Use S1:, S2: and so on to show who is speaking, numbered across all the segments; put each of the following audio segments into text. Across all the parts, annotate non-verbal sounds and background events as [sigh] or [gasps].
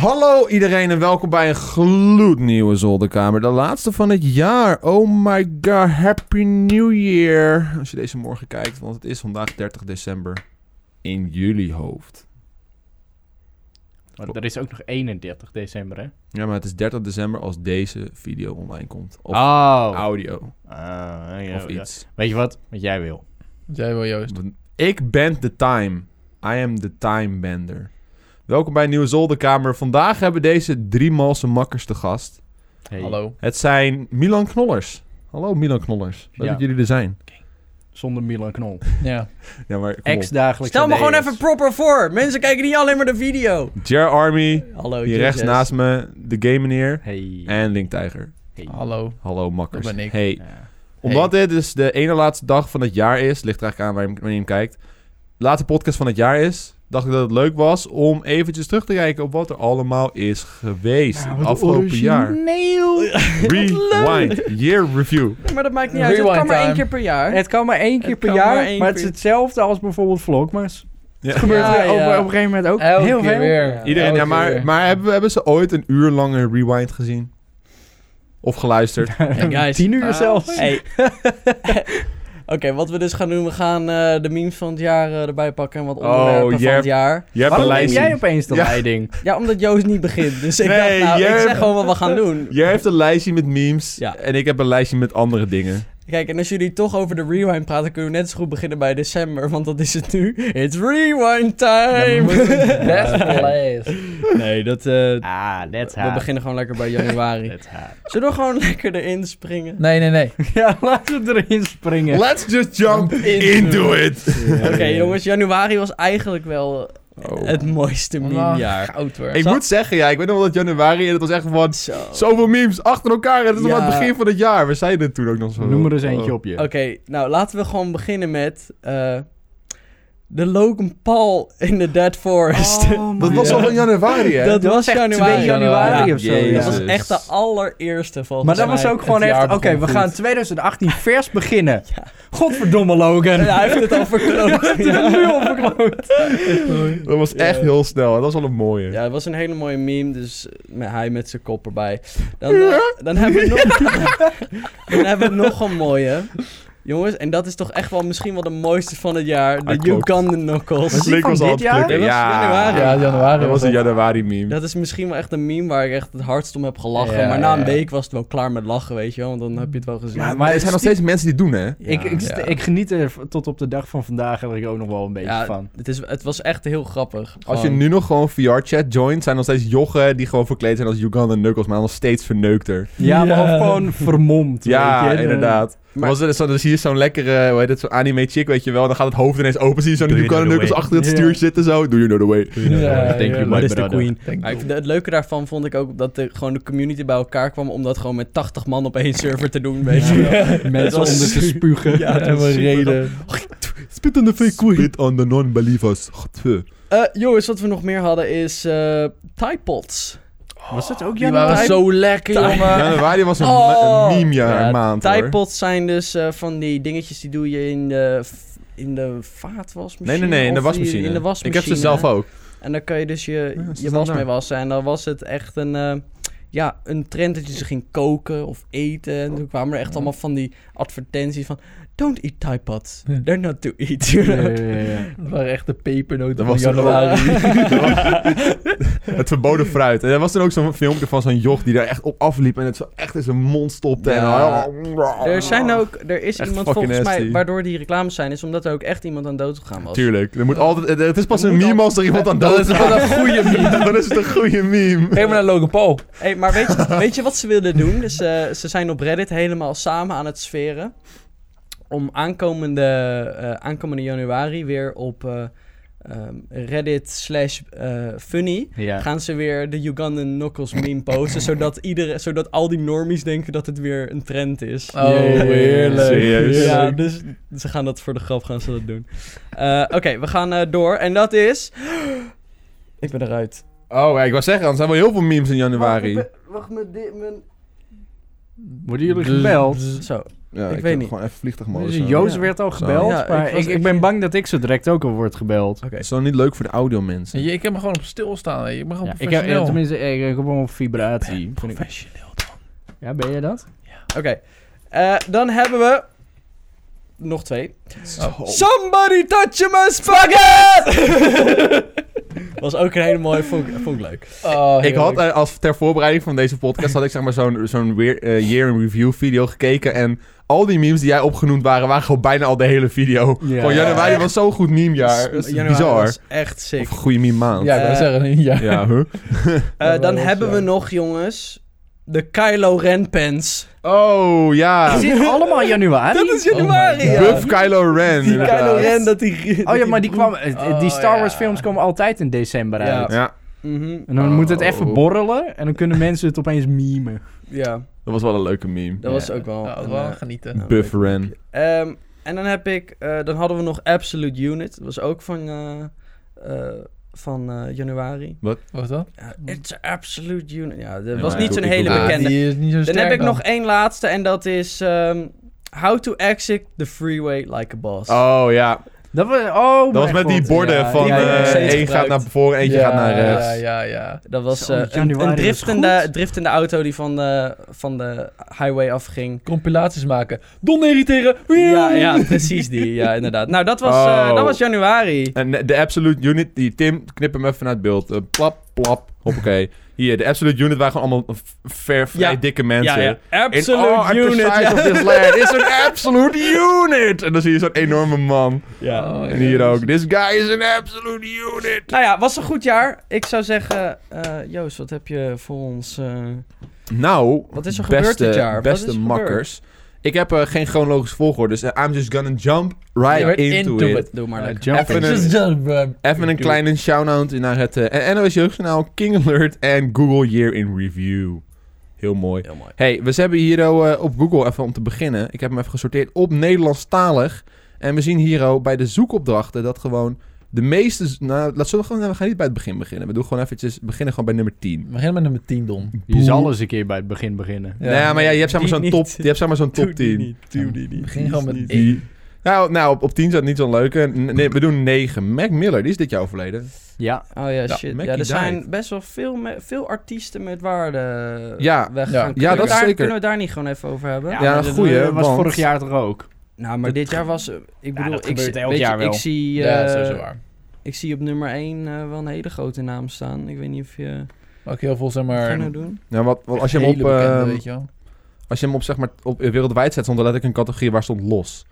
S1: Hallo iedereen en welkom bij een gloednieuwe zolderkamer. De laatste van het jaar. Oh my god, happy new year. Als je deze morgen kijkt, want het is vandaag 30 december. In jullie hoofd.
S2: Maar er is ook nog 31 december, hè?
S1: Ja, maar het is 30 december als deze video online komt. Of
S2: oh.
S1: audio,
S2: Ah, ja,
S1: of
S2: ja.
S1: iets.
S2: Weet je wat? Wat jij wil.
S3: Jij wil Joost.
S1: Want Ik ben de time. I am the time bender. Welkom bij een nieuwe zolderkamer. Vandaag hebben deze drie malse makkers te gast.
S2: Hey,
S3: Hallo.
S1: Het zijn Milan Knollers. Hallo Milan Knollers. Leuk
S2: Ja.
S1: dat jullie er zijn.
S2: Zonder Milan Knol.
S3: Ja.
S1: Ja, maar kom op.
S2: Ex dagelijks.
S4: Stel me gewoon even proper voor. Mensen kijken niet alleen maar de video.
S1: Jer Army,
S4: Hallo,
S1: hier rechts naast me, de game meneer
S2: Hey.
S1: en Link Tiger.
S2: hey.
S3: Hallo.
S1: Eh, Hallo makkers.
S3: Dat ben ik.
S1: Hey,
S2: Ja.
S1: omdat dit dus de ene laatste dag van het jaar is, ligt er eigenlijk aan waar je- wanneer je hem kijkt, laatste podcast van het jaar is, dacht ik dat het leuk was om eventjes terug te kijken op wat er allemaal is geweest in het afgelopen jaar. Rewind, year review.
S4: Maar dat maakt niet uit. Het
S3: Rewind
S4: kan maar één
S3: time.
S4: keer per jaar.
S2: Het kan maar één keer
S4: Eh, Het
S2: per
S4: kan
S2: jaar,
S4: maar
S2: maar,
S4: één
S2: het is
S4: keer.
S2: hetzelfde als bijvoorbeeld Vlogmas.
S1: Ja.
S2: Het gebeurt
S4: Ja,
S2: er op,
S4: ja.
S2: op een gegeven moment ook
S3: Elke
S2: heel
S3: keer
S2: veel. [laughs]
S3: weer.
S1: Iedereen,
S3: Elke
S1: ja,
S3: keer.
S1: maar, maar hebben, hebben ze ooit een uur lange rewind gezien? Of geluisterd?
S4: Hey, guys.
S2: Tien uur
S3: Ah.
S2: zelfs.
S4: Hey. [laughs] Oké, wat we dus gaan doen. We gaan eh, de memes van het jaar eh, erbij pakken. En wat
S1: Oh,
S4: onderwerpen van
S1: Jep.
S4: het jaar.
S1: Je hebt een
S2: Waarom neem
S1: lijstje.
S2: jij opeens de
S1: Ja.
S4: [laughs]
S2: leiding?
S4: Ja, omdat Joost niet begint. Dus ik
S1: Nee,
S4: dacht, nou,
S1: jij-
S4: ik zeg gewoon wat we gaan doen.
S1: Jij heeft een lijstje met memes
S4: Ja.
S1: en ik heb een lijstje met andere dingen.
S4: Kijk, en als jullie toch over de rewind praten, kunnen we net zo goed beginnen bij december. Want dat is het nu. It's rewind time. [laughs]
S3: Best place.
S4: nee, dat... eh,
S2: Ah, let's
S4: we
S2: have.
S4: beginnen gewoon lekker bij
S1: [laughs]
S4: januari.
S2: Let's have.
S4: Zullen we gewoon [laughs] lekker erin springen?
S3: Nee, nee, nee.
S2: [laughs] Ja, laten we erin springen.
S1: Let's just jump into
S4: into
S1: it.
S4: Oké, jongens, januari was eigenlijk wel het mooiste
S2: Oh.
S4: meme-jaar.
S3: Goud hoor.
S1: Ik moet zeggen, ja, ik weet nog wel dat januari en het was echt van
S4: Zo.
S1: zoveel memes achter elkaar. En het is nog
S4: Ja.
S1: maar het begin van het jaar. We zeiden het toen ook nog zo.
S2: Noem er eens eentje op je.
S4: Oké, nou laten we gewoon beginnen met eh, de Logan Paul in the Dead Forest.
S1: Dat was al van januari, hè?
S4: [laughs] dat was
S2: Oh. echt
S4: januari.
S2: 2 januari
S4: Ja,
S2: of zo.
S1: Jezus.
S2: ja.
S4: dat was echt de allereerste volgens
S2: Maar dat
S4: mij.
S2: was ook gewoon
S3: het
S2: echt,
S3: jaar
S2: oké,
S3: begon
S2: we
S3: goed.
S2: gaan 2018 vers beginnen.
S4: Ja.
S2: Godverdomme Logan.
S4: Ja, hij heeft
S2: [laughs]
S4: het al verkloot. ja.
S2: nu opgekloot.
S1: Dat was echt heel snel. Dat was wel een mooie.
S4: Ja, het was een hele mooie meme, dus met, hij met zijn kop erbij. Dan, eh, dan, hebben we nog, [laughs] dan hebben we nog een mooie. Jongens, en dat is toch echt wel misschien wel de mooiste van het jaar.
S1: Ah,
S4: De
S1: klopt.
S4: Ugandan Knuckles.
S2: Was die van dit jaar?
S1: klikken.
S4: Dat was januari.
S3: Ja, januari
S1: Dat was
S3: was
S1: een
S3: het.
S1: januari meme.
S4: Dat is misschien wel echt een meme waar ik echt het hardst om heb gelachen.
S3: Ja,
S4: maar na een
S3: ja, ja.
S4: week was het wel klaar met lachen, weet je wel. Want dan heb je het wel gezien.
S2: Ja,
S1: maar er zijn nog steeds mensen die het doen, hè?
S2: Ik, ik,
S3: Ja.
S2: ik geniet er v- tot op de dag van vandaag eigenlijk ook nog wel een beetje
S4: Ja,
S2: van.
S4: het, is, het was echt heel grappig.
S1: Als je
S4: Gewoon-
S1: nu nog gewoon VR-chat joint, zijn nog steeds joggen die gewoon verkleed zijn als Uganda Knuckles, maar nog steeds verneukter.
S2: Ja, maar
S3: Ja.
S2: ook gewoon vermomd.
S1: Ja,
S2: weet je. De-
S1: inderdaad.
S4: maar-
S1: Was er, zo, dan zie je zo'n lekkere, hoe heet het, zo'n anime chick, weet je wel. Dan gaat het hoofd ineens open, zie je zo'n
S5: Do you
S1: Uganda
S5: know the
S1: Knuckles
S5: way?
S1: achter het
S2: Ja.
S1: stuur zitten zo. Do you know the way?
S3: Ja,
S5: Thank
S3: ja.
S5: you,
S2: What
S5: my
S2: is the
S5: brother.
S2: queen?
S3: Denk
S4: Maar ik
S3: ik.
S4: vind- het leuke daarvan vond ik ook dat de, gewoon de community bij elkaar kwam om dat gewoon met 80 man op één server te doen, weet je wel.
S2: Mensen
S4: was
S2: onder te
S4: super-
S2: spugen.
S4: Ja, dat
S2: En
S4: was
S2: we
S4: super
S2: reden.
S1: Spit on the fake queen. Spit on the non-believers. Godver.
S4: Eh, jongens, wat we nog meer hadden is eh Tide Pods.
S2: Was dat ook
S3: Die
S1: Ah,
S3: waren
S2: januari?
S3: zo lekker,
S4: Tijd-
S3: jongen.
S1: Januari was een,
S4: Oh.
S1: een meme-jaar,
S4: Ja,
S1: maand
S4: Tide
S1: hoor.
S4: Pods zijn dus eh, van die dingetjes die doe je in de, v- in de vaatwasmachine.
S1: Nee, nee, nee, in de
S4: of die-
S1: wasmachine.
S4: In de wasmachine.
S1: Ik heb ze zelf ook.
S4: En dan kan je dus je,
S1: Ja, ze
S4: je
S1: staan
S4: was
S1: daar.
S4: mee wassen. En dan was het echt een, eh, ja, een trend dat je ze ging koken of eten. En toen kwamen er echt allemaal van die advertenties van... Don't eat Tide Pods.
S3: Ja.
S4: They're not to eat. [laughs]
S2: Ja, ja, ja, ja.
S3: Dat waren echt de pepernoten
S1: Dat
S3: van
S1: was er
S3: januari.
S4: [laughs]
S1: Het verboden fruit. En er was dan ook zo'n filmpje van zo'n joch die daar echt op afliep en het zo echt in zijn mond stopte.
S4: Ja.
S1: En
S4: Er zijn ook... Er is
S1: Oh. Echt
S4: iemand
S1: fucking
S4: volgens mij...
S1: nasty.
S4: Waardoor die reclames zijn... Is omdat er ook echt iemand aan dood gegaan was.
S1: Tuurlijk. Er moet altijd, het- het is pas
S4: Er
S1: een
S4: moet
S1: meme
S4: al-
S1: als er iemand aan dood
S3: Dat is wel een goede meme.
S1: [laughs] Dan is het een goede meme.
S3: Kijk maar naar Logan Paul.
S4: Hey, maar weet
S1: [laughs]
S4: je, weet je wat ze wilden doen? Dus, eh, ze zijn op Reddit helemaal samen aan het sferen. Om aankomende, eh, aankomende januari weer op eh, ehm, Reddit slash eh, funny...
S2: Ja.
S4: gaan ze weer de Ugandan Knuckles meme posten... zodat, iedereen, zodat al die normies denken dat het weer een trend is.
S3: Oh, heerlijk.
S1: Serieus?
S4: Ja,
S3: heerlijk.
S4: dus ze gaan dat voor de grap gaan ze dat doen. Eh, Oké, we gaan eh, door. En dat is... [gasps] Ik ben eruit.
S1: Oh, ja, ik wou zeggen, er zijn wel heel veel
S4: Oh,
S1: memes in januari.
S4: Wacht, mijn...
S2: Dus- Worden jullie gebeld?
S4: Zo.
S1: Ja,
S4: Ik
S1: ik,
S4: weet
S1: heb
S4: niet.
S1: Gewoon even vliegtuigmodus.
S2: Dus
S1: aan.
S2: Joost
S4: Ja.
S2: werd al
S1: Zo.
S2: gebeld,
S4: Ja, ik
S2: maar ik,
S4: was
S2: ik,
S4: echt-
S2: ben bang dat ik zo direct ook al word gebeld.
S4: Oké.
S1: Het is dan niet leuk voor de audio mensen.
S3: Ik heb me gewoon op stilstaan. weet je. Ik ben gewoon
S2: Ja, ik heb eh,
S3: professioneel.
S2: tenminste ik, ik heb gewoon op vibratie. Vind ik-
S3: professioneel dan.
S2: Ja, ben je dat?
S4: Oké. Eh, dan hebben we... Nog twee.
S3: Oh.
S4: Somebody touch my
S3: [laughs]
S4: spaghetti! was ook een hele mooie, vond ik, vond ik leuk.
S3: Oh,
S1: Ik had eh, als ter voorbereiding van deze
S4: [laughs]
S1: podcast had ik zeg maar zo'n zo'n weer- eh, year in review video gekeken en al die memes die jij opgenoemd waren waren gewoon bijna al de hele video.
S2: Ja.
S1: Gewoon januari was zo'n goed memejaar. Dat is
S4: Januari
S1: bizar.
S4: was echt sick.
S1: Of een goede meme maand.
S3: Ja, ik
S4: Eh,
S3: wil zeggen, ja.
S1: Ja,
S4: [laughs]
S1: huh?
S4: Eh,
S3: Ja,
S4: dan
S3: dat was,
S4: hebben
S3: ja.
S4: we nog, jongens, de Kylo Ren pens.
S1: Oh ja.
S2: Is dit allemaal [laughs] januari?
S4: Dat is januari,
S3: my
S4: ja.
S3: God.
S1: Buff Kylo Ren.
S4: Die
S1: inderdaad.
S4: Kylo Ren, dat die...
S2: Oh ja,
S4: dat
S2: maar die, kwam, eh,
S3: Oh,
S2: die Star Wars
S3: ja.
S2: films komen altijd in december
S4: Ja.
S2: uit.
S1: Ja,
S4: Mhm,
S2: En dan moet het even
S1: Oh.
S2: borrelen en dan kunnen mensen het opeens memen.
S4: ja,
S1: dat was wel een leuke meme.
S4: dat was ook wel...
S3: Ja,
S4: een,
S3: wel
S4: eh,
S3: genieten.
S4: nou,
S1: Buff
S4: leuk.
S1: Ren.
S4: Ehm, en dan heb ik... eh, dan hadden we nog Absolute Unit. Dat was ook van... eh, eh, van eh, januari.
S3: Wat was dat?
S4: Ja, it's an Absolute Unit. Ja, dat
S1: Ja,
S4: was
S1: maar
S4: niet
S1: ik-
S4: zo'n
S1: ik-
S4: hele
S1: ik-
S4: bekende.
S3: Die is niet zo
S4: Dan
S3: sterk
S4: heb ik
S3: dan.
S4: nog één laatste en dat is... ehm, How to exit the freeway like a boss.
S1: Oh ja,
S2: Dat was, oh
S1: dat was met
S2: mijn
S1: die
S2: god,
S1: borden
S2: ja,
S1: van
S4: die
S1: eh
S4: wordt nog steeds
S1: één gaat
S4: gebruikt.
S1: naar voren, eentje
S3: Ja,
S1: gaat naar rechts.
S3: Ja, ja, ja.
S4: Dat was
S2: Zo,
S4: eh, een,
S2: januari
S4: een
S2: was
S4: driftende,
S2: goed.
S4: driftende auto die van de, van de highway afging.
S3: Compilaties maken. Don irriteren.
S4: Ja, ja, precies die. Ja, inderdaad. Nou, dat was, eh,
S1: Oh.
S4: dat was januari.
S1: En de- de Absolute Unit, die Tim, knip hem even naar het beeld. Eh, plap, plap. Hoppakee. Hier, de Absolute Unit waren gewoon allemaal v- ver, vrij
S4: Ja.
S1: dikke mensen.
S4: Absolute
S1: In all
S4: unit.
S1: exercise
S4: ja.
S1: of this land is an absolute unit. En dan zie je zo'n enorme man.
S3: Oh, Ja.
S1: en hier ook. This guy is an absolute unit.
S4: [laughs] Nou ja, was een goed jaar. Ik zou zeggen, eh, Joost, wat heb je voor ons? eh,
S1: Nou,
S4: Wat is er
S1: beste,
S4: gebeurd dit jaar? Wat
S1: Beste
S4: is er
S1: makkers. Ik heb eh, geen chronologische volgorde, dus eh, I'm just gonna jump right
S3: Right
S1: into,
S3: into
S1: it.
S3: it.
S4: doe maar
S2: Ja,
S4: lekker.
S2: jump
S1: Even
S2: in.
S1: een-
S3: eh.
S1: Even een
S3: Doe.
S1: kleine shout-out naar het eh, NOS Jeugdjournaal, King Alert en Google Year in Review. Heel mooi.
S4: Heel mooi.
S1: Hey, we hebben hier oh, eh, op Google, even om te beginnen, ik heb hem even gesorteerd, op Nederlandstalig. En we zien hier oh, bij de zoekopdrachten dat gewoon de meeste... z- Nou, laat, zullen we, gewoon, we gaan niet bij het begin beginnen. We doen gewoon eventjes, we beginnen gewoon bij nummer 10.
S3: We beginnen met nummer 10, Don.
S2: Je zal eens een keer bij het begin beginnen.
S1: Nou ja, maar ja, je hebt zeg maar
S4: Die
S1: zo'n
S4: niet.
S1: top, je hebt zeg maar zo'n top
S4: Doe die
S1: 10.
S4: niet, doe die niet.
S3: Begin gewoon met
S4: Die-
S1: Die- Nou, nou op, op 10 staat niet zo'n leuke. N- Nee, we doen 9. Mac Miller, die is dit jaar overleden.
S2: Ja,
S4: Oh ja, shit. Ja,
S1: Mackie
S4: er
S1: died.
S4: zijn best wel veel, me- veel artiesten met waarde
S1: Ja,
S4: weggegaan.
S3: ja.
S4: Kunnen
S1: Ja,
S4: we
S1: dat is
S4: daar,
S1: zeker.
S4: Kunnen we daar niet gewoon even over hebben?
S2: ja,
S1: Ja,
S2: maar dat
S1: goeie,
S2: was
S1: want-
S2: vorig jaar toch ook.
S4: Nou, maar dit jaar was... eh, Ik bedoel,
S2: dat
S4: ik,
S2: gebeurt
S4: zie-
S2: elk
S4: weet je,
S2: jaar wel.
S4: ik zie...
S3: ja, dat is
S4: eh,
S3: sowieso waar.
S4: Ik zie op nummer 1 wel een hele grote naam staan. Ik weet niet of je...
S3: Ook heel veel, zeg
S4: Wat
S3: maar...
S4: ga je nou doen?
S1: Nou, wat, wat- als je hem
S3: hele
S1: op...
S3: bekende,
S1: ehm,
S3: weet je wel.
S1: Als je hem op, zeg maar, op eh, wereldwijd zet, stond er letterlijk een categorie waar stond los.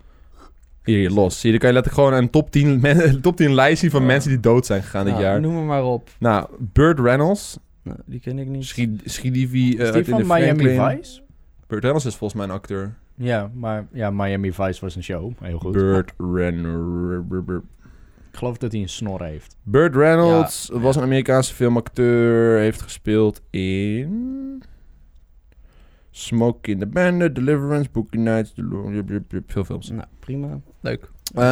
S1: Hier, hier, los. Zie je, dan kan je letterlijk gewoon [laughs] een top 10, men- top 10 lijst zien van
S2: Oh.
S4: Ja.
S1: mensen die dood zijn gegaan dit
S4: Nou,
S1: jaar.
S4: Noem hem maar op.
S1: Nou, Burt Reynolds,
S4: Nou, die ken ik niet.
S1: Schi- Schiedivi eh
S2: Is
S1: uit in
S2: die
S1: de
S2: van Miami
S1: Franklin.
S2: Vice?
S1: Burt Reynolds is volgens mij een acteur.
S2: Ja, maar ja, Miami Vice was een show. Heel goed.
S1: Burt Reynolds.
S2: Ik geloof dat hij een snor heeft.
S1: Burt Reynolds was een Amerikaanse filmacteur. Heeft gespeeld in... Smoking the Bandit, Deliverance, Boogie Nights, de- blub, blub, blub, veel films.
S4: Nou, prima.
S3: Leuk.
S1: Ehm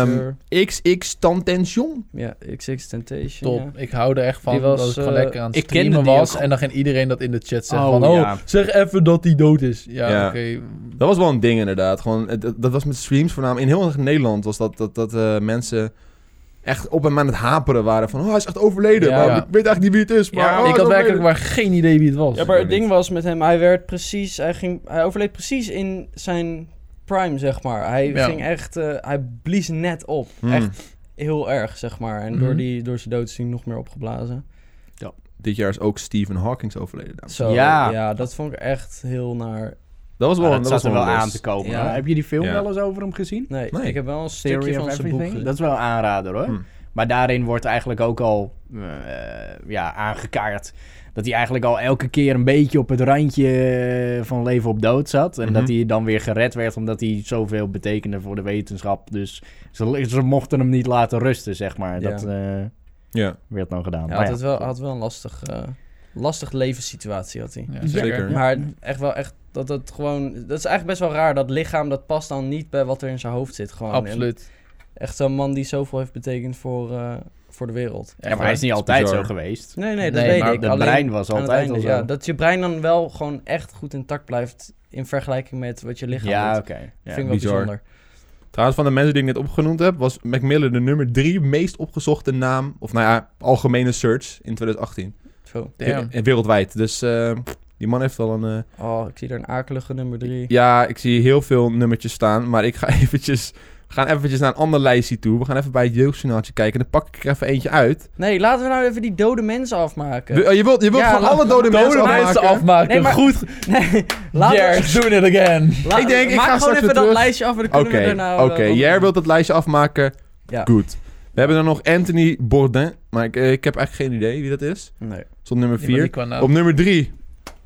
S4: Acteur.
S1: XX Tantention.
S4: Ja, XX Temptation.
S3: Top. Ik hou er echt van
S4: Die was,
S3: dat het gewoon
S4: eh,
S3: lekker aan het
S2: ik kende
S3: streamen
S2: die
S3: was.
S2: ook.
S3: En dan ging iedereen dat in de chat zeggen
S2: Oh,
S3: van... Oh,
S2: ja.
S3: zeg even dat hij dood is. Ja,
S1: Ja.
S3: oké.
S1: Dat was wel een ding inderdaad. Gewoon, het- het- dat was met streams voornamelijk. In heel erg Nederland was dat, dat, dat eh, mensen echt op en aan het haperen waren. Van, oh, hij is echt overleden.
S3: Ja.
S1: maar
S3: Ja.
S1: ik weet eigenlijk niet wie het is. Maar,
S4: Ja,
S1: oh, hij
S3: ik
S1: is
S3: had werkelijk
S1: overleden.
S3: maar geen idee wie het was.
S4: Ja, maar het ding was met hem, hij werd precies, hij, ging, hij overleed precies in zijn prime, zeg maar. Hij
S3: Ja.
S4: ging echt, eh, hij blies net op.
S1: Hmm.
S4: Echt heel erg, zeg maar. En door,
S3: Mhm.
S4: die, door zijn dood is hij nog meer opgeblazen.
S1: Dit jaar is ook Stephen Hawking overleden. dames.
S4: Zo, ja.
S2: Ja.
S4: dat vond ik echt heel naar.
S1: Dat was wel,
S2: Maar
S1: dat
S2: dat
S1: was
S2: zat er wel
S1: een
S2: aan
S1: list.
S2: te komen.
S4: Ja.
S2: hoor. Heb je die film
S1: Ja.
S2: wel eens over hem gezien?
S4: Nee,
S1: Nee.
S4: ik heb wel een stukje
S2: Theory
S4: van
S2: of
S4: zijn boek
S2: Everything?
S4: gezien.
S2: Dat is wel een aanrader hoor.
S1: Hmm.
S2: Maar daarin wordt eigenlijk ook al eh, ja, aangekaart dat hij eigenlijk al elke keer een beetje op het randje eh, van leven op dood zat. En
S1: Mhm.
S2: dat hij dan weer gered werd omdat hij zoveel betekende voor de wetenschap. Dus ze, ze mochten hem niet laten rusten, zeg maar.
S4: Ja.
S2: Dat eh,
S1: Ja,
S2: werd nou gedaan.
S4: Hij
S2: Maar
S4: had,
S2: ja,
S4: het wel, had wel een lastig, eh, lastig levenssituatie had hij.
S3: Ja,
S1: zeker.
S3: zeker.
S4: Maar echt wel echt dat het gewoon... Dat is eigenlijk best wel raar. Dat lichaam, dat past dan niet bij wat er in zijn hoofd zit. Gewoon. En
S3: Absoluut.
S4: echt zo'n man die zoveel heeft betekend voor, eh, voor de wereld.
S2: Ja, maar hij is niet
S1: is
S2: altijd
S1: bizar.
S2: zo geweest.
S4: Nee, nee, dat
S3: Nee,
S4: weet
S2: maar
S4: ik.
S2: dat
S4: Alleen
S2: brein was
S4: aan het
S2: altijd
S4: einde,
S2: al zo.
S4: Ja, dat je brein dan wel gewoon echt goed intact blijft in vergelijking met wat je lichaam
S2: Ja,
S4: doet.
S2: oké. Ja.
S4: Vind ik wel
S1: Bizar.
S4: bijzonder.
S1: Trouwens, van de mensen die ik net opgenoemd heb, was Macmillan de nummer drie meest opgezochte naam, of nou ja, algemene search in 2018.
S4: Zo.
S1: Ja.
S3: Damn.
S1: Wereldwijd. Dus eh, die man heeft al een... eh,
S4: Oh, ik zie daar een akelige nummer drie.
S1: Ja, ik zie heel veel nummertjes staan, maar ik ga [laughs] eventjes... We gaan eventjes naar een ander lijstje toe. We gaan even bij het jeugdjournaaltje kijken. En dan pak ik er even eentje uit.
S4: Nee, laten we nou even die dode mensen afmaken.
S1: Wil- Je wilt, je wilt
S4: Ja,
S1: van
S4: laat-
S1: alle dode, mensen
S3: Dode mensen
S1: afmaken.
S3: afmaken.
S4: Nee, maar-
S3: Goed.
S4: nee, laten we...
S3: Yes, doing it again.
S4: La-
S1: Ik denk, ik
S4: maak
S1: ga straks
S4: gewoon even
S1: weer
S4: dat
S1: terug.
S4: lijstje af en dan
S1: Oké,
S4: kunnen we daarna... eh,
S1: oké.
S4: wat-
S1: Jij wilt het lijstje afmaken.
S4: Ja.
S1: Goed. We hebben dan nog Anthony Bourdain. Maar ik, eh, ik heb eigenlijk geen idee wie dat is.
S4: Nee.
S1: Stond nummer
S3: Die man die
S1: 4.
S3: kwam nou-
S4: oh.
S1: Op nummer 3,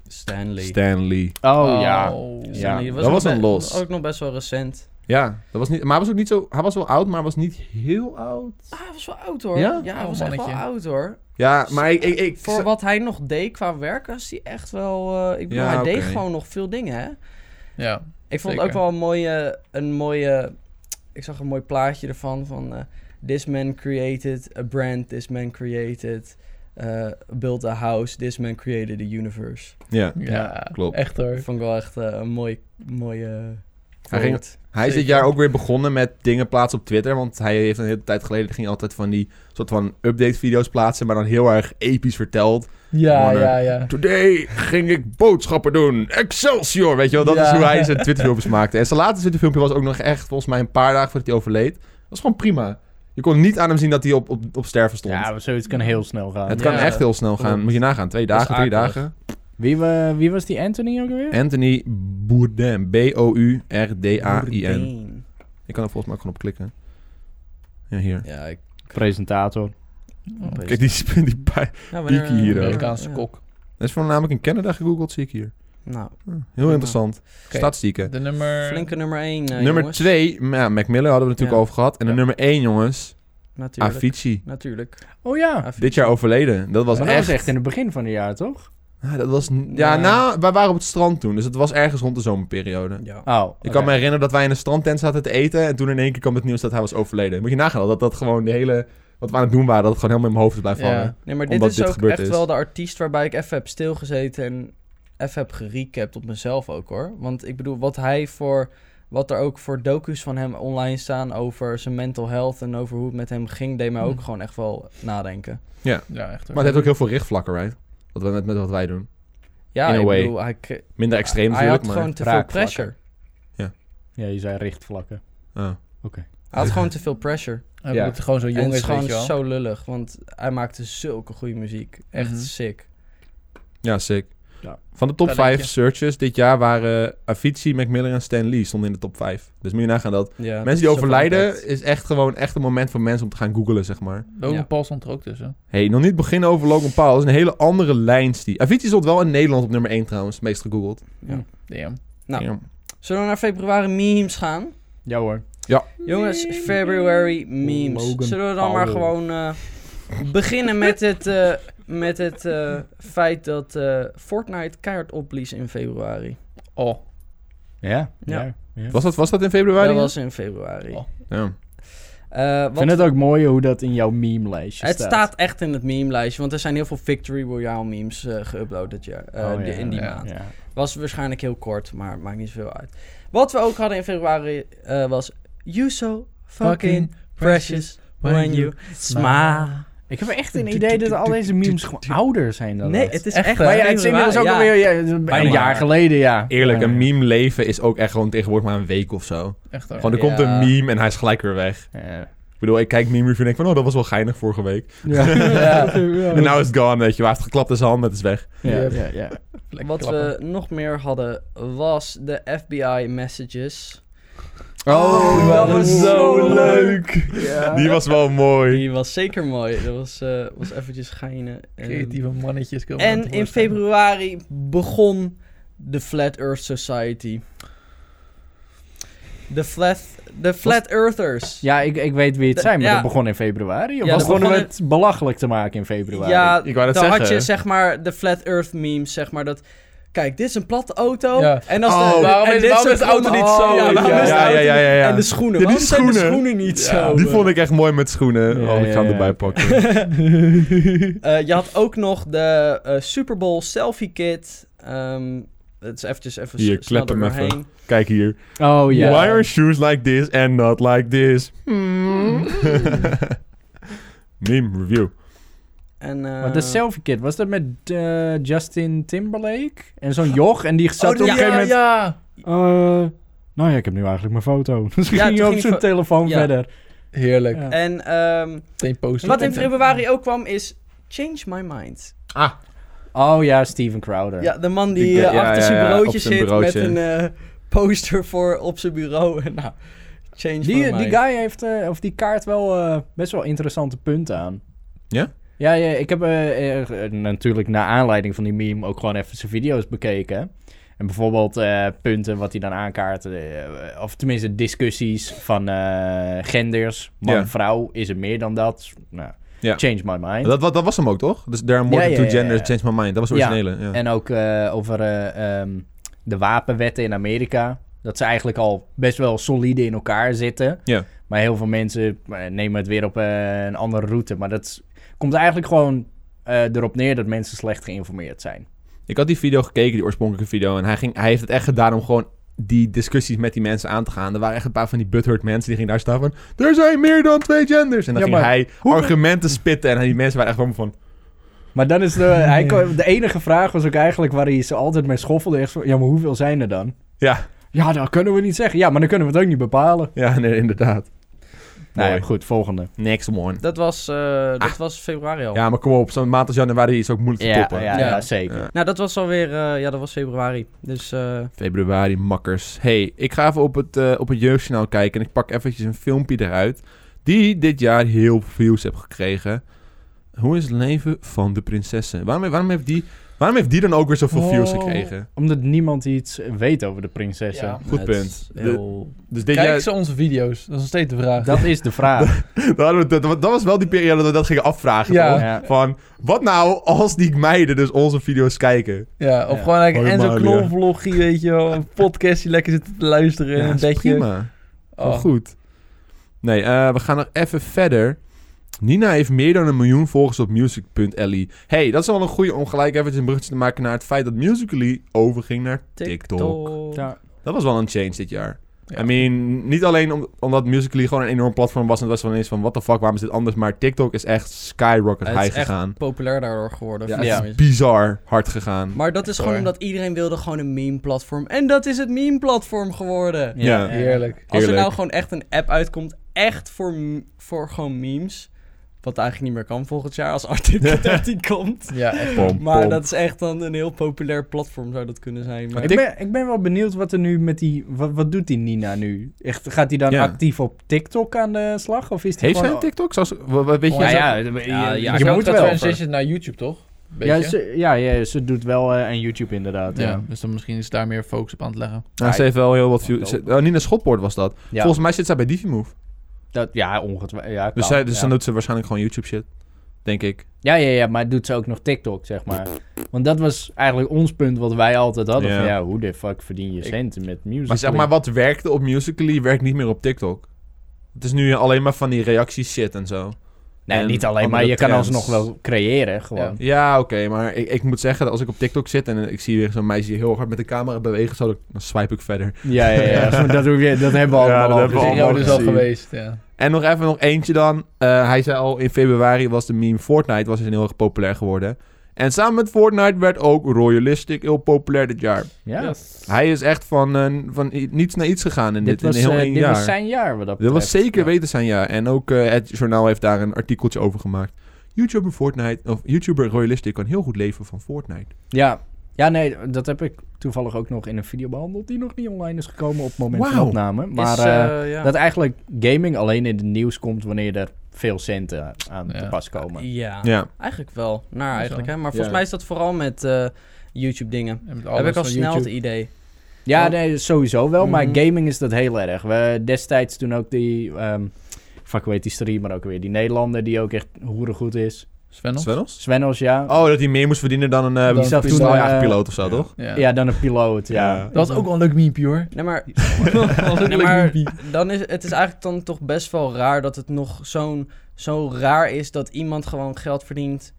S4: Stanley.
S1: Stanley.
S2: Oh, ja.
S4: Stanley
S1: Dat was
S4: nog
S1: een
S4: be-
S1: los.
S4: Ook nog best wel recent.
S1: Ja, dat was niet, maar hij was ook niet zo. Hij was wel oud, maar hij was niet heel oud.
S4: Ah, hij was wel oud hoor.
S1: Ja?
S4: ja hij
S3: Oh,
S4: was echt wel
S3: mannetje.
S4: oud hoor.
S1: Ja, maar ik. ik, ik
S4: Voor wat hij nog deed qua werk was hij echt wel... eh, ik bedoel,
S1: Ja,
S4: hij
S1: oké.
S4: deed gewoon nog veel dingen hè.
S3: Ja.
S4: Ik vond
S3: Zeker.
S4: ook wel een mooie, een mooie. Ik zag een mooi plaatje ervan van. eh, this man created a brand. This man created. eh, built a house. This man created a universe.
S1: ja.
S3: Ja,
S1: klopt.
S3: Echt hoor.
S4: Dat vond ik wel echt eh, een mooi, mooie.
S1: Hij ging-
S4: woord.
S1: Hij is dit
S3: Zeker.
S1: jaar ook weer begonnen met dingen plaatsen op Twitter. Want hij heeft een hele tijd geleden. ging hij altijd van die soort van update-video's plaatsen. Maar dan heel erg episch verteld.
S3: Ja,
S1: Gewoon, eh,
S3: ja, ja.
S1: Today ging ik boodschappen doen. Excelsior! Weet je wel, dat
S3: Ja.
S1: is hoe [laughs] hij zijn Twitterfilmpjes maakte. En zijn laatste Twitterfilmpje was ook nog echt, volgens mij, een paar dagen voordat hij overleed. Dat was gewoon prima. Je kon niet aan hem zien dat hij op, op, op sterven stond.
S2: Ja, maar zoiets kan heel snel gaan.
S1: het kan
S3: ja.
S1: echt heel snel gaan. Moet je nagaan. Twee
S4: Dat is
S1: dagen, drie
S4: akelig.
S1: dagen.
S2: Wie, wa- wie was die Anthony ook weer?
S1: Anthony Bourdain. B-O-U-R-D-A-I-N.
S4: Bourdain.
S1: Ik kan er volgens mij ook gewoon op klikken. Ja, hier.
S4: Ja, ik. Oh,
S2: Presentator.
S1: Kijk, die, sp- die pij-
S4: Nou,
S1: Pieki hier ook.
S3: eh, Amerikaanse
S4: ja.
S3: kok.
S1: Dat is voornamelijk in Canada gegoogeld, zie ik hier.
S4: Nou,
S1: Hm, Heel interessant.
S3: Oké. Nou,
S1: Statistieken.
S3: De nummer...
S4: flinke nummer eh, 1.
S1: nummer 2, ja, Macmillan hadden we natuurlijk
S4: Ja.
S1: over gehad. En de
S3: Ja.
S1: nummer 1, jongens,
S4: Natuurlijk.
S1: Avicii.
S4: Natuurlijk.
S2: Oh ja.
S4: Avicii.
S1: Ah, Dit jaar overleden. Dat was
S2: Maar dat
S1: echt...
S2: was echt in het begin van het jaar, toch?
S1: Ah, dat was... n- Ja,
S4: Ja.
S1: nou, wij waren op het strand toen. Dus het was ergens rond de zomerperiode.
S4: Ja.
S2: Oh.
S1: Ik kan me herinneren dat wij in een strandtent zaten te eten. En toen in één keer kwam het nieuws dat hij was overleden. Moet je nagaan dat dat gewoon de hele... Wat we aan het doen waren, dat het gewoon helemaal in mijn hoofd is blijven
S3: Ja.
S1: hangen.
S4: Nee, maar
S1: Omdat
S4: dit
S1: dit
S4: is ook
S1: gebeurd
S4: echt
S1: is.
S4: wel de artiest waarbij ik even heb stilgezeten en even heb gerecapt op mezelf ook hoor. Want ik bedoel, wat hij voor. Wat er ook voor docu's van hem online staan over zijn mental health en over hoe het met hem ging, deed mij ook
S3: Hm.
S4: gewoon echt wel nadenken.
S3: Ja, echt hoor.
S1: Maar het heeft ook heel veel richtvlakken, right? Wat we met, met wat wij doen.
S4: Ja,
S1: In a
S4: ik
S1: way.
S4: bedoel, hij, k-
S1: Minder extreem
S4: hij
S1: natuurlijk,
S4: had
S1: maar...
S4: gewoon te veel
S2: raakvlakken.
S4: pressure.
S2: Ja, je zei richtvlakken.
S1: Ah.
S4: Hij had gewoon te veel pressure.
S3: Hij
S1: Ja.
S3: wordt gewoon zo
S4: en
S3: jong
S4: het
S3: is,
S4: is gewoon
S3: weet je wel.
S4: zo lullig, want hij maakte zulke goede muziek. Echt
S3: Mhm.
S4: sick.
S1: Ja, sick.
S2: Ja.
S1: Van de top
S3: Talentje.
S1: 5 searches dit jaar waren Avicii, Macmillan en Stan Lee stonden in de top 5. Dus moet je nagaan dat.
S4: Ja,
S1: mensen die
S4: zo van
S1: overlijden eh,
S4: dat.
S1: is echt gewoon echt een moment voor mensen om te gaan googlen, zeg maar.
S3: Logan
S4: Ja.
S3: Paul stond er ook tussen.
S1: hey, nog niet beginnen over Logan Paul. Dat is een hele andere lijn. Die... Avicii stond wel in Nederland op nummer 1 trouwens, meest gegoogeld.
S3: Damn.
S4: Nou.
S1: Ja.
S4: Zullen we naar februari memes gaan?
S2: Ja hoor.
S4: Jongens, February memes.
S2: Logan
S4: Zullen we dan maar
S2: Paul.
S4: gewoon eh, beginnen met het, eh, met het eh, feit dat eh, Fortnite keihard opblies in februari.
S3: Oh,
S2: Ja.
S4: Ja.
S2: ja. ja.
S1: Was, dat, was dat in februari?
S4: Dat was in februari.
S3: Oh.
S1: Ja.
S4: Eh,
S2: Ik
S4: wat-
S2: vind het ook mooi hoe dat in jouw meme-lijstje
S4: het staat echt in het meme-lijstje, want er zijn heel veel Victory Royale memes eh, geüpload dit jaar, eh,
S2: Oh,
S4: die-
S2: ja,
S4: in die
S3: ja.
S4: maand.
S2: Ja.
S4: Was waarschijnlijk heel kort, maar maakt niet zoveel uit. Wat we ook hadden in februari eh, was... You so fucking precious when you smile.
S2: Ik heb echt
S4: [laughs]
S2: een idee dat al deze memes gewoon ouder zijn dan
S4: Nee,
S2: dat.
S4: het is
S3: Echt,
S4: echt...
S3: hè?
S2: Maar ja,
S4: februari,
S2: het is inmiddels ook
S4: ja.
S2: alweer ja, een
S4: Bijna.
S2: jaar geleden, ja.
S1: Eerlijk,
S2: Ja.
S1: een meme leven is ook echt gewoon tegenwoordig maar een week of zo.
S3: Echt hoor.
S1: Gewoon er
S4: Ja.
S1: komt een meme en hij is gelijk weer weg.
S4: [laughs]
S2: Ja.
S1: Ik bedoel, ik kijk meme review en denk van, oh, dat was wel geinig vorige week.
S3: Ja.
S1: En nou is het gone, weet je. Hij heeft geklapt in zijn hand, het is weg.
S2: Ja, ja, ja.
S3: Lekker
S4: Wat
S3: klappen.
S4: we nog meer hadden was de FBI messages.
S1: Oh,
S3: dat was zo leuk.
S1: Die was wel mooi.
S4: Die was zeker mooi. Dat was, eh, was eventjes geinen. En-
S3: Creatieve mannetjes komen
S4: En in
S3: tevoorschijn.
S4: februari begon de Flat Earth Society. De Flat, de flat Earthers.
S2: Ja, ik, ik weet wie het
S4: De-
S2: zijn, maar
S4: ja.
S2: dat begon in februari. Of
S4: Ja,
S2: was
S4: dat
S2: begonnen we
S4: begon
S2: het belachelijk te maken in februari?
S4: Ja,
S1: Ik wou dat
S4: dan had
S1: zeggen.
S4: je zeg maar de Flat Earth memes, zeg maar dat Kijk, dit is een platte auto.
S3: Ja.
S4: En als
S1: Oh,
S4: de,
S3: waarom
S4: en
S3: is-
S4: dit
S3: waarom
S4: soort
S3: is de auto
S4: grote-
S3: niet zo?
S4: Ja, waarom
S3: Ja,
S4: is de
S1: ja,
S4: auto
S1: ja,
S4: niet-
S1: ja, ja.
S4: En de schoenen.
S1: Ja, die
S4: waarom zijn de
S1: schoenen.
S4: schoenen niet
S3: Ja,
S4: zo?
S1: Die vond ik echt mooi met schoenen.
S2: Ja,
S1: oh, ik ga hem
S2: ja,
S1: erbij
S2: ja.
S1: pakken.
S4: Eh, je had ook nog de eh, Super Bowl selfie kit. Ehm het is eventjes even
S1: Hier,
S4: s- snel
S1: klep hem
S4: er doorheen.
S1: Kijk hier.
S2: [laughs] Oh ja.
S1: Why are shoes like this and not like
S2: [laughs]
S1: this? Meme review.
S4: En, eh,
S2: Maar de selfie kit, was dat met eh, Justin Timberlake? En zo'n joch, en die zat
S3: Oh,
S2: op een
S3: die-
S2: gegeven
S3: ja,
S2: moment...
S3: ja.
S2: Eh, nou ja, ik heb nu eigenlijk mijn foto. [laughs] Dus
S4: Ja,
S2: ging
S4: toen
S2: je op
S4: ging
S2: zijn
S4: die
S2: telefoon
S4: ja.
S2: verder.
S3: Heerlijk.
S2: Ja.
S4: en ehm,
S3: Meteen posten.
S4: wat in februari ook kwam is Change My Mind.
S3: Ah,
S2: Oh ja, Steven Crowder.
S4: Ja, de man die
S1: Ik denk-
S4: eh,
S1: ja,
S4: achter
S1: ja,
S4: zijn
S1: ja,
S4: bureautje
S1: op zijn
S4: zit
S1: bureautje.
S4: met een eh, poster voor op zijn bureau. [laughs] En nou, Change My
S2: Die,
S4: Mind.
S2: die guy heeft, eh, of die kaart wel eh, best wel interessante punten aan.
S1: Ja?
S2: Ja, ja ik heb eh, eh, eh, natuurlijk naar aanleiding van die meme ook gewoon even zijn video's bekeken. En bijvoorbeeld eh, punten wat hij dan aankaart, eh, of tenminste discussies van eh, genders. Man,
S1: Ja.
S2: vrouw, is er meer dan dat? Nou,
S1: Ja.
S2: change my mind.
S1: Dat, wa- dat was hem ook, toch? Dus there are more
S2: Ja,
S1: than
S2: ja,
S1: two
S2: ja, ja.
S1: genders, change my mind. Dat was de
S2: Ja.
S1: originele. Ja.
S2: En ook eh, over eh, ehm, de wapenwetten in Amerika. Dat ze eigenlijk al best wel solide in elkaar zitten.
S1: Ja.
S2: Maar heel veel mensen eh, nemen het weer op eh, een andere route. Maar dat komt eigenlijk gewoon eh, erop neer dat mensen slecht geïnformeerd zijn.
S1: Ik had die video gekeken, die oorspronkelijke video. En hij, ging, hij heeft het echt gedaan om gewoon die discussies met die mensen aan te gaan. Er waren echt een paar van die butthurt mensen die gingen daar staan van... Er zijn meer dan twee genders! En dan
S2: Ja,
S1: ging
S2: maar
S1: hij
S2: hoe-
S1: argumenten spitten. En die mensen waren echt gewoon van...
S2: Maar dan is
S1: [laughs]
S2: de, hij, kon- de enige vraag was ook eigenlijk waar hij ze altijd mee schoffelde. Echt zo, ja, maar hoeveel zijn er dan?
S1: Ja,
S2: Ja, dat kunnen we niet zeggen. Ja, maar dan kunnen we het ook niet bepalen.
S1: ja [laughs] nee, inderdaad.
S2: Nou ja,
S1: Mooi.
S2: goed, volgende.
S1: Next one.
S4: Dat was, eh, dat was februari al.
S1: Ah. Ja, maar kom op. Zo'n maand als januari is ook moeilijk te
S2: Ja, ja,
S1: toppen.
S2: ja,
S4: Ja.
S2: zeker.
S1: Ja.
S4: Nou, dat was alweer, eh, ja, dat was februari. Dus eh,
S1: Februari, makkers. hey, ik ga even op het, eh, op het jeugdjournaal kijken en ik pak eventjes een filmpje eruit. Die dit jaar heel veel views heeft gekregen. Hoe is het leven van de prinsessen? Waarom, waarom, heeft, die, waarom heeft die dan ook weer zoveel views
S3: Oh.
S1: gekregen?
S2: Omdat niemand iets weet over de prinsessen.
S3: Ja.
S1: Goed
S4: het
S1: punt.
S4: is
S1: De-
S4: heel-
S1: Dus dit
S3: kijk
S1: [laughs] jaar,
S3: ze onze video's. Dat is nog steeds de vraag.
S2: Dat is de
S1: [laughs]
S2: vraag.
S1: dat, hadden we- dat- dat was wel die periode dat we dat gingen afvragen.
S3: Ja.
S1: toch?
S2: ja.
S1: Van, wat nou als die meiden dus onze video's kijken?
S3: Ja, of
S2: Ja.
S3: gewoon like,
S1: Hoi,
S3: en zo'n
S1: Maria.
S3: knolvloggie, weet je wel. Een podcast die lekker zit te luisteren in
S1: Ja,
S3: een
S1: dat is
S3: bedje.
S1: prima.
S3: Oh.
S1: Wel goed. Nee, eh, we gaan nog even verder. Nina heeft meer dan een miljoen volgers op music.ly. hey, dat is wel een goede om gelijk even een bruggetje te maken naar het feit dat Musical.ly overging naar TikTok.
S2: Ja.
S1: Dat was wel een change dit jaar.
S3: Ja.
S1: I mean, niet alleen om- omdat Musical.ly gewoon een enorm platform was en het was wel ineens van, what the fuck, waarom is dit anders? Maar TikTok is echt skyrocket
S4: Het is
S1: high
S4: echt
S1: gegaan.
S4: Populair daardoor geworden.
S1: Ja,
S4: vind
S2: ja.
S4: ik.
S1: het is bizar hard gegaan.
S4: Maar dat is gewoon
S3: Sorry.
S4: omdat iedereen wilde gewoon een meme-platform. En dat is het meme-platform geworden.
S1: Ja.
S2: Ja.
S3: Heerlijk.
S4: Als er
S1: Heerlijk.
S4: nou gewoon echt een app uitkomt, echt voor, m- voor gewoon memes. Wat eigenlijk niet meer kan volgend jaar
S1: [laughs]
S4: als Article 13 komt.
S3: Ja, echt.
S1: Pom,
S4: Maar
S1: pom.
S4: dat is echt dan een heel populair platform zou dat kunnen zijn. Maar
S2: Ik ben, ik ben wel benieuwd wat er nu met die... Wat, wat doet die Nina nu? Echt, gaat die dan
S1: Ja.
S2: actief op TikTok aan de slag? Of is die
S1: Heeft zij
S2: gewoon...
S1: een TikTok? Zoals, wat- wat weet
S3: Oh,
S1: jij?
S3: ja,
S2: Oh. ja,
S4: ja,
S2: je-
S4: ja,
S2: je moet wel.
S3: transition naar YouTube, toch?
S2: Ja ze, ja, ja, ze doet wel eh, aan YouTube inderdaad. Ja.
S3: ja, dus dan misschien is daar meer focus op aan het leggen.
S1: Nou, ze heeft wel heel wat views.
S2: Dope.
S1: Oh, Nina Schotpoort was dat.
S2: Ja,
S1: Volgens mij zit zij bij Divimove.
S2: dat, ja ongetwijfeld. Ja,
S1: Dus,
S2: kan,
S1: zij, dus
S2: ja.
S1: dan doet ze waarschijnlijk gewoon YouTube shit. Denk ik.
S2: Ja, ja, ja, maar doet ze ook nog TikTok, zeg maar. Want dat was eigenlijk ons punt wat wij altijd hadden.
S1: Ja.
S2: Van, ja, hoe de fuck verdien je
S3: Ik-
S2: centen met music?
S1: Maar zeg maar, wat werkte op Musical.ly werkt niet meer op TikTok. Het is nu alleen maar van die reacties shit en zo.
S2: Nee,
S1: en
S2: niet alleen, maar
S1: andere
S2: je kan
S1: trends.
S2: alsnog wel creëren, gewoon.
S1: Ja, oké, maar ik, ik moet zeggen dat als ik op TikTok zit en ik zie weer zo'n meisje die heel hard met de camera bewegen, zo, dan- dan swipe ik verder.
S2: Ja, ja, ja. ja. [laughs] dat, hoef je, dat hebben we
S1: Ja,
S2: allemaal
S1: dat
S2: al
S1: hebben we
S2: gezien.
S1: allemaal
S3: video is dus al
S1: gezien.
S3: geweest, ja.
S1: En nog even nog eentje dan. Eh, hij zei al, in februari was de meme Fortnite was dus heel erg populair geworden. En samen met Fortnite werd ook Royalistic heel populair dit jaar.
S2: Ja,
S1: Hij is echt van, eh, van i- niets naar iets gegaan in dit,
S2: dit, was,
S1: in heel
S2: eh,
S1: één
S2: dit
S1: jaar.
S2: was zijn jaar. Wat dat
S1: Dat was
S2: betreft.
S1: zeker
S2: Ja.
S1: weten zijn, ja. En ook eh, het journaal heeft daar een artikeltje over gemaakt. YouTuber Fortnite, of YouTuber Royalistic kan heel goed leven van Fortnite.
S2: Ja. ja, nee, dat heb ik toevallig ook nog in een video behandeld... die nog niet online is gekomen op het moment van
S1: Wauw.
S2: opname. Maar
S4: is,
S2: eh,
S4: eh, ja.
S2: dat eigenlijk gaming alleen in het nieuws komt... wanneer er veel centen aan te
S3: Ja.
S2: pas komen.
S4: ja,
S1: Ja.
S4: eigenlijk wel. Naar
S3: Zo.
S4: eigenlijk, hè. Maar
S1: Ja.
S4: volgens mij is dat vooral met eh, YouTube-dingen.
S3: En met
S4: Heb
S3: alles
S4: ik al
S3: van
S4: snel het
S3: YouTube.
S4: idee.
S2: Ja,
S4: Ja.
S2: nee, sowieso wel,
S4: oh. Mhm.
S2: maar gaming is dat heel erg. We destijds toen ook die... ehm fuck, weet die streamer ook weer? Die Nederlander die ook echt hoerengoed is.
S3: Sven nog?
S1: Svenos?
S2: Svenos, ja.
S1: Oh, dat hij meer moest verdienen dan een... eh,
S3: Dan
S1: wie
S2: zelf
S1: is
S2: toen,
S1: toen nou
S2: eh,
S1: eigenlijk piloot of zo, toch?
S3: Ja.
S2: Ja, dan een piloot, ja.
S1: Ja.
S3: Dat was ook wel een leuk meme, hoor.
S4: Nee, maar,
S3: Dat was ook
S4: nee,
S3: een leuk
S4: maar
S3: meme.
S4: dan is, het is eigenlijk dan toch best wel raar dat het nog zo'n zo raar is dat iemand gewoon geld verdient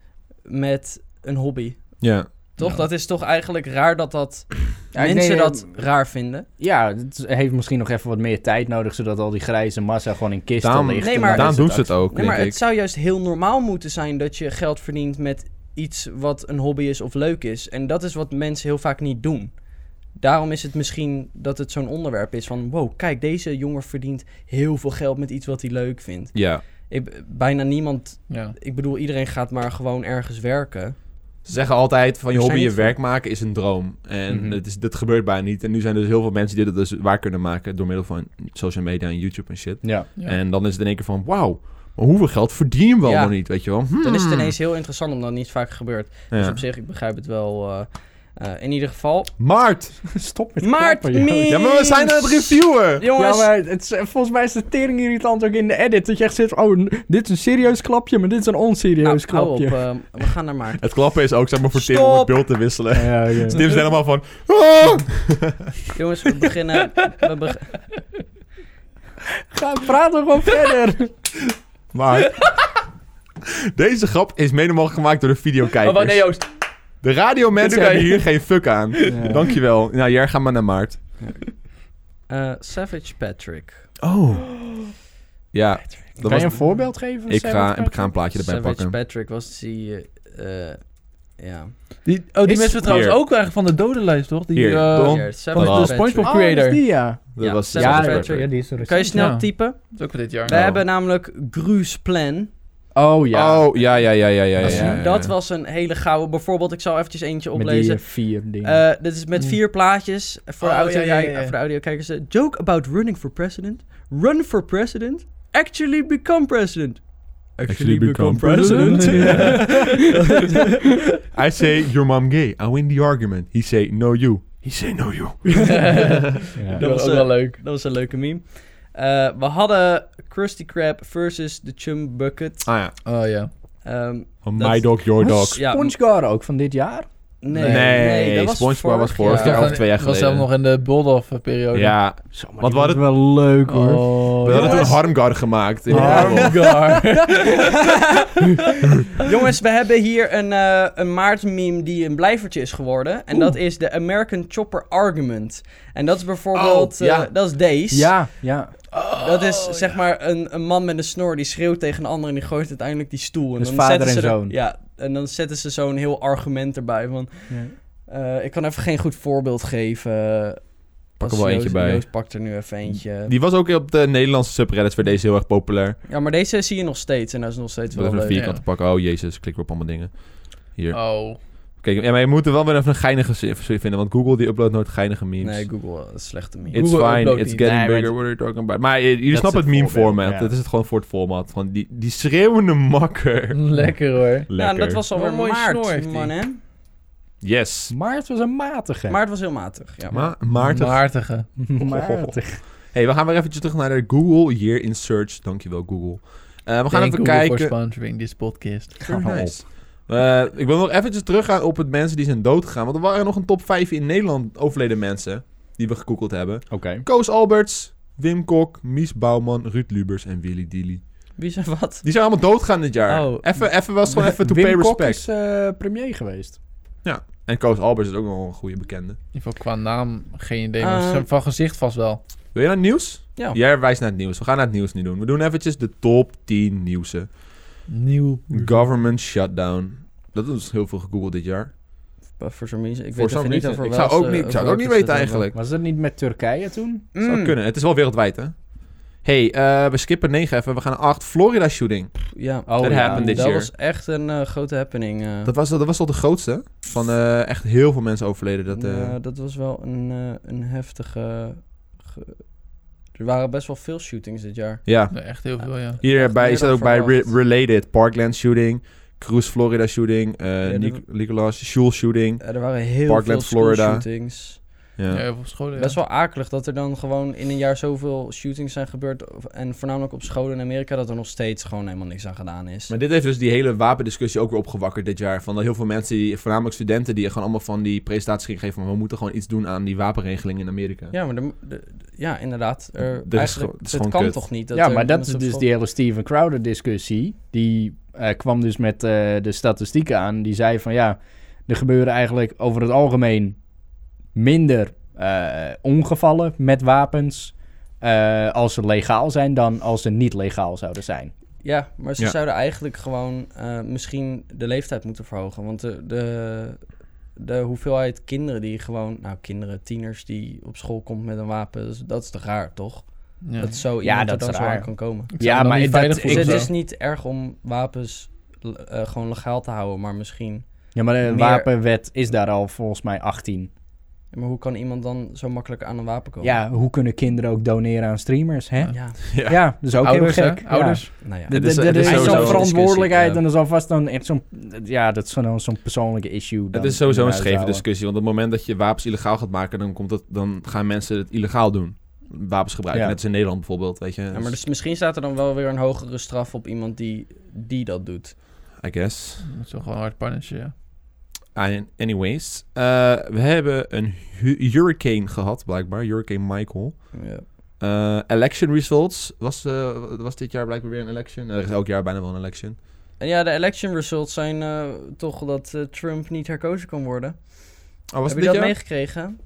S4: met een hobby.
S1: Ja.
S4: Toch?
S3: Ja.
S4: Dat is toch eigenlijk raar dat dat
S2: Ja, ik
S4: mensen
S2: denk,
S4: dat raar vinden.
S2: Ja, het heeft misschien nog even wat meer tijd nodig, zodat al die grijze massa gewoon in kisten
S1: Daarom,
S2: ligt.
S4: Nee,
S2: en
S4: maar-
S2: dan
S1: daarom
S2: is
S1: doen ze het ook,
S4: Nee, maar
S1: denk
S4: het
S1: ik.
S4: zou juist heel normaal moeten zijn dat je geld verdient met iets wat een hobby is of leuk is. En dat is wat mensen heel vaak niet doen. Daarom is het misschien dat het zo'n onderwerp is van... wow, kijk, deze jongen verdient heel veel geld met iets wat hij leuk vindt.
S1: Ja.
S4: Ik, bijna niemand...
S3: Ja.
S4: Ik bedoel, iedereen gaat maar gewoon ergens werken.
S1: Ze zeggen altijd van je
S4: Er zijn
S1: hobby, je
S4: niet veel.
S1: werk maken is een droom. En
S3: Mhm.
S1: het is, dit gebeurt bijna niet. En nu zijn er dus heel veel mensen die dat dus waar kunnen maken door middel van social media en YouTube en shit.
S2: Ja.
S3: Ja.
S1: En dan is het in één keer van, wauw, maar hoeveel geld verdienen we
S4: Ja.
S1: allemaal niet, weet je wel? Hm.
S4: Dan is het ineens heel interessant omdat het niet vaak gebeurt. Dus
S1: Ja.
S4: op zich, ik begrijp het wel... eh, eh, in ieder geval...
S1: Maart!
S2: [laughs] Stop met
S4: Maart,
S2: klappen, joh.
S4: Mies!
S1: Ja, maar we zijn aan het reviewen!
S4: Jongens, nou,
S2: Ja, maar het is- volgens mij is de tering irritant ook in de edit. Dat je echt zit, oh, n- dit is een serieus klapje, maar dit is een
S4: nou,
S2: onserieus
S4: hou op.
S2: klapje. [laughs]
S4: eh, we gaan naar Maart.
S1: Het klappen is ook, zeg maar, voor Tim om
S4: Stop!
S1: het beeld te wisselen.
S2: Ja, ja, ja.
S1: Dus Tim is helemaal van, "Ah!"
S4: Jongens, we
S1: [laughs]
S4: beginnen... We beg-
S2: Ga, praat er gewoon verder.
S1: Maar... Deze grap is mede mogelijk gemaakt door de
S3: Oh,
S1: videokijkers.
S3: wacht, nee, Joost.
S1: De radiomensen
S3: Dit zei-
S1: hebben hier geen fuck aan.
S2: Ja.
S1: Dankjewel. Nou, jij gaat maar naar Maart.
S4: Eh, Savage Patrick.
S1: Oh. Ja, dat
S2: Kan
S1: was...
S2: je een voorbeeld geven? van
S1: Ik ga,
S2: Savage
S1: ik ga een
S2: Patrick?
S1: plaatje erbij
S4: Savage
S1: pakken.
S4: Patrick was die... eh, eh, ja.
S3: Die, oh, die
S4: Is-
S3: mensen we trouwens
S1: Hier.
S3: ook waren van de dodenlijst, toch? Die,
S1: Hier,
S3: eh,
S1: Don.
S4: Ja,
S3: van
S4: Savage
S3: de
S1: Oh.
S3: SpongeBob
S4: Patrick.
S2: Oh, dat
S3: creator.
S2: is die, ja.
S1: Dat
S4: Ja,
S1: was
S4: Savage
S1: Savage
S4: Patrick.
S1: Patrick.
S2: die is er
S4: Kan je snel
S3: Ja.
S4: typen?
S3: Dat is ook van dit jaar. Nou,
S4: We hebben namelijk Gruus Plan.
S2: Oh, ja.
S1: Oh, ja, ja, ja, ja, ja. ja,
S2: Dat is-
S1: ja, ja.
S4: Dat was een hele gouden. Bijvoorbeeld, ik zal eventjes eentje
S2: met die
S4: oplezen.
S2: eh, vier dingen.
S4: Eh, dit is met
S3: Hmm.
S4: vier plaatjes voor,
S3: Oh,
S4: de audio
S3: ja, ja, ja, ja.
S4: voor de audiokijkers. eh, Joke about running for president. Run for president. Actually become president.
S1: Actually become president. [laughs] I say your mom gay. I win the argument. He say no you. He say no you.
S2: ja.
S3: [laughs] Dat was ook
S4: eh,
S3: wel leuk.
S4: Dat was een leuke meme. Eh, we hadden Krusty Krab versus de Chum Bucket.
S1: Ah ja.
S3: Oh ja.
S4: Ehm,
S1: Van
S4: Dat-
S1: Oh, my dog, your dog.
S4: ja,
S2: SpongeGar ook van dit jaar?
S4: nee,
S1: Nee,
S4: nee, dat was
S1: SpongeBob was vorig
S3: Dat
S1: jaar
S3: was
S1: of twee jaar
S3: Dat was
S1: geleden.
S3: zelf nog in de eh, Bulldog-periode.
S1: Ja.
S2: Zo, maar
S1: Wat
S2: die
S1: was
S2: was
S1: het?
S2: wel leuk hoor.
S3: Oh,
S1: We hadden toen
S4: jongens.
S1: Harmgar gemaakt. In de
S2: Ja.
S3: [laughs]
S4: [laughs] Jongens, we hebben hier een, eh een Maart-meme die een blijvertje is geworden. En dat is de American Chopper Argument. En dat is bijvoorbeeld,
S1: Oh, ja. Oh,
S4: eh, dat is deze.
S2: Ja, ja.
S3: Oh.
S4: dat is zeg maar een, een man met een snor die schreeuwt tegen een ander en die gooit uiteindelijk die stoel. En
S2: Dus
S4: dan
S2: vader
S4: zetten ze
S2: en
S4: er-
S2: zoon.
S4: ja, en dan zetten ze zo'n heel argument erbij van... eh, ik kan even geen goed voorbeeld geven. Pak
S1: er wel eentje bij.
S4: Joost pakt er nu even eentje.
S1: Die was ook op de Nederlandse subreddits voor deze heel erg populair.
S4: Ja, maar deze zie je nog steeds en dat is nog steeds
S1: We
S4: wel eh,
S1: even een
S4: leuk.
S1: vierkant te pakken. Oh jezus, klik weer op allemaal dingen. Hier.
S3: Oh.
S1: Kijk, ja, maar je moet er wel weer even een geinige se- se- vinden. Want Google die uploadt nooit geinige memes.
S4: Nee, Google, eh, slechte meme.
S1: It's
S3: Google
S1: fine,
S3: uploadt
S1: it's
S3: niet.
S1: getting
S2: Nee, maar
S1: bigger, what are you talking about? Maar eh, jullie
S2: Dat
S1: snappen
S2: is
S1: het
S2: het
S1: meme
S2: voorbeeld,
S1: format.
S2: ja.
S1: Dat is het gewoon voor het format. Gewoon die, die schreeuwende makker.
S3: [laughs] Lekker hoor.
S1: Lekker.
S4: Ja, en dat was alweer
S3: Wat een mooie
S4: maart,
S3: snor heeft
S4: man,
S3: hij.
S4: hè?
S1: Yes.
S2: Maart was een matige. [laughs]
S4: Maart was heel matig, ja.
S1: Ma Maarten.
S3: Maartige.
S2: matig.
S1: hey, we gaan weer eventjes terug naar de Google Year in Search. Dankjewel, Google. Eh, we gaan
S3: Thank
S1: even
S3: Google for
S1: kijken.
S3: sponsoring this podcast.
S1: Very
S2: Gaan we
S1: nice. Eh, ik wil nog eventjes teruggaan op het mensen die zijn dood gegaan. Want er waren nog een top 5 in Nederland overleden mensen die we gegoogeld hebben.
S2: Oh. Oké.
S1: Koos Alberts, Wim Kok, Mies Bouwman, Ruud Lubers en Willy Dilly.
S4: Wie zijn wat?
S1: Die zijn allemaal doodgaan dit jaar.
S4: Oh.
S1: Even, even was
S2: [laughs]
S1: gewoon even to
S2: Wim
S1: pay
S2: Kok
S1: respect.
S2: is eh, premier geweest.
S1: En Koos Albers is ook nog wel een goede bekende.
S3: In ieder geval qua naam geen idee, maar
S4: Eh.
S3: ze- van gezicht vast wel.
S1: Wil je naar het nieuws?
S4: Ja.
S1: Jij wijst naar het nieuws. We gaan naar het nieuws nu doen. We doen eventjes de top 10 nieuwsen.
S3: Nieuw.
S1: Government shutdown. Dat is heel veel gegoogeld dit jaar.
S4: Eh, Voor zo'n reason. Ik
S1: Voor
S4: weet
S1: zo'n
S4: even niet
S1: reason.
S4: over
S1: Ik
S4: wel eh,
S1: zou ook
S4: ze-
S1: niet- ik zou het
S4: over
S1: ook niet
S4: welke ze
S1: weten
S4: het hebben.
S1: eigenlijk.
S2: Was dat niet met Turkije toen?
S1: Zou
S4: Mm,
S1: kunnen. Het is wel wereldwijd, hè? hey, eh, we skippen 9 even. We gaan naar 8. Florida shooting.
S4: Ja.
S2: Oh,
S1: That
S2: ja.
S1: happened this
S4: dat
S1: year.
S4: was echt een eh, grote happening. eh.
S1: Dat was, dat was al de grootste. Van eh, echt heel veel mensen overleden. Dat,
S4: Dat,
S1: eh,
S4: Nou, dat was wel een, eh, een heftige... ge- Er waren best wel veel shootings dit jaar.
S1: Ja.
S3: Nee, echt heel veel, ja.
S1: Hierbij
S4: meer
S1: staat
S4: dan
S1: ook bij re-
S4: verwacht.
S1: Related. Parkland shooting. Cruise Florida shooting. eh
S4: dat-
S1: Nic- Nicolas Schul shooting.
S4: Eh, er waren heel
S1: Parkland,
S4: veel school
S1: Florida.
S4: shootings.
S1: Ja.
S3: Ja, of op school. ja.
S4: Best wel akelig dat er dan gewoon in een jaar zoveel shootings zijn gebeurd. of- En voornamelijk op scholen in Amerika, dat er nog steeds gewoon helemaal niks aan gedaan is.
S1: Maar dit heeft dus die hele wapendiscussie ook weer opgewakkerd dit jaar. Van dat heel veel mensen, die, voornamelijk studenten, die gewoon allemaal van die presentaties gingen geven. Van, we moeten gewoon iets doen aan die wapenregeling in Amerika.
S4: Ja, maar de, de- ja, inderdaad. Er,
S1: Er is
S4: eigenlijk,
S1: gewoon- het is
S4: het
S1: gewoon
S4: kan
S1: kut.
S4: toch niet?
S2: ja,
S4: er
S2: maar dat is
S4: mensen op
S2: dus
S4: school-
S2: die hele Steven Crowder discussie. Die eh, kwam dus met eh, de statistieken aan. Die zei van ja, er gebeuren eigenlijk over het algemeen minder eh, ongevallen met wapens eh, als ze legaal zijn dan als ze niet legaal zouden zijn.
S4: Ja, maar ze
S1: Ja.
S4: zouden eigenlijk gewoon eh, misschien de leeftijd moeten verhogen. Want de, de, de hoeveelheid kinderen die gewoon... Nou, kinderen, tieners die op school komt met een wapen, dus dat is toch raar, toch?
S3: Ja.
S4: Dat zo iemand
S2: Ja,
S4: er
S2: dat is
S4: dan zo
S2: raar.
S4: aan kan komen.
S3: Ik zou
S2: Ja,
S3: me dan
S2: maar
S3: niet
S2: dat-
S3: veilig
S4: Dus
S2: Ik
S3: voelen
S4: het
S3: of
S4: is
S3: zo.
S4: niet erg om wapens eh, gewoon legaal te houden, maar misschien...
S2: Ja, maar eh, de
S4: Meer-
S2: wapenwet is daar al volgens mij 18.
S4: Maar hoe kan iemand dan zo makkelijk aan een wapen komen?
S2: Ja, hoe kunnen kinderen ook doneren aan streamers, hè?
S4: Ja,
S2: Ja, dat is ook
S3: Ouders,
S2: heel
S3: hè?
S2: gek. Ja.
S3: Ouders.
S4: nou ja.
S1: Dit
S2: De-
S1: is-
S2: de-
S1: dit
S2: de-
S1: is
S2: er is
S1: sowieso
S2: zo'n
S1: een
S2: verantwoordelijkheid
S3: discussie,
S2: en er is alvast dan echt zo'n... Ja, dat is dan zo'n persoonlijke issue. Dan
S1: het is sowieso een
S2: eruit
S1: scheve
S2: houden.
S1: discussie. Want op het moment dat je wapens illegaal gaat maken, dan, komt dat, dan gaan mensen het illegaal doen. Wapens gebruiken.
S2: Ja.
S1: Net als in Nederland bijvoorbeeld, weet je.
S4: Ja, maar dus misschien staat er dan wel weer een hogere straf op iemand die, die dat doet.
S1: I guess.
S3: Dat is toch gewoon een hard pannetje, ja.
S1: An- Anyways. eh, we hebben een hu- hurricane gehad, blijkbaar. Hurricane Michael.
S4: Ja.
S1: Eh, election results. Was, eh, was dit jaar blijkbaar weer een election? Er is elk jaar bijna wel een election.
S4: En ja, de election results zijn eh, toch dat eh, Trump niet herkozen kan worden.
S1: Oh, was
S4: Heb
S1: het
S4: je
S1: dit
S4: dat
S1: jaar?
S4: meegekregen?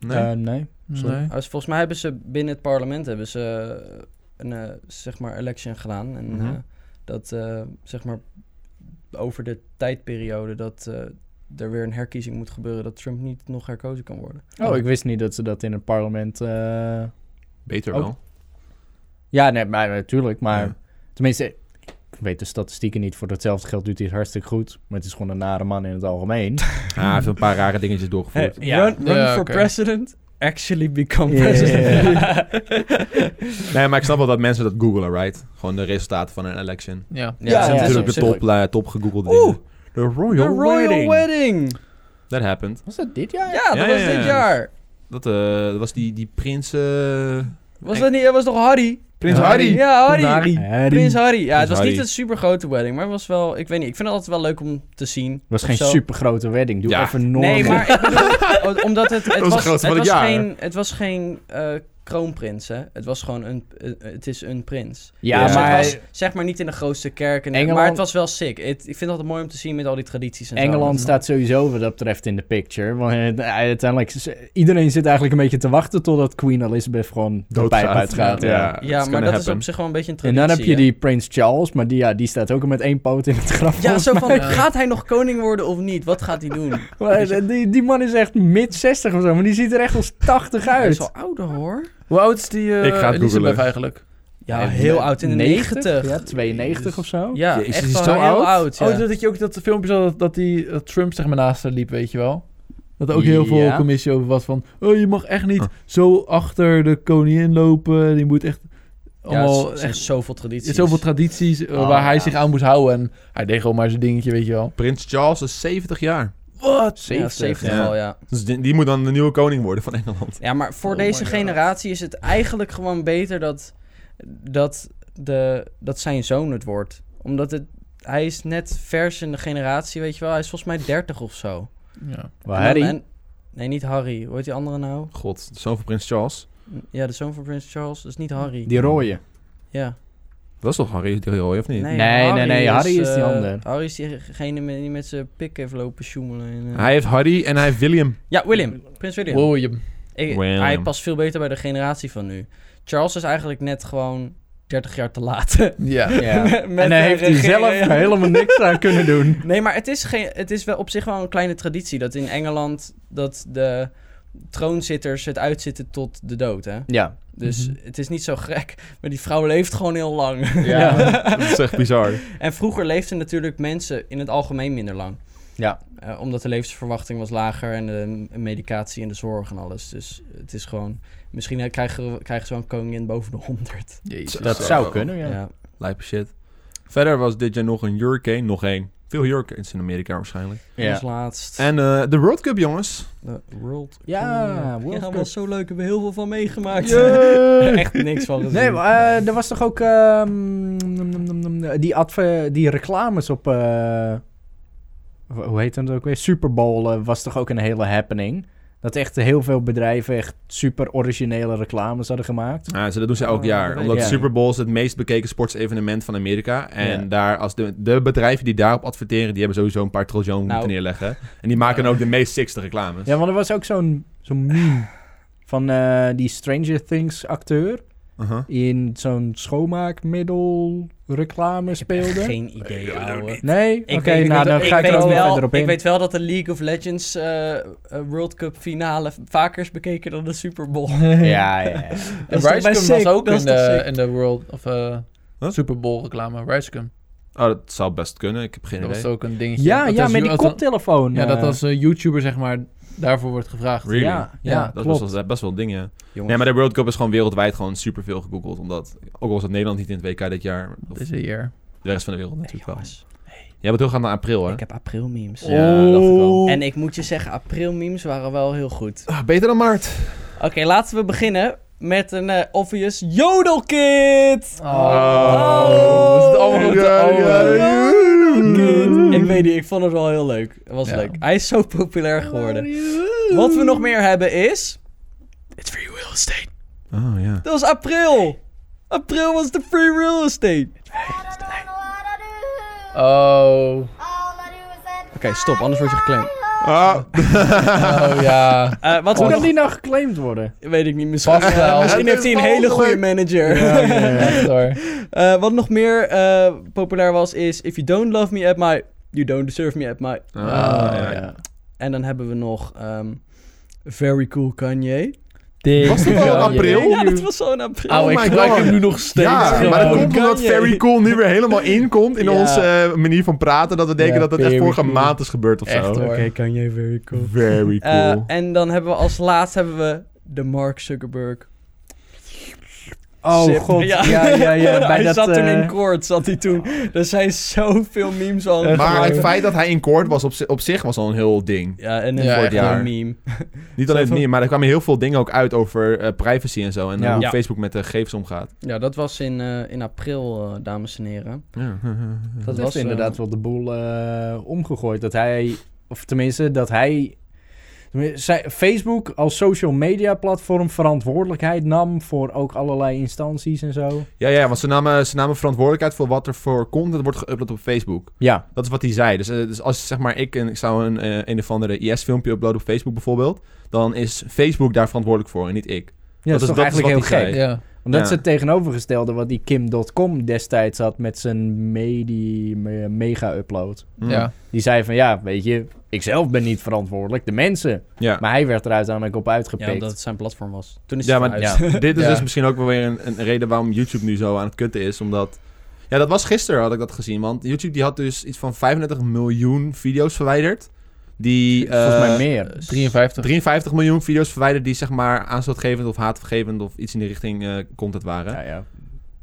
S1: Nee.
S2: Eh, nee.
S1: Sorry.
S3: Nee.
S4: Als- volgens mij hebben ze binnen het parlement hebben ze eh, een eh, zeg maar election gedaan. En
S1: Mhm.
S4: eh, dat eh, zeg maar over de tijdperiode dat eh, er weer een herkiezing moet gebeuren, dat Trump niet nog herkozen kan worden.
S2: Oh, ik wist niet dat ze dat in het parlement... eh,
S1: Beter
S2: Ook.
S1: wel.
S2: Ja, nee, maar natuurlijk. Maar
S1: Ja.
S2: tenminste, ik weet de statistieken niet. Voor hetzelfde geld doet hij het hartstikke goed. Maar het is gewoon een nare man in het algemeen.
S1: Ah, hij heeft een paar rare dingetjes doorgevoerd.
S2: Ja. run-
S3: run Ja, for oké.
S4: president, actually become
S2: Ja, ja, ja. president.
S1: Nee, maar ik snap wel dat mensen dat googelen, right? Gewoon de resultaten van een election.
S2: [laughs]
S3: Ja.
S4: Ja,
S1: dat
S4: ja,
S1: zijn
S4: op
S1: natuurlijk de
S4: zich
S1: top, eh, top gegoogelde
S4: Oeh,
S1: dingen. The Royal,
S4: The Royal Wedding.
S1: Wedding. That happened.
S2: Was dat dit jaar?
S4: Ja, dat
S1: Ja,
S4: was
S1: ja, ja.
S4: dit jaar.
S1: Dat, eh, dat was die, die prins... eh,
S4: Was dat niet? Dat was toch Harry?
S1: prins
S3: Ja.
S1: Hardy.
S4: Ja, Harry.
S2: Harry.
S4: Prins Harry. Ja,
S1: Prins
S4: het was
S1: Harry.
S4: niet een super grote wedding, maar het was wel. Ik weet niet. Ik vind het altijd wel leuk om te zien.
S2: was
S4: of
S2: geen
S4: zo.
S2: supergrote wedding. Doe
S1: Ja.
S2: even normaal.
S4: Nee, maar ik bedoel, [laughs] o- omdat het. Het
S1: was de
S4: was,
S1: grootste
S4: het
S1: van het
S4: was
S1: jaar.
S4: geen. Het was geen eh, kroonprins, hè? Het was gewoon een. eh, het is een prins.
S2: Ja,
S1: Ja.
S4: Dus
S2: maar
S4: Het was, zeg maar niet in de grootste kerk. En, Maar
S2: Engeland-
S4: het was wel sick. Het- ik vind het altijd mooi om te zien met al die tradities en zo.
S2: Engeland staat sowieso wat dat betreft in de picture. Want eh, uiteindelijk... is- Iedereen zit eigenlijk een beetje te wachten totdat Queen Elizabeth gewoon de pijp
S1: Doodgaat.
S2: uitgaat. Ja.
S4: Ja, maar dat is op zich wel een beetje een
S2: En
S4: traditie.
S2: dan heb je
S4: hè?
S2: die Prins Charles, maar die, ja, die staat ook al met één poot in het graf.
S4: Ja, zo van,
S3: Ja.
S4: gaat hij nog koning worden of niet? Wat gaat hij doen?
S2: Maar eh, die, die man is echt mid 60 of zo, maar die ziet er echt als 80
S4: Hij is
S2: uit.
S4: al ouder hoor.
S3: Hoe oud is die eh
S1: Ik ga het
S3: Elisabeth
S1: googelen.
S3: eigenlijk?
S4: Ja, heel oud. In de 90.
S2: Ja, 92 of zo.
S4: Ja,
S1: Jezus,
S4: echt
S1: is het
S4: wel
S1: zo
S4: heel oud.
S1: oud?
S4: ja.
S3: Oh, dat je ook dat filmpje zag dat, dat, die, dat Trump zeg maar naast haar liep, weet je wel? Dat er ook heel veel
S2: Ja.
S3: commissie over was van... Oh, je mag echt niet
S1: Huh.
S3: zo achter de koningin lopen. Die moet echt...
S4: allemaal
S3: Allemaal
S4: ja, echt
S3: echt,
S4: zoveel tradities.
S3: zoveel tradities eh,
S2: Oh,
S3: waar hij
S2: ja.
S3: zich aan moest houden. En hij deed gewoon maar zijn dingetje, weet je wel.
S1: Prins Charles is 70 jaar.
S3: Wat?
S4: ja, 70
S1: ja.
S4: al, ja.
S1: Dus die, die moet dan de nieuwe koning worden van [laughs] Engeland.
S4: Ja, maar voor
S3: Oh my
S4: deze
S3: God.
S4: generatie is het eigenlijk gewoon beter dat, dat, de, dat zijn zoon het wordt. Omdat het, hij is net vers in de generatie, weet je wel. Hij is volgens mij 30 of zo.
S3: Ja.
S2: Maar
S4: En dan-
S2: Harry,
S4: en- nee, niet Harry. Hoe heet die andere nou?
S1: God, de zoon van prins Charles.
S4: Ja, de zoon van Prins Charles. Dat is niet Harry.
S2: die rode.
S4: Ja.
S1: Dat is toch Harry de Roy, of niet?
S2: Nee, nee, nee, Harry is die
S4: eh,
S2: ander.
S4: Harry is diegene met- die met zijn pik heeft lopen sjoemelen. En, eh.
S1: Hij heeft Harry en hij heeft William.
S4: Ja, William. Prins William.
S3: William.
S4: Ik-
S1: William.
S4: Hij past veel beter bij de generatie van nu. Charles is eigenlijk net gewoon 30 jaar te laat. [laughs] Met-
S3: Ja. [laughs]
S2: Ja. en
S4: eh,
S2: daar heeft hij
S4: regeren,
S2: zelf
S4: ja. [laughs]
S2: helemaal niks aan kunnen doen.
S4: Nee, maar het is, geen, het is wel op zich wel een kleine traditie dat in Engeland dat de troonzitters het uitzitten tot de dood. Hè?
S2: Ja,
S4: Dus
S3: Mhm.
S4: het is niet zo gek. Maar die vrouw leeft gewoon heel lang.
S2: Ja.
S1: [laughs] Dat is echt bizar.
S4: en vroeger leefden natuurlijk mensen in het algemeen minder lang.
S2: Ja.
S4: Eh, omdat de levensverwachting was lager en de m- medicatie en de zorg en alles. Dus het is gewoon... Misschien eh, krijgen, we- krijgen ze wel een koningin boven de 100.
S3: Jezus.
S2: dat
S1: Zo.
S2: zou kunnen, ja.
S4: ja.
S1: Lijpe shit. Verder was dit jaar nog een hurricane. Nog één. Veel hurricanes in Amerika waarschijnlijk.
S4: Als
S2: Ja.
S4: laatst.
S1: En eh, de World Cup, jongens.
S4: de World
S2: Ja,
S4: Cup.
S2: World
S4: ja,
S2: Cup.
S4: was zo leuk. Hebben we heel veel van meegemaakt.
S3: Eh,
S1: Yay!
S4: [laughs] Echt niks van gezien.
S2: Nee, maar, eh, er was toch ook ehm, nom, nom, nom, nom, eh, die, adver- die reclames op. eh, w- hoe heet dat ook weer? Super Bowl eh, was toch ook een hele happening. Dat echt heel veel bedrijven echt super originele reclames hadden gemaakt.
S1: Ja, ze- dat doen ze elk
S4: Oh,
S1: jaar.
S4: dat
S1: Omdat
S2: weet
S1: de
S2: ik.
S1: Super Bowl is het meest bekeken sportsevenement van Amerika. En
S2: Ja.
S1: daar, als de, de bedrijven die daarop adverteren, die hebben sowieso een paar triljoen moeten
S4: Nou.
S1: neerleggen. En die maken dan ook de meest sixte reclames.
S2: Ja, want er was ook zo'n zo'n meme van eh, die Stranger Things acteur.
S1: Uh-huh.
S2: In zo'n schoonmaakmiddel reclame speelde.
S4: Geen idee, ouwe.
S2: Nee? Oké,
S4: Ik weet-
S2: nou
S4: ik
S2: dan
S4: weet-
S2: ga ik er
S4: weet
S2: ook niet
S4: wel-
S2: verder op in.
S4: Ik weet wel dat de League of Legends eh, eh, World Cup finale vaker is bekeken dan de Super Bowl.
S2: [laughs] [laughs] Ja, ja, ja.
S4: [laughs] Dat
S3: En
S4: is toch
S3: Ricegum
S4: best
S3: was
S4: sick?
S3: ook
S4: Dat is
S3: in
S4: toch
S3: de,
S4: sick?
S3: in de World of eh,
S1: Huh?
S3: Super Bowl reclame. Ricegum.
S1: Oh, dat zou best kunnen. Ik heb geen
S3: Dat was
S1: idee.
S3: ook een dingetje.
S2: Ja,
S3: Dat
S2: ja
S3: is
S2: met
S3: nu-
S2: die
S3: dat-
S2: koptelefoon.
S3: Ja, dat
S2: eh.
S3: als eh, YouTuber zeg maar daarvoor wordt gevraagd.
S1: Really?
S2: Ja, ja,
S3: Ja,
S1: Dat was
S2: klopt.
S1: best wel- best wel een ding, ja.
S4: Jongens,
S1: Nee, maar de World Cup is gewoon wereldwijd gewoon superveel gegoogeld. Omdat, ook al was het Nederland niet in het WK dit jaar, of
S3: Dat is een jaar.
S1: de rest van de wereld natuurlijk wel.
S4: jongens,
S1: Jij bent heel gaan naar april, hè?
S4: ik heb april memes.
S3: Ah,
S1: Ja, dat dacht ik al.
S4: En ik moet je zeggen, april memes waren wel heel goed.
S1: Ah, beter dan maart.
S4: Oké, laten we beginnen met een eh, obvious jodelkit.
S1: Oh.
S3: Oh. we zitten Oh. allemaal Oh, op de oude.
S4: Ik weet niet, ik vond het wel heel leuk. Het was
S3: Ja.
S4: leuk. Hij is zo populair geworden. Wat we nog meer hebben is... It's free real estate.
S1: Oh, ja.
S4: Dat was april. April was de free real estate.
S5: Oké,
S3: Oh.
S4: Oké, stop, anders word je geclaimd.
S1: Ah, [laughs]
S3: Oh ja.
S4: Eh, wat we
S2: Hoe kan
S4: nog...
S2: die nou geclaimd worden?
S4: Weet ik niet, misschien,
S3: Vast Oh. wel.
S4: misschien heeft hij een hele goede manager.
S3: Echt
S1: Oh,
S3: hoor.
S4: Eh, wat nog meer eh, populair was is... If you don't love me at my... You don't deserve me at my...
S1: Ah,
S3: Oh,
S1: ja.
S4: En dan hebben we nog... ehm, Very cool Kanye.
S1: Was dit al
S3: Ja,
S1: april?
S3: ja.
S4: Ja, dat was zo'n april.
S3: Oh,
S1: Oh
S3: ik
S1: my
S3: gebruik
S1: God.
S3: hem nu nog steeds.
S1: Ja,
S3: gewoon.
S1: maar dat komt
S4: Kan
S1: omdat
S4: je?
S1: Very Cool nu weer helemaal inkomt in
S4: Ja.
S1: onze eh, manier van praten. Dat we denken
S2: Ja,
S1: dat het echt
S2: very
S1: vorige
S2: cool.
S1: maand is gebeurd of
S3: Echt,
S1: zo.
S3: hoor. Oké,
S4: Kanye, very cool.
S1: Very
S4: Eh,
S1: cool.
S4: en dan hebben we als laatst hebben we de Mark Zuckerberg.
S2: Oh
S4: Zip.
S2: god, ja, ja, ja. bij
S4: [laughs] hij
S2: dat,
S4: zat toen
S2: eh,
S4: in koorts, zat hij toen. Er zijn zoveel memes al.
S3: Echt
S1: maar
S3: waar.
S1: het feit dat hij in koord was op, zi- op zich was al een heel ding.
S4: Ja, en
S3: Ja,
S4: een
S3: echt
S4: wordt
S1: waar.
S4: een meme.
S1: Niet alleen het niet, maar er kwamen heel veel dingen ook uit over eh, privacy en zo. En
S2: Ja.
S1: hoe
S4: Ja.
S1: Facebook met de gegevens omgaat.
S4: Ja, dat was in, eh, in april, eh, dames en heren.
S1: Ja.
S2: Dat
S4: Dat
S2: heeft
S4: was, eh,
S2: inderdaad wel de boel eh, omgegooid. Dat hij, of tenminste, dat hij... tenminste, zij- Facebook als social media platform verantwoordelijkheid nam voor ook allerlei instanties en zo.
S1: ja, ja, want ze namen, ze namen verantwoordelijkheid voor wat er voor content wordt geüpload op Facebook.
S2: Ja,
S1: Dat is wat hij zei. Dus, eh, dus als zeg maar ik, en ik zou een, eh, een of andere IS-filmpje uploaden op Facebook bijvoorbeeld, dan is Facebook daar verantwoordelijk voor en niet ik.
S2: ja dat, is toch
S1: dat is
S2: eigenlijk
S1: wat hij
S2: heel
S1: zei.
S2: gek.
S3: Ja.
S2: Omdat
S1: Ja.
S2: ze het tegenovergestelde wat die Kim.com destijds had met zijn medi- me- mega-upload.
S1: Hm.
S3: Ja.
S2: Die zei van, ja, weet je, ik zelf ben niet verantwoordelijk, de mensen.
S1: Ja.
S2: Maar hij werd er uiteindelijk op
S4: Ja,
S2: uitgepikt.
S4: omdat het zijn platform was. Toen is
S1: Ja,
S4: het
S1: maar [laughs]
S4: eruit.
S1: dit is
S3: Ja.
S1: dus misschien ook wel weer een, een reden waarom YouTube nu zo aan het kutten is. Omdat. Ja, dat was gisteren had ik dat gezien. Want YouTube die had dus iets van 35 miljoen video's verwijderd. Die.
S2: Volgens
S1: eh,
S2: mij meer.
S3: 53.
S1: 53 miljoen video's verwijderd die zeg maar aanstootgevend of haatvergevend of iets in die richting eh, content waren.
S2: Ja, ja.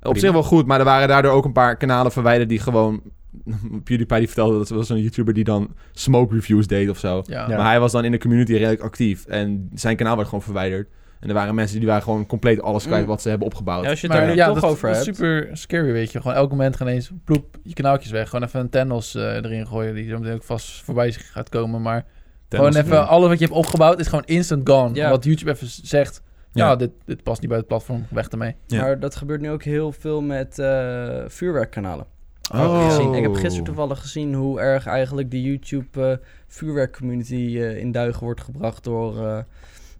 S1: Op zich wel goed, maar er waren daardoor ook een paar kanalen verwijderd die gewoon... [laughs] PewDiePie die vertelde dat ze was een YouTuber die dan smoke reviews deed of zo.
S3: Ja.
S2: Ja.
S1: Maar hij was dan in de community redelijk actief en zijn kanaal werd gewoon verwijderd. En er waren mensen die waren gewoon compleet alles kwijt
S4: Mm.
S1: wat ze hebben opgebouwd.
S4: Ja, als je het
S3: Maar
S4: daar nu
S3: ja,
S4: toch
S3: dat,
S4: over
S3: dat
S4: hebt.
S3: is super scary, weet je. Gewoon elk moment gaan eens, ploep, je kanaaltjes weg. Gewoon even een Thanos eh, erin gooien, die zo meteen ook vast voorbij zich gaat komen. Maar
S1: Tenzij-
S3: gewoon even, alles wat je hebt opgebouwd is gewoon instant gone.
S4: Ja.
S3: Wat YouTube even zegt,
S1: Ja.
S3: ja, dit, dit past niet bij het platform, weg ermee.
S1: Ja.
S4: Maar dat gebeurt nu ook heel veel met eh, vuurwerkkanalen.
S1: Oh.
S4: Heb ik gezien. Ik heb gisteren toevallig gezien hoe erg eigenlijk de YouTube eh, vuurwerkcommunity eh, in duigen wordt gebracht door, eh,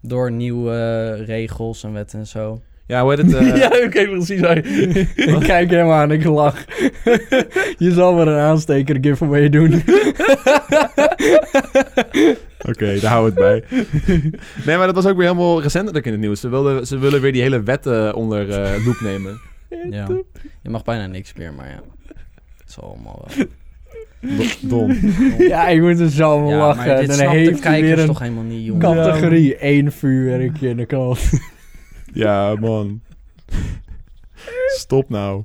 S4: door nieuwe eh, regels en wetten en zo.
S1: Ja, hoe heet het? eh,
S2: [laughs] ja, oké, precies. ik kijk hem aan, ik lach. [laughs] je zal maar een aansteker giveaway doen. [laughs]
S1: Oké, daar houden we het bij. [laughs] nee, maar dat was ook weer helemaal recentelijk in het nieuws. Ze, wilden, ze willen weer die hele wet eh, onder eh, loep nemen.
S4: Ja. Je mag bijna niks meer, maar ja. Het is allemaal wel.
S1: Do- Dom.
S2: [laughs] ja, ik moet er zo om
S4: Ja,
S2: lachen.
S4: maar
S2: En
S4: dit
S2: dan
S4: snapt de
S2: heeft hij
S4: kijkers
S2: weer een
S4: toch helemaal niet, jongen.
S2: categorie 1 vuurwerkje in de kant.
S1: Ja, man. Stop nou.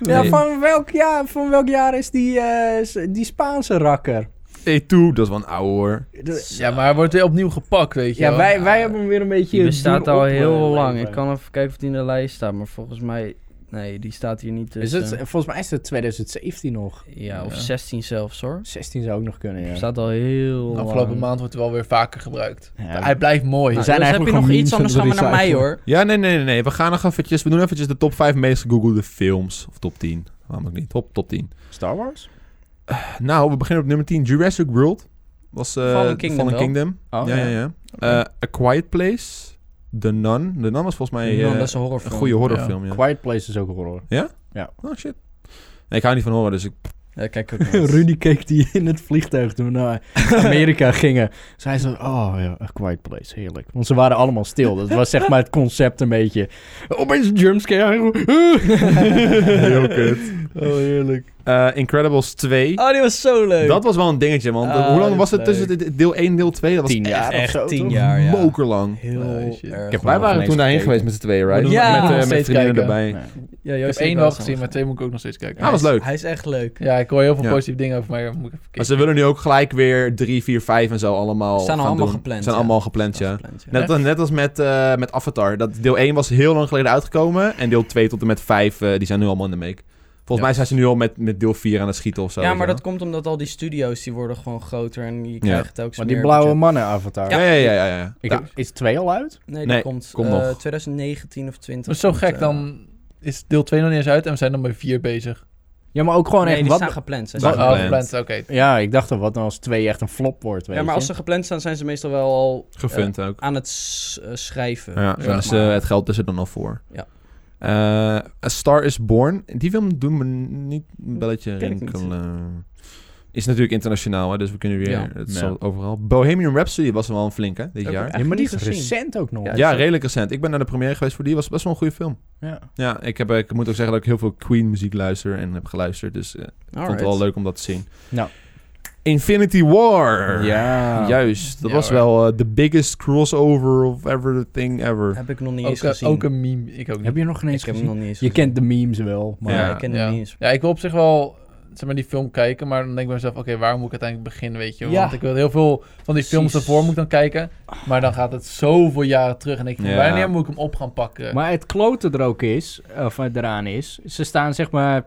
S2: Ja,
S1: Nee.
S2: van welk jaar, van welk jaar is die, eh, s- die Spaanse rakker?
S1: E2, dat is wel een oude hoor.
S2: De-
S3: Ja, maar hij wordt weer opnieuw gepakt, weet je
S2: ja,
S3: wel.
S2: wij, wij hebben hem weer een beetje...
S4: Die bestaat
S2: duur
S4: al
S2: op, eh,
S4: heel lang.
S2: leven.
S4: Ik kan even kijken of die in de lijst staat, maar volgens mij... Nee, die staat hier niet
S2: Is
S4: tussen.
S2: het, volgens mij is het 2017 nog.
S4: Ja, of
S3: Ja.
S4: 16 zelfs hoor.
S2: 16 zou ook nog kunnen, ja.
S4: Staat al heel
S3: Afgelopen
S4: lang.
S3: maand wordt hij wel weer vaker gebruikt.
S2: Ja,
S3: Hij blijft
S2: Nou,
S3: mooi.
S4: Dus
S2: zijn
S4: heb je
S2: eigenlijk
S4: nog
S2: gewoon
S4: iets,
S2: memes
S4: anders gaan
S2: van
S4: we
S2: de
S4: naar
S2: recycle.
S4: mij hoor.
S1: Ja, nee, nee, nee, nee. We gaan nog eventjes... We doen eventjes de top 5 meest gegoogelde films. Of top 10. Waarom ook niet? Top, top 10.
S2: Star Wars?
S1: Nou, we beginnen op nummer 10. Jurassic World. Was eh
S4: Fallen
S1: Fallen
S4: Kingdom
S1: Kingdom.
S4: wel.
S2: Oh,
S1: ja, ja, ja. Eh, A Quiet Place. The Nun. The Nun was volgens mij eh,
S4: Nou, dat is een
S1: een
S4: horrorfilm.
S1: goede horrorfilm, ja.
S2: Quiet Place is ook
S4: [laughs]
S2: horror.
S1: Oh, shit. Nee, ik hou niet van horror, dus ik...
S4: Ja, kijk ook nog eens.
S2: [laughs] [laughs] Rudy keek die in het vliegtuig toen we naar
S4: [laughs]
S2: Amerika gingen. Zij zei, oh ja, A Quiet Place, heerlijk. Want ze waren allemaal stil. Dat was zeg maar het concept een beetje. Opeens een jumpscare. [laughs]
S1: Heel kut.
S2: Oh, heerlijk.
S1: Eh, Incredibles 2.
S4: Oh, die was zo leuk.
S1: Dat was wel een dingetje, man.
S4: Ah,
S1: Hoe
S4: dat
S1: lang
S4: is
S1: was het
S4: leuk.
S1: tussen de- deel 1 en deel 2? Dat was
S2: Tien jaar
S1: echt
S2: of zo,
S4: echt tien
S2: toch?
S4: jaar, ja.
S1: mokerlang.
S4: Heel
S3: Oh, shit.
S4: erg.
S1: Wij waren
S2: ineens
S1: toen daarheen
S2: gekeken.
S1: geweest met z'n tweeën,
S3: We
S1: right?
S3: doen
S4: Ja.
S1: Met, eh,
S3: nog
S1: met
S3: steeds
S1: vriendinnen
S3: kijken.
S1: erbij.
S2: Nee.
S4: Ja, Joost
S3: Ik heb
S4: heeft
S3: één
S4: wel
S3: wel
S4: zo'n
S3: gezien, maar
S4: film.
S3: twee moet ik ook nog steeds kijken.
S1: Ah, was leuk.
S4: Hij is echt leuk.
S3: Ja, ik hoor heel veel
S1: Ja.
S3: positieve dingen over, maar moet ik even
S1: Maar
S3: kijken.
S1: ze willen nu ook gelijk weer 3, 4, 5 en zo allemaal
S4: Staan
S1: gaan
S4: allemaal
S1: doen.
S4: gepland,
S1: Zijn
S4: ja.
S1: allemaal gepland,
S4: Dat is
S1: ja.
S4: gepland, ja.
S1: Net, als- net als met, eh, met Avatar. Dat deel 1 was heel lang geleden uitgekomen. En deel 2 tot en met 5, eh, die zijn nu allemaal in de make. Volgens mij zijn ze nu al met, met deel 4 aan het schieten of zo.
S4: Ja, maar
S1: weet
S4: dat
S1: je
S4: komt omdat al die studio's die worden gewoon groter en je krijgt ook
S2: Maar
S4: zo'n
S2: die
S4: meer
S2: blauwe
S4: budget.
S2: mannen avatar.
S1: wel. Ja, ja, ja. ja, ja.
S2: Ik
S1: Ja.
S2: heb- Is 2 al uit?
S4: Nee, die
S1: Nee,
S4: komt,
S1: kom
S4: eh,
S1: nog.
S4: 2019 of 20.
S3: Maar zo
S4: komt,
S3: gek,
S4: eh,
S3: dan is deel 2 nog niet eens uit en we zijn dan bij 4 bezig.
S2: Ja, maar ook gewoon
S4: nee,
S2: echt...
S4: die
S2: Wat,
S4: staan gepland. Zijn
S1: Wat-
S4: ze
S1: Oh,
S4: gepland.
S3: Oh, gepland, oké.
S2: Ja, ik dacht al, wat nou als 2 echt een flop wordt, weet
S4: Ja, maar als
S2: je?
S4: ze gepland staan, zijn ze meestal wel al
S1: Gefund ook.
S4: aan het s- eh, schrijven.
S1: Ja,
S3: Ja,
S1: dan is, eh,
S4: maar-
S1: het geld is er dan al voor.
S4: Ja.
S1: Eh, A Star is Born. Die film doen we niet een belletje
S4: Ken ik niet.
S1: rinkelen. Is natuurlijk internationaal, hè, dus we kunnen weer...
S4: Ja.
S1: het
S2: Ja.
S1: zal overal. Bohemian Rhapsody was wel een flinke dit
S4: Heb ik
S1: jaar.
S4: echt
S2: Ja, maar die is
S4: niet gezien.
S2: recent ook nog.
S4: Ja,
S1: Ja, redelijk recent. Ik ben naar de première geweest voor die. Was best wel een goede film.
S2: Ja.
S1: Ja, ik, heb, eh, ik moet ook zeggen dat ik heel veel Queen muziek luister en heb geluisterd. Dus eh, ik vond
S4: Alright.
S1: het wel leuk om dat te zien.
S2: Nou.
S1: Infinity War.
S2: Ja.
S1: Juist. Dat
S3: Ja,
S1: was
S3: hoor.
S1: wel eh, the biggest crossover of everything ever.
S4: Heb ik nog niet eens
S3: Ook, eh,
S4: gezien.
S3: ook een meme, ik ook niet.
S2: Heb je nog ineens
S4: ik heb hem
S2: gezien?
S4: nog niet eens
S2: Je
S4: gezien.
S2: kent de memes wel, maar...
S4: Ja,
S1: Ja.
S4: ik ken
S3: ja.
S4: hem niet eens.
S3: Ja, ik wil op zich wel zeg maar, die film kijken, maar dan denk ik bij mezelf, oké, waar moet ik uiteindelijk beginnen, weet je? wel?
S2: Ja.
S3: Want ik wil heel veel van die films
S4: Precies.
S3: ervoor moet ik dan kijken, maar dan gaat het zoveel jaren terug en ik denk,
S1: Ja.
S3: wanneer moet ik hem op gaan pakken?
S2: Maar het klote er ook is, of eraan is, ze staan zeg maar...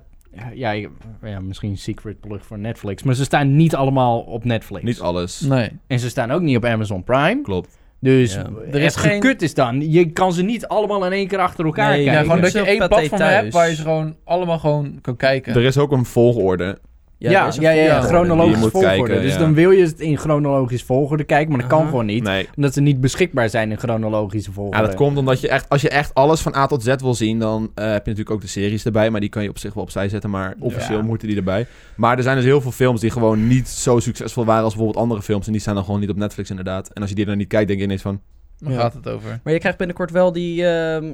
S2: Ja, ik- ja, misschien een secret plug voor Netflix, maar ze staan niet allemaal op Netflix.
S1: Niet alles.
S3: nee.
S2: En ze staan ook niet op Amazon Prime.
S1: Klopt.
S2: Dus
S4: Ja.
S2: er is geen... gekut is dan. Je kan ze niet allemaal in één keer achter elkaar
S4: Nee,
S3: Ja,
S2: kijken.
S3: gewoon
S4: dus
S3: dat je
S4: heel
S3: één
S4: paté
S3: platform hebt
S4: thuis.
S3: waar je ze gewoon allemaal gewoon kan kijken.
S1: Er is ook een volgorde.
S2: Ja, ja,
S4: er is een
S2: ja, ja,
S4: volgorde.
S1: Je
S2: chronologisch
S1: moet
S2: volgorde.
S1: kijken,
S2: dus
S1: ja.
S2: dan wil je het in chronologisch volgorde kijken, maar dat kan
S4: Aha.
S2: gewoon niet.
S1: Nee.
S2: Omdat ze niet beschikbaar zijn in chronologische volgorde.
S1: Ja, dat komt omdat je echt, als je echt alles van A tot Z wil zien, dan eh, heb je natuurlijk ook de series erbij. Maar die kan je op zich wel opzij zetten. Maar officieel
S2: Ja.
S1: moeten die erbij. Maar er zijn dus heel veel films die gewoon niet zo succesvol waren als bijvoorbeeld andere films. En die staan dan gewoon niet op Netflix inderdaad. En als je die dan niet kijkt, denk je ineens van...
S3: Waar
S4: Ja.
S3: gaat het over?
S4: Maar je krijgt binnenkort wel die ehm,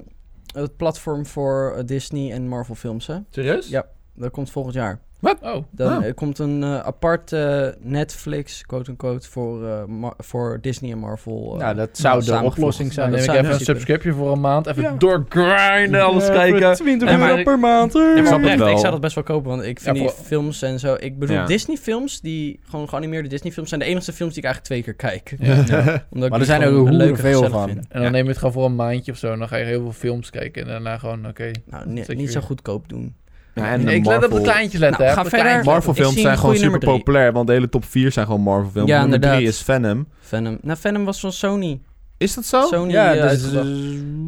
S4: het platform voor eh, Disney en Marvel films, hè?
S1: Serieus?
S4: Ja. Dat komt volgend jaar.
S3: Oh,
S4: Dan
S1: Oh.
S4: eh, komt een eh, apart eh, Netflix, quote-unquote, voor, eh, Mar- voor Disney en Marvel. eh.
S2: Nou, dat zou de
S4: Samengevoegd.
S2: oplossing
S3: dan
S2: zijn.
S4: dat
S3: neem ik
S4: zou in
S3: even een
S4: principe-
S3: subscription voor een maand, even
S2: Ja.
S3: doorgrinden, alles kijken.
S2: 20
S3: Ja, maar
S2: euro
S3: ik-
S2: per maand.
S1: ik
S4: Ja, maar
S1: snap het
S4: oprecht,
S1: wel.
S4: ik zou dat best wel kopen, want ik vind
S3: Ja,
S4: die
S3: voor-
S4: films en zo... Ik bedoel,
S1: Ja.
S4: Disney-films, die gewoon geanimeerde Disney-films... zijn de enige films die ik eigenlijk twee keer kijk. Omdat ik
S2: Maar er
S4: die
S2: zijn
S4: gewoon
S2: er
S4: leuk en
S2: heel veel
S4: gezellig
S2: van.
S4: vind.
S3: En dan neem je het gewoon voor een maandje of zo. En dan ga je heel veel films kijken. En daarna gewoon, oké.
S4: Nou, ni-
S3: Zet je
S4: niet zo
S3: weer.
S4: goedkoop doen.
S1: Ja, en
S3: Nee,
S1: de
S3: ik let op de
S1: Marvel,
S3: kleintjes letten,
S4: Nou,
S3: hè.
S4: ga
S3: op de
S4: verder.
S3: kleintjes.
S1: Marvel
S4: Ik
S1: films
S4: zie
S1: zijn
S4: een
S1: gewoon
S4: goede
S1: super
S4: nummer drie.
S1: populair. Want de hele top 4 zijn gewoon Marvel films.
S4: Ja,
S1: nummer 3
S4: inderdaad.
S1: is Venom.
S4: Venom. Nou, Venom was van Sony.
S1: Is dat zo?
S4: Sony
S2: Ja,
S4: eh,
S1: dus-
S2: dat is...
S4: uitgebracht.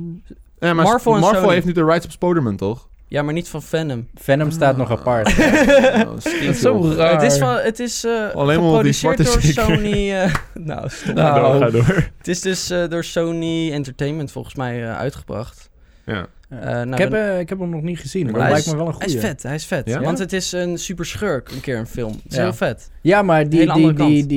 S1: Ja, maar
S4: Marvel
S1: Marvel,
S4: en Sony.
S1: heeft nu de rights op Spider-Man, toch?
S4: Ja, maar niet van Venom.
S2: Venom staat nog
S1: [laughs]
S2: apart.
S1: Oh,
S3: Dat is zo
S1: stinkt, joh.
S3: raar.
S4: Het is van, het is eh,
S1: Alleen maar omdat die
S4: geproduceerd
S1: zwart
S4: door
S1: is, zeker.
S4: Sony. eh, [laughs] nou, stop.
S1: Ga door, ga door.
S4: het is dus eh, door Sony Entertainment volgens mij eh, uitgebracht.
S1: Ja.
S4: Eh, nou,
S2: ik, heb,
S4: dan-
S2: eh, ik heb hem nog niet gezien, maar
S1: Maar
S2: dat
S4: hij
S2: lijkt
S4: is-
S2: me wel een
S4: hij is
S2: goede.
S4: vet, hij is vet.
S1: Ja?
S4: Want het is een super schurk, een keer een film. Het is
S3: Ja.
S4: heel vet.
S2: Ja, maar die,
S4: Hele
S2: die,
S4: andere
S2: die,
S4: kant.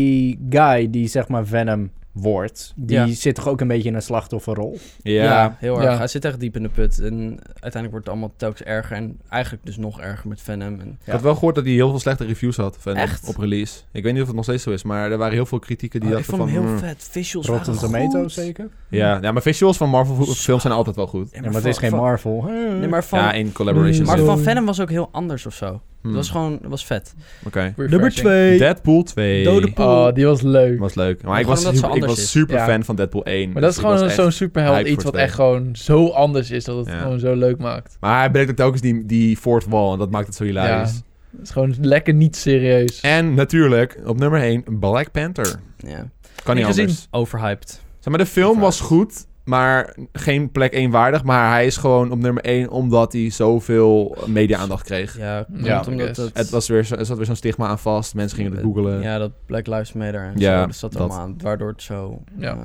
S2: die guy die zeg maar Venom wordt, die
S4: Ja.
S2: zit toch ook een beetje in een slachtofferrol?
S1: Ja.
S4: heel erg.
S3: Ja.
S4: Hij zit echt diep in de put. En uiteindelijk wordt het allemaal telkens erger. En eigenlijk dus nog erger met Venom. En
S1: Ik had wel gehoord dat hij heel veel slechte reviews had Venom,
S4: Echt?
S1: op release. Ik weet niet of het nog steeds zo is, maar er waren heel veel kritieken die
S4: Oh, ik
S1: dachten
S4: vond hem heel
S1: van... mm.
S4: vet. Visuals
S2: Rotten
S4: waren
S2: Tomatoes
S4: goed.
S2: zeker?
S1: Ja, ja, maar visuals van Marvel vo- films zijn altijd wel goed.
S4: Ja,
S2: Ja, maar het is
S4: van-
S2: geen
S4: van-
S2: Marvel.
S4: Nee, maar van,
S1: ja, in collaboration.
S4: Hmm, maar
S1: zit.
S4: van Venom was ook heel anders of zo.
S1: Hmm,
S4: Het was gewoon het was vet.
S1: Oké.
S2: Nummer
S3: Refreshing.
S2: 2.
S1: Deadpool 2
S4: Dode Poel.
S3: Oh, die was leuk.
S1: was leuk. Maar
S4: Gewoon
S1: ik was,
S4: omdat ze
S1: super, ik
S4: anders
S1: was
S4: is.
S1: super
S3: Ja.
S1: fan van Deadpool 1.
S3: Maar dat
S1: Dus
S3: is
S1: ik was
S3: gewoon
S1: echt-
S3: zo'n superheld
S1: hype
S3: iets
S1: voor
S3: wat echt gewoon zo anders is dat het
S1: Ja.
S3: gewoon zo leuk maakt.
S1: Maar hij breekt ook telkens die, die fourth wall en dat maakt het zo hilarisch.
S3: Het is gewoon lekker niet serieus.
S1: En natuurlijk, op nummer 1, Black Panther.
S4: Ja.
S1: Kan niet
S4: Niet gezien.
S1: anders.
S4: Overhyped.
S1: Zeg maar, de film was goed, maar geen plek 1 waardig. Maar hij is gewoon op nummer 1 omdat hij zoveel media-aandacht kreeg.
S4: Ja,
S3: Ja,
S4: komt omdat
S3: yes.
S4: het,
S1: Het was weer zo, er zat weer zo'n stigma aan vast. Mensen gingen het googelen.
S4: Ja, dat Black Lives Matter en
S1: Ja,
S4: zo. Dat zat
S1: dat.
S4: allemaal aan. Waardoor het zo...
S3: Ja.
S4: eh,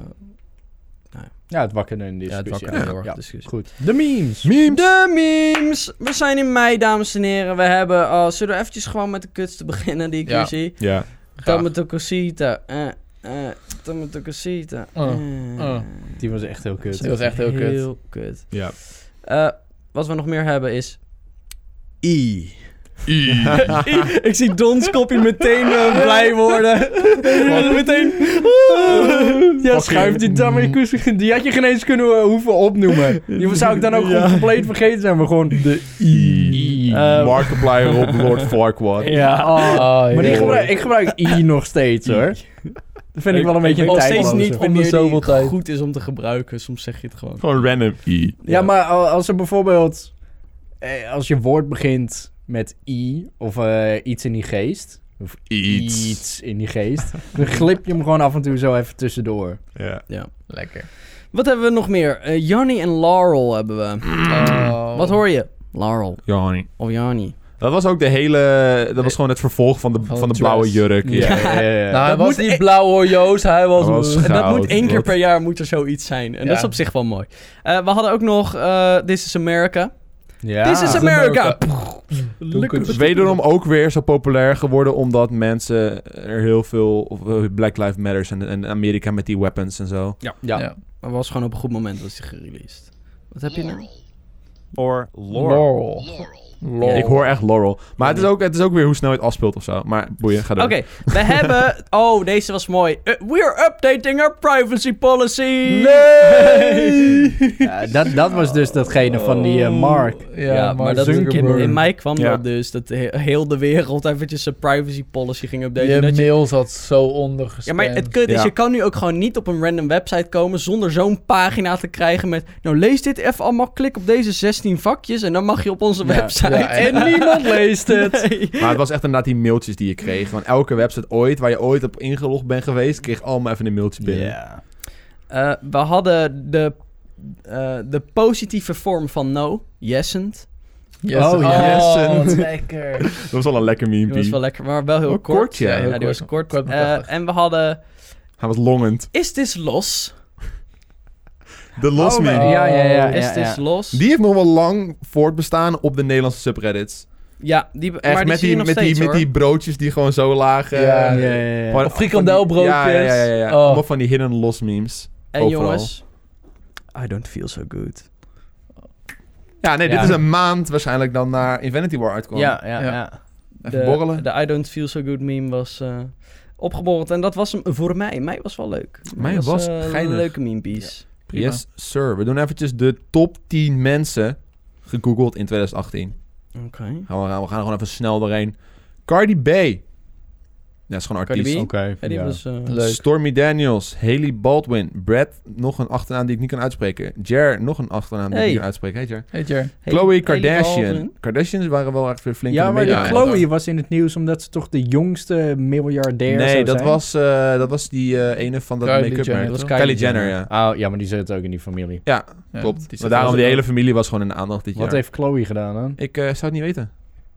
S2: Ja, het wakkerde een
S4: ja, het
S2: discussie.
S4: wakker
S2: Ja,
S4: heel erg
S2: ja.
S4: discussie.
S2: Goed. De memes.
S1: Meme!
S4: De memes! We zijn in mei, dames en heren. We hebben... oh, zullen we eventjes gewoon met de kuts te beginnen die ik
S3: Ja.
S4: hier zie?
S1: Ja.
S4: Tomatokosita. Eh, eh. Tomatokosita.
S3: Oh,
S4: eh.
S3: oh.
S2: Die was echt heel kut.
S3: Die was echt heel kut.
S4: Heel kut.
S1: Ja.
S4: Eh, wat we nog meer hebben is... I. Ik zie Don's kopje meteen [laughs] eh, blij
S2: [laughs]
S4: worden. meteen...
S2: Ja, schuift die dan maar Die had je geen eens kunnen eh, hoeven opnoemen. Die zou ik dan ook gewoon compleet vergeten zijn. Maar gewoon de I.
S1: Eh,
S2: [laughs] Ehm,
S1: Markiplier op Lord Farquaad.
S2: Ja.
S3: Ah,
S2: maar die
S3: joh.
S2: gebruik, ik gebruik I nog steeds hoor. Dat vind ik wel een beetje
S4: nog steeds
S2: tijdloze.
S4: niet
S3: Om de
S4: wanneer
S3: zoveel
S4: die
S3: tijd.
S4: goed is om te gebruiken. Soms zeg je het
S1: [laughs]
S4: gewoon.
S1: Gewoon random E.
S2: Ja, maar al- als er bijvoorbeeld... eh, Als je woord begint met I of eh, iets in die geest... Of
S1: Iets.
S2: iets in die geest... dan glip je hem gewoon af en toe zo even tussendoor.
S1: Ja.
S3: Lekker.
S4: Wat hebben we nog meer? Eh Janni en Laurel hebben we.
S3: Oh.
S4: Wat hoor je? Laurel
S1: Johnny.
S4: of Janni.
S1: Dat was ook de hele... Dat was gewoon het vervolg van de,
S3: Van
S1: van de
S3: Trust.
S1: blauwe jurk.
S2: Ja, ja, ja.
S3: Nou, hij
S4: Dat
S3: was
S4: moet e-
S3: niet blauw hoor, Joost. Hij was...
S1: Hij was-
S4: En dat
S1: Goud,
S4: moet één keer
S1: wat-
S4: per jaar moet er zoiets zijn. En
S3: Ja.
S4: dat is op zich wel mooi. Eh, we hadden ook nog eh, This is America.
S2: Ja.
S4: This is America!
S3: America. eh,
S1: Het is wederom ook weer zo populair geworden omdat mensen er heel veel of, eh, Black Lives Matters en, en Amerika met die weapons en zo.
S2: Ja.
S3: Ja.
S4: Maar was gewoon op een goed moment was hij gereleased. Wat heb je nou?
S5: Or Laurel.
S3: Laurel.
S1: Ja,
S3: Laurel.
S1: ik hoor echt Laurel. Maar het is, ook, het is ook weer hoe snel je het afspeelt of zo. Maar boeien, ga
S4: Oké,
S1: door.
S4: we hebben... Oh, deze was mooi. Eh, we are updating our privacy policy!
S2: Ja, dat, dat was dus datgene van die eh, Mark.
S3: Ja,
S4: [laughs] Ja, maar
S3: maar
S4: dat-
S3: dat
S2: Zuckerberg.
S4: In mei kwam
S1: Ja.
S4: dat dus, dat he- heel de wereld eventjes zijn privacy policy ging updaten.
S3: Je
S4: Dat je-
S3: mail zat zo ondergestemd.
S4: ja, maar het kut is,
S1: Ja.
S4: je kan nu ook gewoon niet op een random website komen zonder zo'n pagina te krijgen met... Nou, lees dit even allemaal, klik op deze 16 vakjes en dan mag je op onze
S2: Ja.
S4: website.
S3: Ja,
S4: [laughs]
S3: en-
S4: en niemand leest het.
S1: Maar het was echt inderdaad die mailtjes die je kreeg. Want elke website ooit, waar je ooit op ingelogd bent geweest, kreeg allemaal even een mailtje binnen.
S2: Ja.
S4: Eh, we hadden de, eh, de positieve vorm van no, yesend.
S3: Yes.
S2: Oh,
S3: Oh,
S1: ja.
S3: wat lekker.
S1: Dat was wel een lekker meme.
S4: Die was wel lekker, maar wel heel
S1: Wel
S4: kort.
S1: Oh, kort, ja.
S4: ja
S1: Heel
S4: die
S3: kort.
S4: was kort.
S3: Kort, maar
S4: Eh,
S3: krachtig.
S4: en we hadden,
S1: Hij was longend.
S4: is this los?
S1: De los
S2: Oh,
S1: meme.
S2: maar- Ja, ja, ja.
S4: is
S2: ja,
S4: this
S2: ja.
S4: los?
S1: Die heeft nog wel lang voortbestaan op de Nederlandse subreddits.
S4: ja, die,
S1: Echt
S4: maar die
S1: met,
S4: zie
S1: die,
S4: je nog
S1: met,
S4: steeds,
S1: die, met
S4: hoor.
S1: die broodjes die gewoon zo lagen.
S3: Ja,
S2: Ja, ja, ja.
S1: Gewoon-
S3: Of frikandelbroodjes.
S1: Ja, ja, ja. ja, ja.
S3: Oh.
S1: Allemaal van die hidden los memes.
S4: En
S1: Overal.
S4: jongens, I don't feel so good.
S1: Ja, nee,
S2: Ja.
S1: dit is een maand waarschijnlijk dan naar Infinity War uitkwam.
S2: Ja, ja,
S3: Ja.
S2: ja.
S1: Even borrelen.
S4: De I don't feel so good meme was eh opgeborreld. En dat was hem voor mij. Mij was wel leuk.
S1: Mij was
S4: eh,
S1: geinig.
S4: een leuke meme piece.
S3: Prima.
S1: Yes, sir. We doen eventjes de top 10 mensen gegoogeld in 2018.
S4: Oké.
S1: Gaan we, gaan we gaan er gewoon even snel doorheen. Cardi B. Ja, dat is gewoon een
S4: Cardi
S1: artiest.
S4: B?
S2: Oké.
S4: Ja, die
S2: ja.
S4: was... eh,
S3: Leuk.
S1: Stormy Daniels, Haley Baldwin, Brad, nog een achternaam die ik niet kan uitspreken. Jer, nog een achternaam die ik
S4: Hey.
S1: niet kan uitspreken. Hey, Jer.
S3: Heet je?
S4: Haley-
S1: Chloe
S4: Haley
S1: Kardashian.
S4: Baldwin.
S1: Kardashians waren wel echt weer flink
S2: Ja,
S1: in de
S2: maar
S1: media.
S2: die Chloe was in het nieuws omdat ze toch de jongste miljardair
S1: Nee,
S2: zou
S1: dat
S2: zijn.
S1: was, eh, dat was die eh, ene van dat
S3: Kylie
S1: make-up
S3: Jenner,
S1: merk.
S3: dat was
S1: Kylie Jenner, ja.
S2: Oh, ja, maar die zit ook in die familie.
S1: Ja,
S3: Ja, dus
S1: klopt.
S3: die
S1: maar
S3: zit
S1: daarom,
S3: wel
S1: die
S3: zo-
S1: hele familie was gewoon in de aandacht dit
S2: Wat
S1: jaar.
S2: heeft Chloe gedaan dan?
S1: Ik eh, zou het niet weten.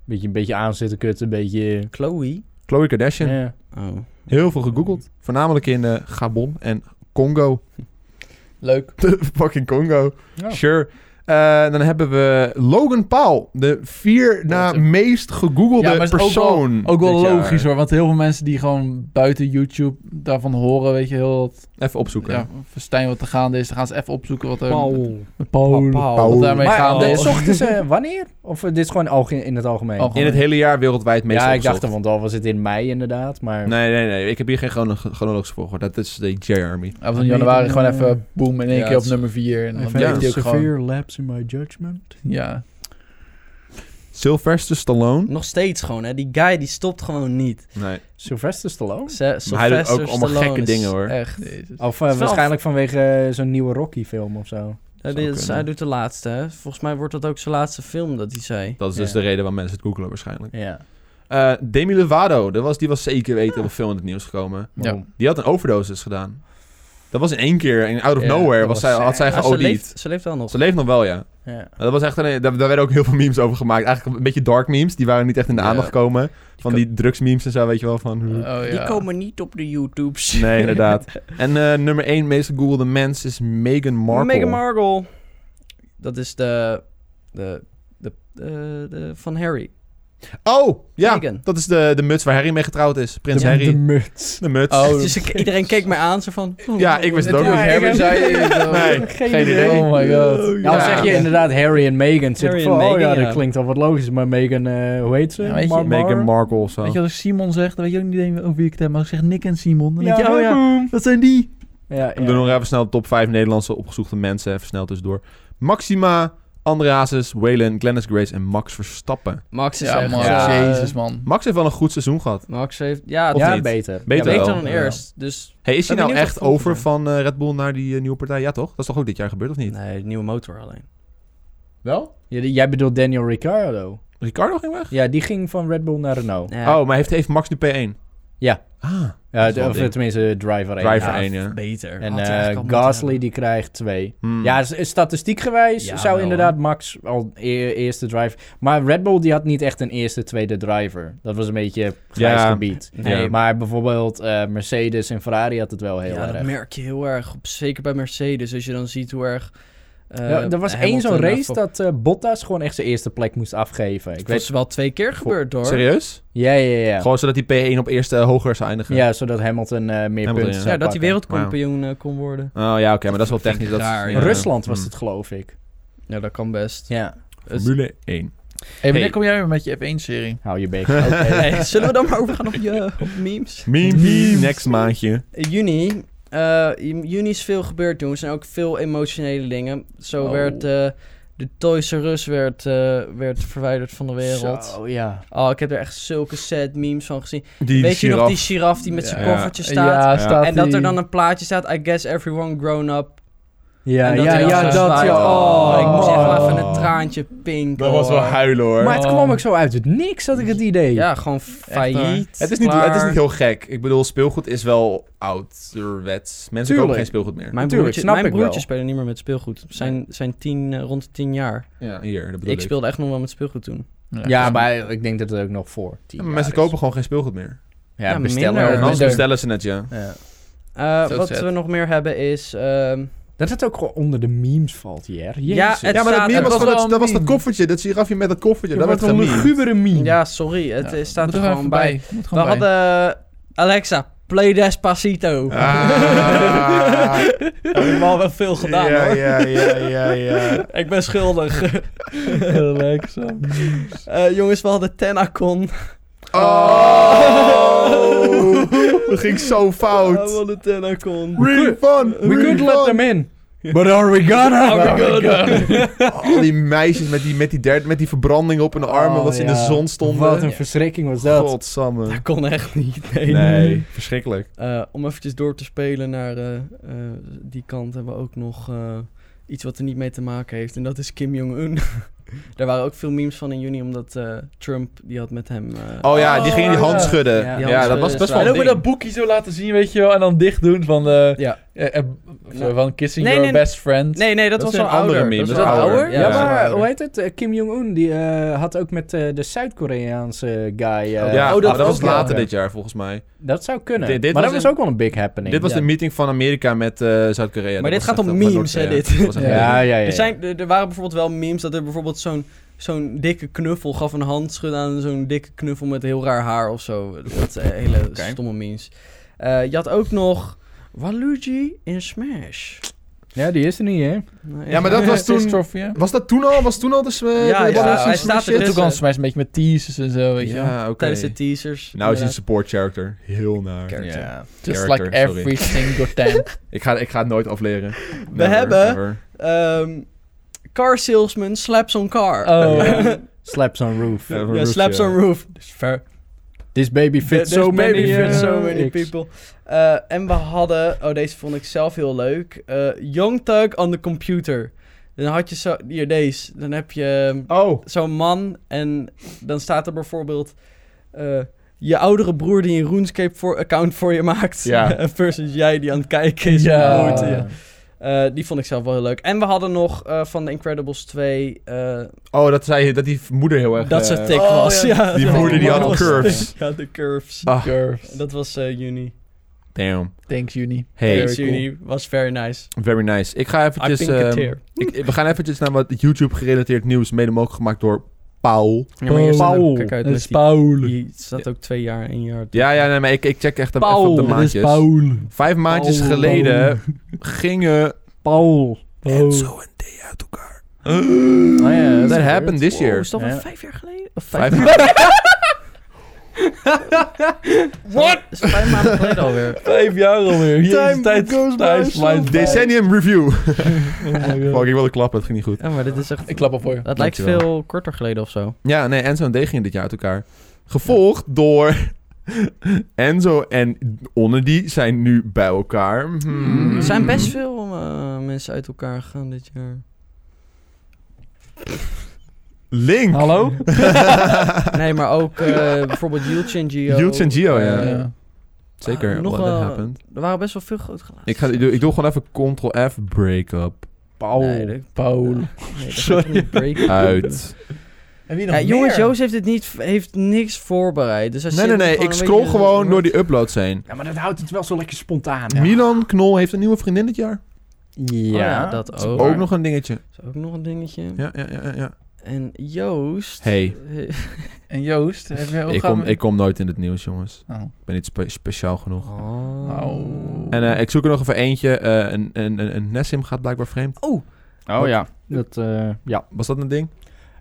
S2: Beetje, een beetje aanzitten kutten, een beetje...
S4: Chloe?
S1: Chloe Kardashian.
S2: Ja.
S4: Oh.
S1: Heel veel gegoogeld. Voornamelijk in eh, Gabon en Congo. [laughs]
S3: Leuk.
S1: Fucking Congo.
S2: Ja.
S3: Oh.
S1: Sure. Eh, dan hebben we Logan Paul. De vier na
S3: is een-
S1: meest gegoogelde
S3: Ja, maar is ook wel-
S1: persoon.
S3: Ook wel
S1: dit jaar.
S3: logisch hoor, want heel veel mensen die gewoon buiten YouTube daarvan horen, weet je, heel dat
S1: Even opzoeken.
S3: Ja, Verstijn wat er gaande is. Dan gaan ze even opzoeken wat er...
S4: Paul.
S3: Paul. Wat daarmee
S2: Maar
S3: gaande
S2: de,
S3: is.
S1: [laughs]
S2: zochten ze wanneer? Of eh, dit is gewoon alge- in het algemeen?
S3: Algemeen.
S1: In het hele jaar wereldwijd meestal
S2: ja, ik dacht,
S1: opgezocht.
S2: er, want al was het in mei inderdaad, maar...
S1: Nee, nee, nee. Ik heb hier geen chrono- chronologische volgorde. Dat is de J-Army.
S3: Of in januari gewoon even boom in één
S2: Ja,
S3: keer op
S2: het is-
S3: nummer 4. En dan
S1: Ja.
S3: weet hij ook gewoon...
S2: lapse in my judgment.
S3: Ja.
S1: Sylvester Stallone.
S4: Nog steeds gewoon, hè. Die guy die stopt gewoon niet.
S1: Nee.
S2: Sylvester Stallone?
S4: Se- Sylvester
S1: Maar hij doet ook allemaal
S4: Stallone
S1: gekke
S4: is-
S1: dingen, hoor.
S3: Echt. Jezus.
S2: Of eh,
S4: Is wel-
S2: waarschijnlijk vanwege eh, zo'n nieuwe Rocky-film of zo.
S4: Ja,
S1: Zou
S4: dit is-
S1: kunnen.
S4: hij doet de laatste, hè. Volgens mij wordt dat ook zijn laatste film dat hij zei.
S1: Dat is dus
S2: Ja.
S1: de reden waarom mensen het googelen waarschijnlijk.
S2: Ja.
S1: Eh, Demi Lovato. Dat was, die was zeker weten op veel in het nieuws gekomen.
S3: Ja.
S2: Waarom?
S1: Die had een overdosis gedaan. Dat was in één keer. In out of
S2: Ja,
S1: nowhere
S2: dat
S1: was
S2: was
S1: zij, had zij
S4: Maar ze,
S1: geaudiet.
S4: leeft, ze leeft wel nog.
S1: Ze leeft nog wel, ja.
S2: Ja.
S1: Maar Dat was echt een, daar, daar werden ook heel veel memes over gemaakt. Eigenlijk een beetje dark memes. Die waren niet echt in de
S3: Ja.
S1: aandacht gekomen. Van die drugsmemes en zo, weet je wel. Van,
S3: Oh,
S1: hm.
S3: ja.
S4: Die komen niet op de YouTubes. [laughs]
S1: Nee, inderdaad. En eh, nummer één meest gegoogelde mens is Meghan Markle.
S4: Meghan Markle. Dat is de... de, de, de, de- van Harry.
S1: Oh, ja.
S4: Meghan.
S1: Dat is de, de muts waar Harry mee getrouwd is. Prins
S2: De,
S1: Harry.
S2: de
S1: De,
S2: muts.
S1: muts.
S3: Oh,
S4: [laughs] Dus ik- iedereen keek mij aan, zo van... oh,
S1: Ja, ik wist het ook
S3: Natuurlijk,
S1: niet.
S2: Ja,
S3: Harry
S2: ik-
S1: [laughs]
S3: zei het.
S1: Nee, geen,
S2: Geen
S1: idee.
S2: idee.
S3: Oh my god.
S2: Nou,
S1: Ja.
S2: zeg je inderdaad Harry en Meghan. Zit
S4: Harry
S2: ik
S4: en
S2: van, oh
S4: Meghan,
S2: ja,
S4: ja.
S2: dat klinkt al wat logisch. Maar Meghan, eh, hoe heet ze?
S3: Ja, weet je,
S2: Mar-
S1: Meghan
S2: Mar-
S1: Markle of zo.
S3: Weet je, als ik Simon zeg, dan weet je ook niet over wie ik het heb. Maar als ik zeg Nick en Simon, dan
S2: Ja,
S3: denk je, oh ja,
S2: boem.
S3: dat zijn die.
S2: Ja, ja.
S1: We doen nog even snel de top 5 Nederlandse opgezochte mensen. Even snel tussendoor. Maxima, André Hazes, Waylon, Glennis Grace en Max Verstappen.
S4: Max is
S3: Ja,
S4: echt,
S3: man.
S4: eh,
S3: Jezus, man.
S1: Max heeft wel een goed seizoen gehad.
S4: Max heeft... Ja,
S1: Of
S4: ja,
S2: ja,
S1: niet?
S2: beter.
S1: Beter
S4: beter
S1: wel.
S4: dan
S3: Ja.
S4: eerst. Dus...
S1: Hey, is hij
S4: Ben
S1: nou
S4: benieuwd
S1: echt
S4: of het
S1: over
S4: volgend
S1: van eh, Red Bull naar die eh, nieuwe partij? Ja toch? Dat is toch ook dit jaar gebeurd of niet?
S4: Nee, nieuwe motor alleen.
S1: Wel?
S2: Ja, die- jij bedoelt Daniel Ricciardo.
S1: Ricardo ging weg?
S2: Ja, die ging van Red Bull naar Renault.
S4: Ja,
S1: Oh, maar heeft, heeft Max nu P1?
S2: Ja.
S1: Ah,
S2: Ja,
S1: is wel
S2: of
S1: dik.
S2: tenminste, driver 1.
S1: Driver 1, ja.
S4: beter.
S2: En
S4: Had hij eigenlijk
S2: eh,
S4: al moeten
S2: Gasly
S4: hebben.
S2: die krijgt twee.
S1: Hmm.
S2: Ja, s- statistiek gewijs
S4: Ja,
S2: zou
S4: wel,
S2: inderdaad Max al e- eerste driver... Maar Red Bull die had niet echt een eerste, tweede driver. Dat was een beetje grijs
S1: Ja.
S2: gebied.
S1: Nee.
S2: Maar bijvoorbeeld eh, Mercedes en Ferrari had het wel heel
S4: ja, dat
S2: erg.
S4: merk je heel erg. Op, zeker bij Mercedes. Als je dan ziet hoe erg... eh,
S2: Ja, er was één zo'n
S4: Hamilton
S2: race
S4: daarvoor-
S2: dat eh, Bottas gewoon echt zijn eerste plek moest afgeven. Ik
S4: Het
S2: weet...
S4: was wel twee keer gebeurd, hoor.
S1: Serieus?
S2: Ja, ja, ja.
S1: Gewoon zodat hij P1 op eerste eh, hoger zou eindigen?
S2: Ja, zodat Hamilton eh, meer
S1: Hamilton,
S2: punten
S1: ja.
S2: zou
S4: Ja, dat hij
S2: pakken.
S4: wereldkampioen eh, kon worden.
S1: Oh ja, oké, maar dat is wel technisch. Dat is-
S4: Raar, ja.
S1: ja.
S2: Rusland was
S1: Hmm.
S2: het, geloof ik.
S4: Ja, dat kan best.
S2: Ja,
S4: Dus-
S1: Formule 1.
S3: Hey, wanneer
S1: Hey.
S3: kom jij weer met je F1-serie?
S2: hou
S4: [laughs]
S2: je bek. Oké.
S4: Nee, zullen we dan maar overgaan op, je, op memes?
S1: Meme,
S3: Meme.
S1: next maandje.
S4: In juni. eh, in juni is veel gebeurd toen. Er zijn ook veel emotionele dingen. Zo
S3: Oh.
S4: werd eh, de Toys R Us werd, eh, werd verwijderd van de wereld.
S2: Zo, ja.
S4: Oh, ik heb er echt zulke sad memes van gezien.
S1: Die
S4: Weet je nog
S1: giraf.
S4: die giraf die met zijn
S1: Ja.
S4: koffertje staat?
S1: Ja. staat
S4: En dat er dan een plaatje staat, I guess everyone grown up.
S2: Ja,
S4: en dat
S2: ja,
S4: hij dan
S2: ja,
S4: zo
S2: dat
S4: zwaait.
S2: ja.
S4: Oh, ik moest echt wel even een
S2: Oh.
S4: traantje pinken.
S1: Dat was wel
S4: hoor.
S1: huilen hoor.
S2: Maar het kwam ook zo uit het niks, had ik het idee.
S4: Ja, gewoon failliet.
S1: het, is niet,
S4: klaar.
S1: het is niet heel gek. Ik bedoel, speelgoed is wel ouderwets. Mensen
S2: Tuurlijk.
S1: kopen geen speelgoed meer.
S4: Mijn
S2: Natuurlijk,
S4: broertje,
S2: snap
S4: mijn
S2: ik wel.
S4: broertjes spelen niet meer met speelgoed. Zijn, zijn tien, eh, rond de tien jaar.
S1: Ja, hier, dat bedoel
S4: Ik
S1: ik.
S4: speelde echt nog wel met speelgoed toen.
S2: ja maar ik denk dat het ook nog voor tien
S1: Ja, maar
S2: jaar
S1: mensen
S2: is.
S1: kopen gewoon geen speelgoed meer.
S2: Ja,
S4: Ja,
S2: bestellen.
S4: minder.
S1: En anders
S3: minder.
S1: bestellen ze net, ja.
S2: Ja.
S4: Eh,
S3: Zo
S4: wat
S3: zet.
S4: we nog meer hebben is... ehm,
S2: Dat het ook gewoon onder de memes valt, Jer. Jezus.
S4: Ja, het-
S1: ja, maar dat,
S4: staat-
S1: meme was,
S4: het
S1: van
S3: was
S1: dat,
S3: wel een
S1: dat was dat
S3: meme.
S1: koffertje, dat girafje met dat koffertje. dat
S2: dat wordt
S1: werd
S2: een
S1: gememe.
S2: lugubere meme.
S4: ja, sorry. Het eh, staat er gewoon bij.
S3: Moet
S4: We hadden... eh, Alexa, play Despacito. [laughs]
S1: Ah.
S4: Dat hebben we al wel veel gedaan,
S1: ja,
S4: hoor.
S1: ja, ja, ja, ja.
S4: [laughs] Ik ben schuldig.
S3: Alexa.
S4: Eh, jongens, we hadden Tenacon. [laughs]
S1: Oh! dat ging zo
S4: Ah, we
S1: fout.
S4: hadden Tenacon.
S1: Really fun.
S2: We could let them in. But are we gonna?
S1: Oh
S4: Are we gonna?
S1: Al die meisjes met die, met die, derde, met die verbranding op hun armen,
S2: Oh,
S1: wat ze in
S2: ja.
S1: de zon stonden.
S2: Wat een verschrikking was dat.
S1: Godsamme.
S4: [laughs] Dat kon echt niet. Nee.
S1: Nee, verschrikkelijk.
S4: Eh, om eventjes door te spelen naar eh, eh, die kant hebben we ook nog eh, iets wat er niet mee te maken heeft. En dat is Kim Jong-un. [laughs] Daar waren ook veel memes van in juni, omdat eh, Trump die had met hem... eh,
S1: Oh ja, die
S3: Oh,
S1: gingen die
S3: ja.
S1: hand schudden. Ja,
S2: Ja.
S4: Die hand
S1: dat was
S4: schudden
S1: best
S4: is
S1: wel
S3: En
S1: een
S3: ook met dat
S1: ding.
S3: boekje zo laten zien, weet je wel. En dan dicht doen van... eh,
S4: Ja.
S3: eh, eh,
S4: Nou.
S3: van Kissing
S4: Nee,
S3: Your
S4: nee,
S3: Best Friend.
S4: Nee, nee, dat,
S1: Dat
S4: was
S1: is een
S4: wel
S1: andere
S4: ouder.
S1: meme,
S4: Dat
S1: dat
S4: was
S1: is
S4: wel
S1: ouder.
S4: ouder.
S2: Ja,
S1: Ja,
S2: maar
S3: ouder.
S2: hoe heet het? Eh, Kim Jong-un die eh, had ook met eh, de Zuid-Koreaanse guy... eh,
S1: ja,
S4: oh, dat
S1: dat, was
S4: ook, ja.
S1: later dit jaar volgens mij.
S2: Dat zou kunnen.
S1: Dit- dit
S2: maar
S1: was
S2: dat
S1: een-
S2: was ook wel een big happening.
S1: Dit was
S4: Ja.
S1: de meeting van Amerika met eh, Zuid-Korea.
S4: Maar
S1: Dat
S4: dit
S1: was
S4: gaat om
S1: echt wel-
S4: memes,
S1: dat
S4: hè,
S1: was echt-
S4: dit.
S1: dat was
S4: [laughs]
S1: echt-
S2: ja, ja, ja. ja.
S4: Er, zijn, er, er waren bijvoorbeeld wel memes dat er bijvoorbeeld zo'n zo'n dikke knuffel gaf een handschud aan zo'n dikke
S1: [laughs]
S4: knuffel met heel raar haar of zo. Dat zijn hele stomme memes. Eh, je had ook nog Waluigi in Smash.
S2: Ja, die is er niet, hè?
S4: Nou,
S1: Ja, maar dat was toen-
S3: Eh, Trophy, hè?
S1: Was dat toen al? Was toen al dus... eh,
S4: Ja,
S1: de
S4: ja,
S1: Waluigi
S4: hij
S1: Smash
S4: staat er
S1: shit?
S3: Toen
S4: dus-
S3: kwam Smash een beetje met teasers en zo, weet je wel.
S1: Ja, oké.
S4: Tijdens de
S1: Nou is
S4: teasers.
S1: hij een
S4: inderdaad.
S1: support character. Heel naar.
S4: Character.
S2: Ja.
S3: Just
S1: character,
S3: like
S1: sorry.
S3: every single time.
S1: Ik ga, ik ga het nooit afleren.
S4: We hebben- Ehm, car salesman slaps on car. [laughs]
S3: Oh.
S2: [laughs] Slaps on roof.
S1: Ja.
S4: ja,
S1: roof,
S4: slaps
S1: ja.
S4: on roof.
S3: Dus ver...
S2: This baby fits
S4: There's
S2: so
S4: baby
S2: many...
S4: fits
S2: eh,
S4: so
S2: X.
S4: many people. Eh, en we hadden, oh deze vond ik zelf heel leuk. Eh, Young Thug on the computer. Dan had je zo, hier deze. Dan heb je ehm,
S2: Oh.
S4: zo'n man en dan staat er bijvoorbeeld eh, je oudere broer die een RuneScape voor account voor je maakt.
S2: Ja.
S4: [laughs] Versus jij die aan het kijken is.
S3: Ja.
S4: Moeite,
S2: ja.
S4: ja. Eh, die vond ik zelf wel heel leuk. En we hadden nog eh, van The Incredibles 2 eh,
S1: Oh, dat, zij, dat die moeder heel erg...
S4: dat ze
S1: eh,
S4: tik
S3: oh,
S4: was.
S3: ja.
S4: Ja.
S1: Die
S4: dat
S1: moeder die had
S4: was-
S1: curves.
S4: [laughs] Ja, de curves.
S1: Ah.
S3: Curves.
S4: Dat was eh, juni.
S1: Damn.
S3: Thanks, Uni.
S1: Hey,
S4: Thanks,
S3: cool.
S4: juni. Was very nice.
S1: very nice. Ik ga
S4: I
S1: eventjes...
S4: think a
S1: ehm,
S4: tear.
S1: ik, ik- we gaan eventjes naar wat YouTube-gerelateerd nieuws, mede mogelijk gemaakt door Paul.
S4: Ja, maar hier staat ook,
S2: Paul.
S4: kijk uit,
S3: Dat
S4: met
S3: is Paul.
S4: die, die staat ook twee jaar, één jaar.
S1: Ja, ja, nee, maar ik, ik check echt op- even
S2: Paul,
S1: op de
S2: dat
S3: Dat is
S1: maandjes.
S3: Paul.
S1: Vijf maandjes
S2: Paul.
S1: geleden gingen
S2: Paul.
S1: Enzo en Thea uit elkaar.
S2: Oh, ja, dat is
S1: That
S2: gebeurd.
S1: happened this
S4: Wow,
S1: year.
S4: is dat wel
S2: Ja.
S4: vijf jaar geleden? Of
S1: Vijf
S4: [laughs] vijf What? Is het vijf maanden geleden alweer.
S3: Vijf jaar alweer. Jezus,
S1: Time
S3: tijd-
S1: goes by
S3: tijd
S1: so
S3: flies by.
S1: Decennium review.
S3: Oh
S1: Fuck,
S3: my
S1: ik wilde klappen, het ging niet goed.
S4: Ja, maar dit is echt...
S3: God. Ik klap al voor je.
S4: dat lijkt
S1: Dankjewel.
S4: veel korter geleden of zo.
S1: Ja, nee, Enzo en D gingen dit jaar uit elkaar. Gevolgd door [laughs] Enzo en Onnedy zijn nu bij elkaar. Hmm.
S4: Er zijn best veel eh, mensen uit elkaar gegaan dit jaar.
S1: Link.
S3: Hallo?
S4: Nee, maar ook eh, bijvoorbeeld Yields en Gio.
S1: Jutes en Gio, ja.
S3: Eh,
S1: [laughs] Zeker,
S4: nog
S1: what
S4: wel-
S1: happened.
S4: Er waren best wel veel groot gelaten.
S1: Ik, ga, ik, doe, ik doe gewoon even ctrl-f break-up.
S2: Paul.
S4: Nee, dat,
S3: Paul.
S4: [laughs] nee, dat
S3: Sorry.
S4: gaat niet breken.
S1: [laughs] Uit.
S3: En wie nog
S4: Ja, jongens,
S3: meer?
S4: Joost heeft, dit niet, heeft niks voorbereid. Dus hij
S1: Nee,
S4: zit
S1: nee,
S4: nu
S1: nee, ik
S4: een
S1: scroll
S4: beetje-
S1: gewoon door die uploads heen.
S2: Ja, maar dat houdt het wel zo lekker spontaan.
S1: Milan Knol heeft een nieuwe vriendin dit jaar.
S4: Oh ja,
S2: Ja.
S4: dat
S1: Ook
S4: ook.
S1: nog een dingetje.
S4: Dat is ook nog een dingetje.
S1: Ja, ja, ja, ja, ja.
S4: En Joost...
S1: Hey,
S4: Eh,
S3: En Joost, heb je ook
S1: ik kom, ik kom nooit in het nieuws, jongens.
S3: Oh.
S1: Ik ben niet spe- speciaal genoeg.
S4: Oh.
S1: En eh, ik zoek er nog even eentje. Eh, een, een, een, een Nessim gaat blijkbaar vreemd.
S2: Oh ja. Dat, eh, ja.
S1: Was dat een ding?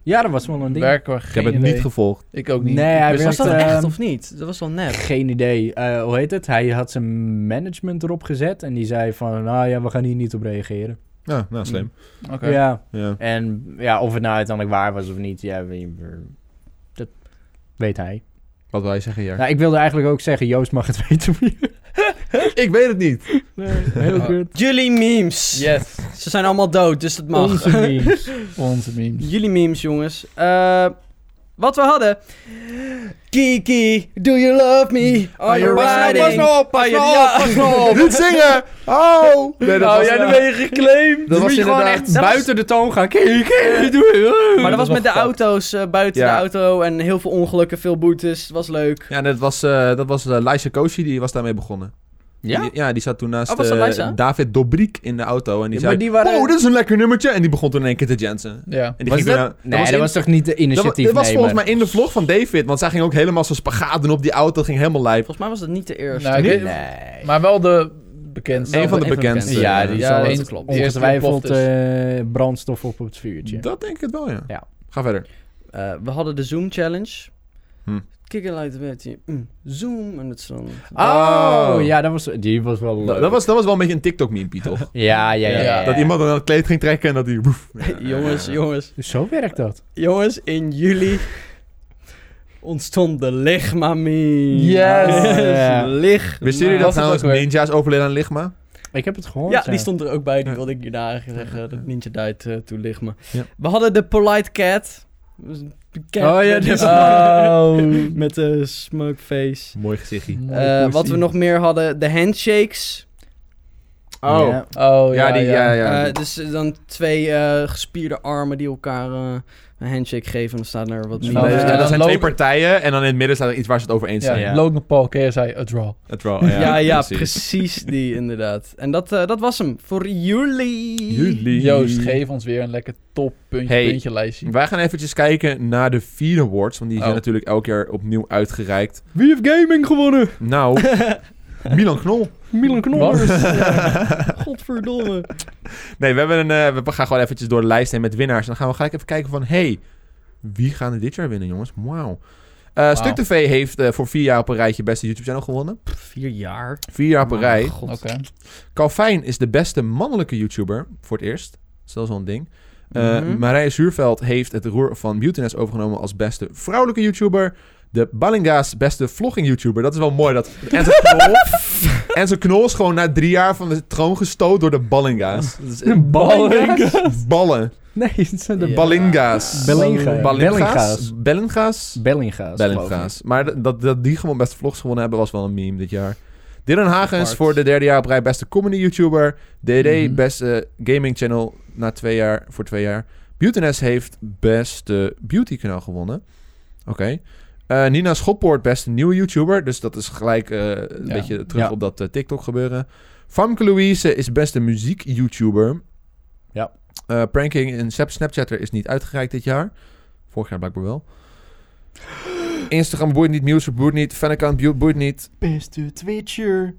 S2: ja, dat was wel een ding.
S3: Werkelijk
S1: Ik
S3: geen
S1: heb het
S3: idee.
S1: niet gevolgd.
S3: Ik ook niet.
S2: Nee,
S3: Ik
S2: hij
S3: wist
S4: was
S2: werkt,
S3: dat-
S4: dat
S2: eh,
S4: echt of niet? Dat was wel nep.
S2: Geen idee. Eh, hoe heet het? Hij had zijn management erop gezet. En die zei van, nou ja, we gaan hier niet op reageren.
S1: Ja, nou, slim.
S3: Oké.
S2: Ja.
S1: Ja.
S2: En ja, of het nou uiteindelijk waar was of niet, ja, we- dat weet hij.
S1: Wat wij zeggen hier.
S2: Nou, ik wilde eigenlijk ook zeggen, Joost mag het [laughs] weten.
S1: Ik weet het niet.
S2: Heel goed.
S4: Jullie memes.
S3: Yes.
S4: Ze zijn allemaal dood, dus dat mag.
S2: Onze
S1: [laughs]
S2: memes.
S3: Onze memes.
S4: Jullie memes, jongens. Eh, wat we hadden. Kiki, do you love me? Are you
S1: nou,
S4: riding?
S3: op,
S4: pas nou op, pas nou op.
S1: niet zingen! Oh! Nee, dat was,
S3: Nou, ben je geclaimd.
S1: dat was
S2: je gewoon
S1: inderdaad...
S2: echt buiten de toon gaan. Kijk, kijk, doe
S4: Maar dat was met de auto's, eh, buiten
S1: Ja.
S4: de auto en heel veel ongelukken, veel boetes. Het was leuk.
S1: Ja, dat was, eh dat was eh, Laisha Koshi, die was daarmee begonnen.
S2: Ja?
S1: Die, ja, die zat toen naast
S4: Oh, was dat
S1: eh,
S4: Laisha?
S1: David Dobrik in de auto. En die
S2: Ja,
S1: zei,
S2: maar die waren-
S1: oh, dit is een lekker nummertje. En die begon toen in één keer te jansen.
S3: Ja.
S1: En die
S2: Was
S1: ging toen
S2: dat?
S1: naar-
S2: Nee, dat was,
S1: in-
S2: toch niet de
S1: dat wa-
S2: initiatief
S1: dit was volgens mij in de vlog van David, want zij ging ook helemaal zo spagaat doen op die auto. Dat ging helemaal lijp.
S4: Volgens mij was dat niet de eerste.
S3: Nou, ik weet-
S2: Nee.
S3: Maar wel de bekendste.
S1: Eén van de
S4: Een van de
S1: bekendste.
S4: bekendste.
S2: Ja, die
S3: Ja,
S2: zal
S3: eens-
S2: het
S3: klopt.
S2: ongetwijfeld
S3: Die
S2: eh, brandstof op het vuurtje.
S1: Dat denk ik het wel, ja.
S2: Ja.
S1: Ga verder.
S4: Eh, we hadden de Zoom Challenge.
S1: Hm.
S4: Kikken lijkt een beetje. mm, Zoom en het is dan.
S2: Oh,
S1: Oh.
S2: ja, dat was, die was wel leuk.
S1: Dat, dat was, dat was wel een beetje een TikTok-meme, toch?
S2: Ja, [laughs] ja, ja.
S3: Ja,
S2: ja.
S1: Dat iemand dan aan het kleed ging trekken en dat hij...
S4: jongens, jongens,
S2: Dus zo werkt dat.
S4: jongens, in juli ontstond de Ligma meme.
S3: Yes.
S2: Oh, ja.
S4: Ligma.
S1: Wisten jullie dat
S3: Was het
S1: trouwens
S3: ook weer?
S1: ninja's overleden aan Ligma?
S2: Ik heb het gehoord.
S4: Ja, die stond er ook bij. Die wilde ik hierna eigenlijk zeggen. Dat Ninja Diet eh, toe ligt me.
S1: Ja.
S4: We hadden de Polite Cat. Dat was een cat
S2: Oh ja,
S4: met- [laughs]
S2: die is-
S4: Met de smoke face.
S1: Mooi gezichtje.
S4: Eh, wat we nog meer hadden, de handshakes.
S1: Oh.
S2: Ja.
S3: Oh,
S1: Ja, die, ja, ja.
S4: Eh, dus eh, dan twee eh, gespierde armen die elkaar eh, een handshake geven. En dan staan er wat
S3: Dus
S1: Nee,
S4: memes.
S3: dan, eh,
S1: dat
S3: dan
S1: zijn twee
S3: Logan-
S1: partijen en dan in het midden staat er iets waar ze het over eens
S3: Ja,
S1: zijn.
S2: Ja.
S3: Logan Paul, KSI, a draw.
S1: Het wel,
S4: ja, ja, precies die inderdaad. En dat, eh, dat was hem voor jullie.
S1: Jullie.
S3: Joost, geef ons weer een lekker toppuntje,
S1: Hey.
S3: puntje lijstje.
S1: Wij gaan eventjes kijken naar de vier awards, want die zijn
S3: Oh.
S1: natuurlijk elk jaar opnieuw uitgereikt.
S3: [laughs]
S2: Wie heeft gaming gewonnen?
S1: Nou, Milan Knol.
S4: Milan
S3: Knollers.
S4: Godverdomme.
S1: Nee, we, hebben een, eh, we gaan gewoon eventjes door de lijst heen met winnaars. En dan gaan we gelijk even kijken van... hey, wie gaan er dit jaar winnen, jongens? Wauw. Eh
S3: Wauw.
S1: Stuk TV heeft eh, voor vier jaar op een rijtje beste YouTube-channel gewonnen.
S4: Vier jaar.
S1: Vier jaar op een rij.
S4: God.
S3: Oké.
S1: Calvin is de beste mannelijke YouTuber voor het eerst. Dus dat is wel een ding. Eh
S4: Mhm.
S1: Marije Zuurveld heeft het roer van Beautyness overgenomen als beste vrouwelijke YouTuber. De Ballinga's beste vlogging YouTuber. Dat is wel mooi. Dat
S3: [laughs]
S1: Enzo Knol, Enzo Knol is gewoon na drie jaar van de troon gestoot door de Ballinga's. Dat is-
S2: [laughs]
S1: Ballen.
S2: Nee, het zijn de
S3: Ja.
S1: Ballinga's.
S2: Bellinga-
S1: Ballinga's. Bellinga's.
S2: Bellinga's. geloof ik.
S1: Bellinga's. Maar d- dat, dat die gewoon beste vlogs gewonnen hebben was wel een meme dit jaar. Dylan Hagens
S3: Apart.
S1: voor de derde jaar op rij beste comedy YouTuber. DD
S3: Mhm.
S1: beste gaming channel na twee jaar, voor twee jaar. Beautyness heeft beste beauty kanaal gewonnen. Oké. Eh, Nina Schoppoort beste nieuwe YouTuber. Dus dat is gelijk eh, een
S3: Ja.
S1: beetje terug
S2: Ja.
S1: op dat eh, TikTok gebeuren. Famke Louise is beste muziek YouTuber.
S2: Ja.
S1: Eh, pranking in Snap- Snapchatter is niet uitgereikt dit jaar. Vorig jaar blijkbaar wel. Instagram boeit niet, Music boeit niet, fanaccount boeit- boeit niet.
S2: Beste Twitcher.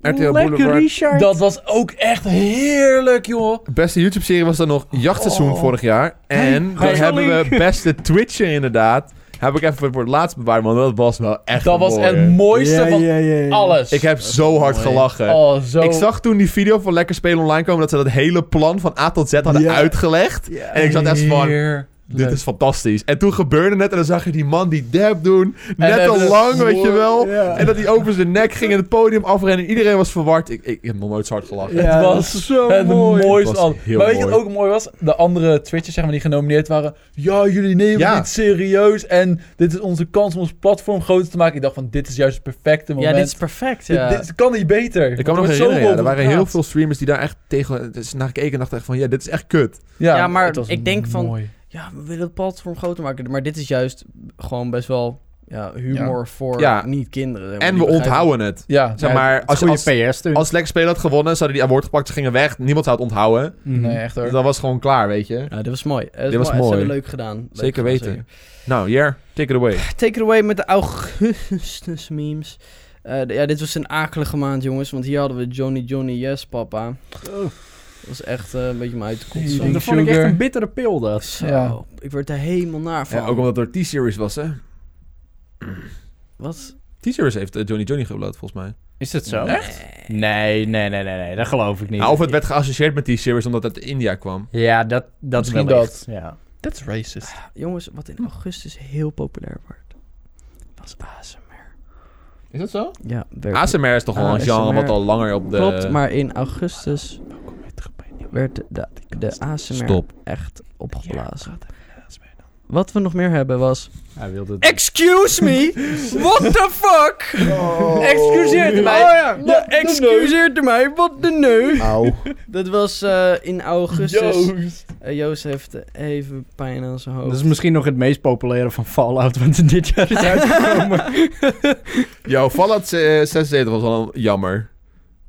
S1: RTL Boulevard.
S2: Richard.
S3: Dat was ook echt heerlijk, joh.
S1: Beste YouTube-serie was dan nog Jachtseizoen
S2: Oh.
S1: vorig jaar. En
S2: Hey,
S1: dan
S2: hey,
S1: hebben we
S2: Link.
S1: beste Twitcher inderdaad. Heb ik even voor het laatst bewaard, want dat was wel echt
S3: Dat was
S1: mooi,
S3: het
S1: hè.
S3: mooiste van alles.
S1: Ik heb zo hard
S3: mooi.
S1: gelachen.
S3: Oh, zo.
S1: Ik zag toen die video van Lekker Spelen Online komen... dat ze dat hele plan van A tot Z hadden
S2: Ja.
S1: uitgelegd. En ik zat echt van...
S3: Heerlijk.
S1: Dit is fantastisch. En toen gebeurde het en dan zag je die man die dab doen.
S3: En
S1: Net
S3: dan
S1: al
S3: de-
S1: lang, weet je wel.
S2: Ja.
S1: En dat hij over zijn nek ging en het podium afrennen. En iedereen was verward. Ik, ik, ik heb nog nooit zo hard gelachen.
S2: Ja,
S3: Het
S2: dat
S3: was
S2: is zo
S3: Het Eh, mooiste
S1: Het was
S3: al.
S1: heel
S3: Maar weet je wat
S1: mooi.
S3: ook mooi was? De andere Twitchers zeg maar, die genomineerd waren. Ja, jullie nemen
S1: Ja.
S3: het niet serieus. En dit is onze kans om ons platform groter te maken. Ik dacht van, dit is juist het perfecte
S4: Ja,
S3: moment.
S4: dit is perfect.
S3: Dit-
S4: Ja.
S3: dit, kan niet beter.
S1: Ik kan me
S3: Want
S1: nog
S3: er wordt
S1: herinneren, ja, er
S3: zoveel
S1: waren
S3: over
S1: heel
S3: gepraat.
S1: veel streamers die daar echt tegen dus naar gekeken en dachten echt van, ja, dit is echt kut.
S4: Ja, maar
S3: het was
S4: ik denk van-
S3: mooi.
S4: ja, we willen het platform groter maken. Maar dit is juist gewoon best wel ja, humor voor
S1: Ja.
S4: niet-kinderen. zeg maar,
S1: En
S4: die
S1: we
S4: begrijpen-
S1: onthouden het.
S3: Ja,
S1: Zeg
S3: ja,
S1: maar, als, je-
S2: Goede
S1: als,
S2: PS toen.
S1: als Lekker Spelen had gewonnen, ze hadden die award gepakt, ze gingen weg. Niemand zou het onthouden.
S3: Nee, echt hoor.
S1: Dus dat was gewoon klaar, weet je.
S4: Ja, dit was mooi. Eh,
S1: Dit was
S4: het is
S1: mooi.
S4: wel leuk gedaan. Leuk
S1: Zeker
S4: gedaan,
S1: weten. Nou, Jer, take it away.
S4: Take it away met de Augustus memes. Eh, d- ja, dit was een akelige maand, jongens. Want hier hadden we Johnny Johnny Yes, papa. Dat was echt eh, een beetje mijn uit de kont. zo.
S1: Mm.
S3: Eating
S2: Dat vond ik echt
S3: sugar.
S2: een bittere pil, dat.
S4: Zo,
S3: Ja.
S4: ik werd er helemaal naar van.
S1: Ja, ook omdat het door T-Series was, hè.
S4: Wat?
S1: T-Series heeft eh, Johnny Johnny geüpload, volgens mij.
S2: Is dat zo?
S4: Echt?
S2: Nee, nee, nee, nee, nee, dat geloof ik niet.
S1: Nou, of het werd geassocieerd met T-Series omdat het uit India kwam.
S2: Ja, dat, dat
S3: Misschien
S2: wel
S3: dat.
S2: echt, Ja.
S3: That's racist.
S4: Jongens, wat in augustus heel populair werd, was ASMR.
S3: Is dat zo?
S4: Ja, werkelijk.
S1: ASMR is toch wel een
S4: ASMR.
S1: genre wat al langer op de...
S4: Klopt, maar in augustus werd de, de, de ASMR
S1: Stop.
S4: echt opgeblazen. Wat we nog meer hebben was...
S2: Hij wilde het.
S4: Excuse me? What the fuck? Excuseert u mij? Ja, excuseert u mij? Wat de neu?
S1: Auw.
S4: Dat was eh, in augustus.
S3: Joost.
S4: Eh, Joost heeft even pijn aan zijn hoofd.
S2: Dat is misschien nog het meest populaire van Fallout, wat er dit jaar is uitgekomen.
S1: Yo, Fallout eh, 76 was wel jammer.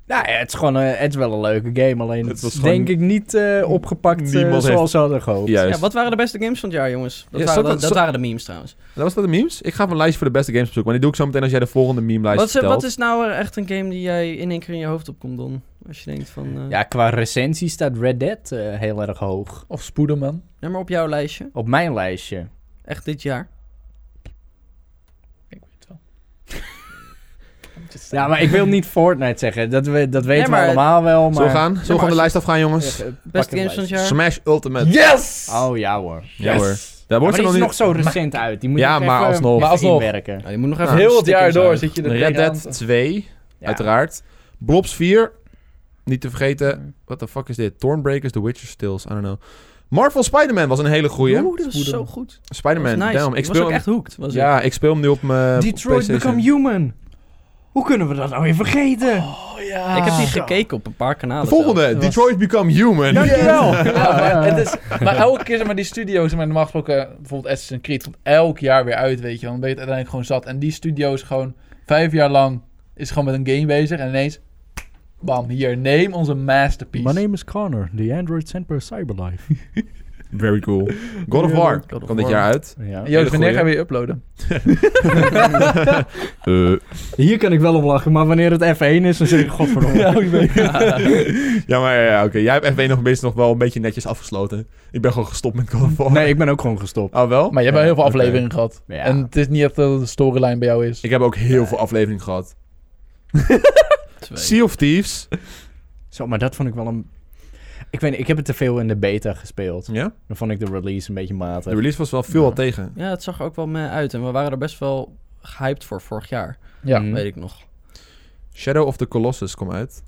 S2: [laughs] nou, ja, het is gewoon eh, het is wel een leuke game, alleen
S1: Het
S2: het
S1: was
S2: is
S1: gewoon-
S2: denk ik niet eh, opgepakt eh,
S1: Niemand
S2: zoals
S1: heeft-
S2: ze hadden gehoopt.
S1: Juist.
S4: Ja, wat waren de beste games van het jaar, jongens? Dat,
S1: Ja,
S4: waren,
S1: zo-
S4: dat, dat
S1: zo-
S4: waren de memes trouwens.
S1: Dat was dat de memes? Ik ga even een lijstje voor de beste games opzoeken. Maar die doe ik zo meteen als jij de volgende meme-lijst
S4: Wat is,
S1: vertelt.
S4: wat is nou eh, echt een game die jij in één keer in je hoofd opkomt, Don? Als je denkt van... eh,
S2: Ja, qua recensie staat Red Dead eh, heel erg hoog.
S3: Of Spoederman.
S4: Nee, maar op jouw lijstje.
S2: Op mijn lijstje.
S4: Echt dit jaar.
S3: Ik weet het wel.
S2: Ja, maar ik wil niet Fortnite zeggen. Dat, we, dat weten
S4: maar-
S2: we allemaal wel, maar...
S1: Zullen we gaan? Zullen we gewoon de
S4: als-
S1: lijst afgaan, jongens?
S2: Eh, eh, pak
S4: Beste
S2: een
S4: games van het
S2: lijst.
S4: jaar.
S1: Smash Ultimate.
S3: Yes!
S2: Oh, ja hoor.
S1: Ja hoor. Daar
S2: Maar
S1: wordt ze
S2: die
S1: nog
S2: is
S1: niet...
S2: nog zo recent uit. Die moet
S1: Ja,
S2: je nog
S1: maar
S2: even-
S1: alsnog.
S3: Maar alsnog.
S2: inwerken.
S4: Ja, je moet nog
S1: Nou,
S4: even
S3: Heel het
S4: stickers
S3: jaar door
S4: halen.
S3: zit je er
S1: Red
S3: tegenaan.
S1: Dead 2,
S2: Ja.
S1: uiteraard. eh, Blobs 4, niet te vergeten.
S2: Mm.
S1: What the fuck is dit? Thornbreakers, The Witcher Stills, I don't know. Marvel Spider-Man was een hele goeie.
S4: Oeh, dat was zo goed. Dat was
S1: Spider-Man,
S4: nice.
S1: damn. Ik
S4: was
S1: speel
S4: ook
S1: hem...
S4: echt hooked. Was ik.
S1: Ja, ik speel hem nu op mijn
S2: Detroit
S1: PlayStation.
S2: Become Human. Hoe kunnen we dat nou weer vergeten?
S3: Oh ja.
S4: ik heb die
S2: Zo.
S4: gekeken op een paar kanalen.
S1: De volgende,
S4: zelfs.
S1: Detroit Become Human.
S2: Dankjewel.
S3: Ja, maar, het is, maar elke keer zeg maar, die studio's, zeg maar, normaal gesproken bijvoorbeeld Assassin's Creed, komt elk jaar weer uit, weet je wel. Dan ben je het uiteindelijk gewoon zat. En die studio's gewoon vijf jaar lang is gewoon met een game bezig. En ineens, bam, hier, neem onze masterpiece.
S2: is Connor, the android sent by Cyberlife.
S1: Very cool. God of War
S3: God of
S1: kwam dit
S3: War.
S1: jaar uit.
S2: [laughs] Ja.
S3: Joost, wanneer
S1: goeie.
S3: gaan we je uploaden?
S1: Eh,
S2: Hier kan ik wel om lachen, maar wanneer het F1 is, dan zeg [laughs] ik godverdomme.
S3: Ja, ik
S2: [laughs]
S3: weet
S1: [laughs] ja, maar ja, oké. Jij hebt F1 nog best nog wel een beetje netjes afgesloten. Ik ben gewoon gestopt met God of War.
S2: Nee, ik ben ook gewoon gestopt.
S1: Oh, wel?
S3: Maar je hebt wel heel veel
S1: Oké.
S3: afleveringen gehad.
S2: Ja.
S3: En het is niet echt dat het een storyline bij jou is.
S1: Ik heb ook heel veel afleveringen
S4: [laughs]
S1: gehad. Sea of Thieves.
S2: Zo, maar dat vond ik wel een... Ik weet niet, ik heb het te veel in de beta gespeeld.
S1: Ja?
S2: Dan vond ik de release een beetje matig.
S1: De release was wel veel
S2: Ja.
S1: al tegen.
S4: Ja, het zag er ook wel mee uit. En we waren er best wel gehyped voor vorig jaar,
S3: Ja.
S1: Hm?
S2: Mm.
S4: weet ik nog.
S1: Shadow of the Colossus kwam uit.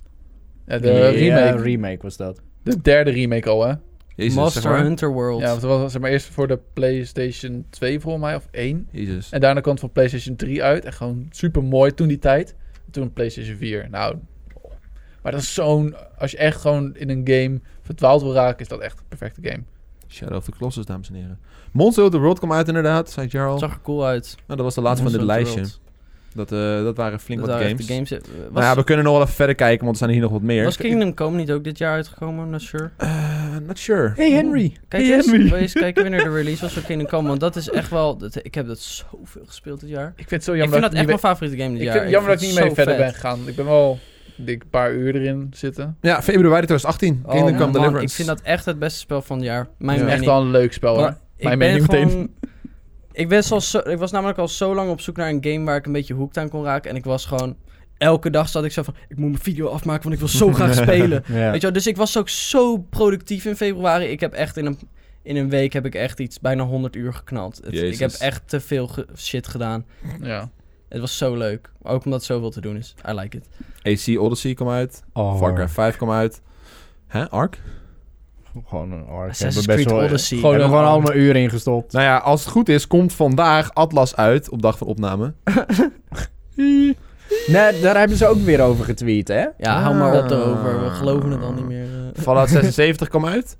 S3: Ja, de
S2: Ja,
S3: remake.
S2: remake was dat.
S3: De derde remake al, hè?
S1: Jezus,
S4: Monster
S1: zeg maar.
S4: Hunter World.
S3: Ja, want het was zeg maar eerst voor de PlayStation 2 volgens mij, of 1.
S1: Jezus.
S3: En daarna kwam het voor PlayStation 3 uit. En gewoon super mooi toen die tijd. Toen PlayStation 4. Nou, maar dat is zo'n... Als je echt gewoon in een game verdwaald wil raken, is dat echt een perfecte game.
S1: Shadow of the Colossus, dames en heren. Monster Hunter World kwam uit inderdaad, zei ik jaar al.
S4: Het zag er cool uit.
S1: Nou, dat was de laatste van dit
S4: Monster
S1: lijstje.
S4: Hunter
S1: Dat, eh, dat waren flink wat
S4: World. Dat waren
S1: games.
S4: echt de games. eh, Was,
S1: Nou ja, we kunnen nog wel even verder kijken, want er zijn hier nog wat meer.
S4: was Kingdom Come niet ook dit jaar uitgekomen? I'm not sure.
S1: Eh, not sure.
S2: Hey Henry!
S4: Kijk
S2: Hey,
S4: eens,
S2: Henry.
S4: wil je eens kijken wanneer de release was van Kingdom Come. Want dat is echt wel... dat- ik heb dat zoveel gespeeld dit jaar.
S3: Ik vind het zo
S4: ik
S3: jammer
S4: vind
S3: dat
S4: dat echt
S3: ik
S4: mijn
S3: niet
S4: favoriete game dit
S3: mee-
S4: jaar.
S3: ik vind het jammer dat ik
S4: vind
S3: niet
S4: het
S3: mee
S4: zo
S3: verder ben
S4: vet.
S3: gegaan. Ik ben wel dik een paar uur erin zitten.
S1: Ja, februari 2018.
S4: Oh,
S1: Kingdom Come
S4: man,
S1: Deliverance.
S4: Ik vind dat echt het beste spel van het jaar. Mijn
S1: Ja.
S4: mening.
S3: Echt wel een leuk
S1: Oh,
S3: spel, hoor.
S4: Maar
S3: Mijn
S4: ben
S3: mening meteen.
S4: gewoon- Ik, ben al zo, ik was namelijk al zo lang op zoek naar een game waar ik een beetje hooked aan kon raken. En ik was gewoon... Elke dag zat ik zo van... Ik moet mijn video afmaken, want ik wil
S1: [laughs]
S4: zo graag spelen.
S2: Ja.
S4: Weet je wel, dus ik was ook zo productief in februari. Ik heb echt in een, in een week heb ik echt iets bijna 100 uur geknald. Het- ik
S1: Jezus.
S4: heb echt te veel ge- shit gedaan.
S3: Ja.
S4: Het was zo leuk. Ook omdat zoveel te doen is. I like it.
S1: AC Odyssey kwam uit.
S2: Oh,
S1: Far Cry 5 kwam uit. Hè, Ark?
S2: Gewoon een ork.
S4: Assassin's
S2: Hebben
S4: Creed
S2: best wel-
S4: Odyssey.
S2: Gewoon, hebben
S3: Gewoon
S2: gewoon
S3: een-
S2: allemaal uren ingestopt.
S1: Nou ja, als het goed is, komt vandaag Atlas uit op dag van opname.
S2: Nee, daar hebben ze ook weer over getweet, hè?
S4: Ja, hou maar op
S1: Ah.
S4: erover. We geloven het al niet meer. eh.
S1: [laughs] Fallout 76 kwam uit.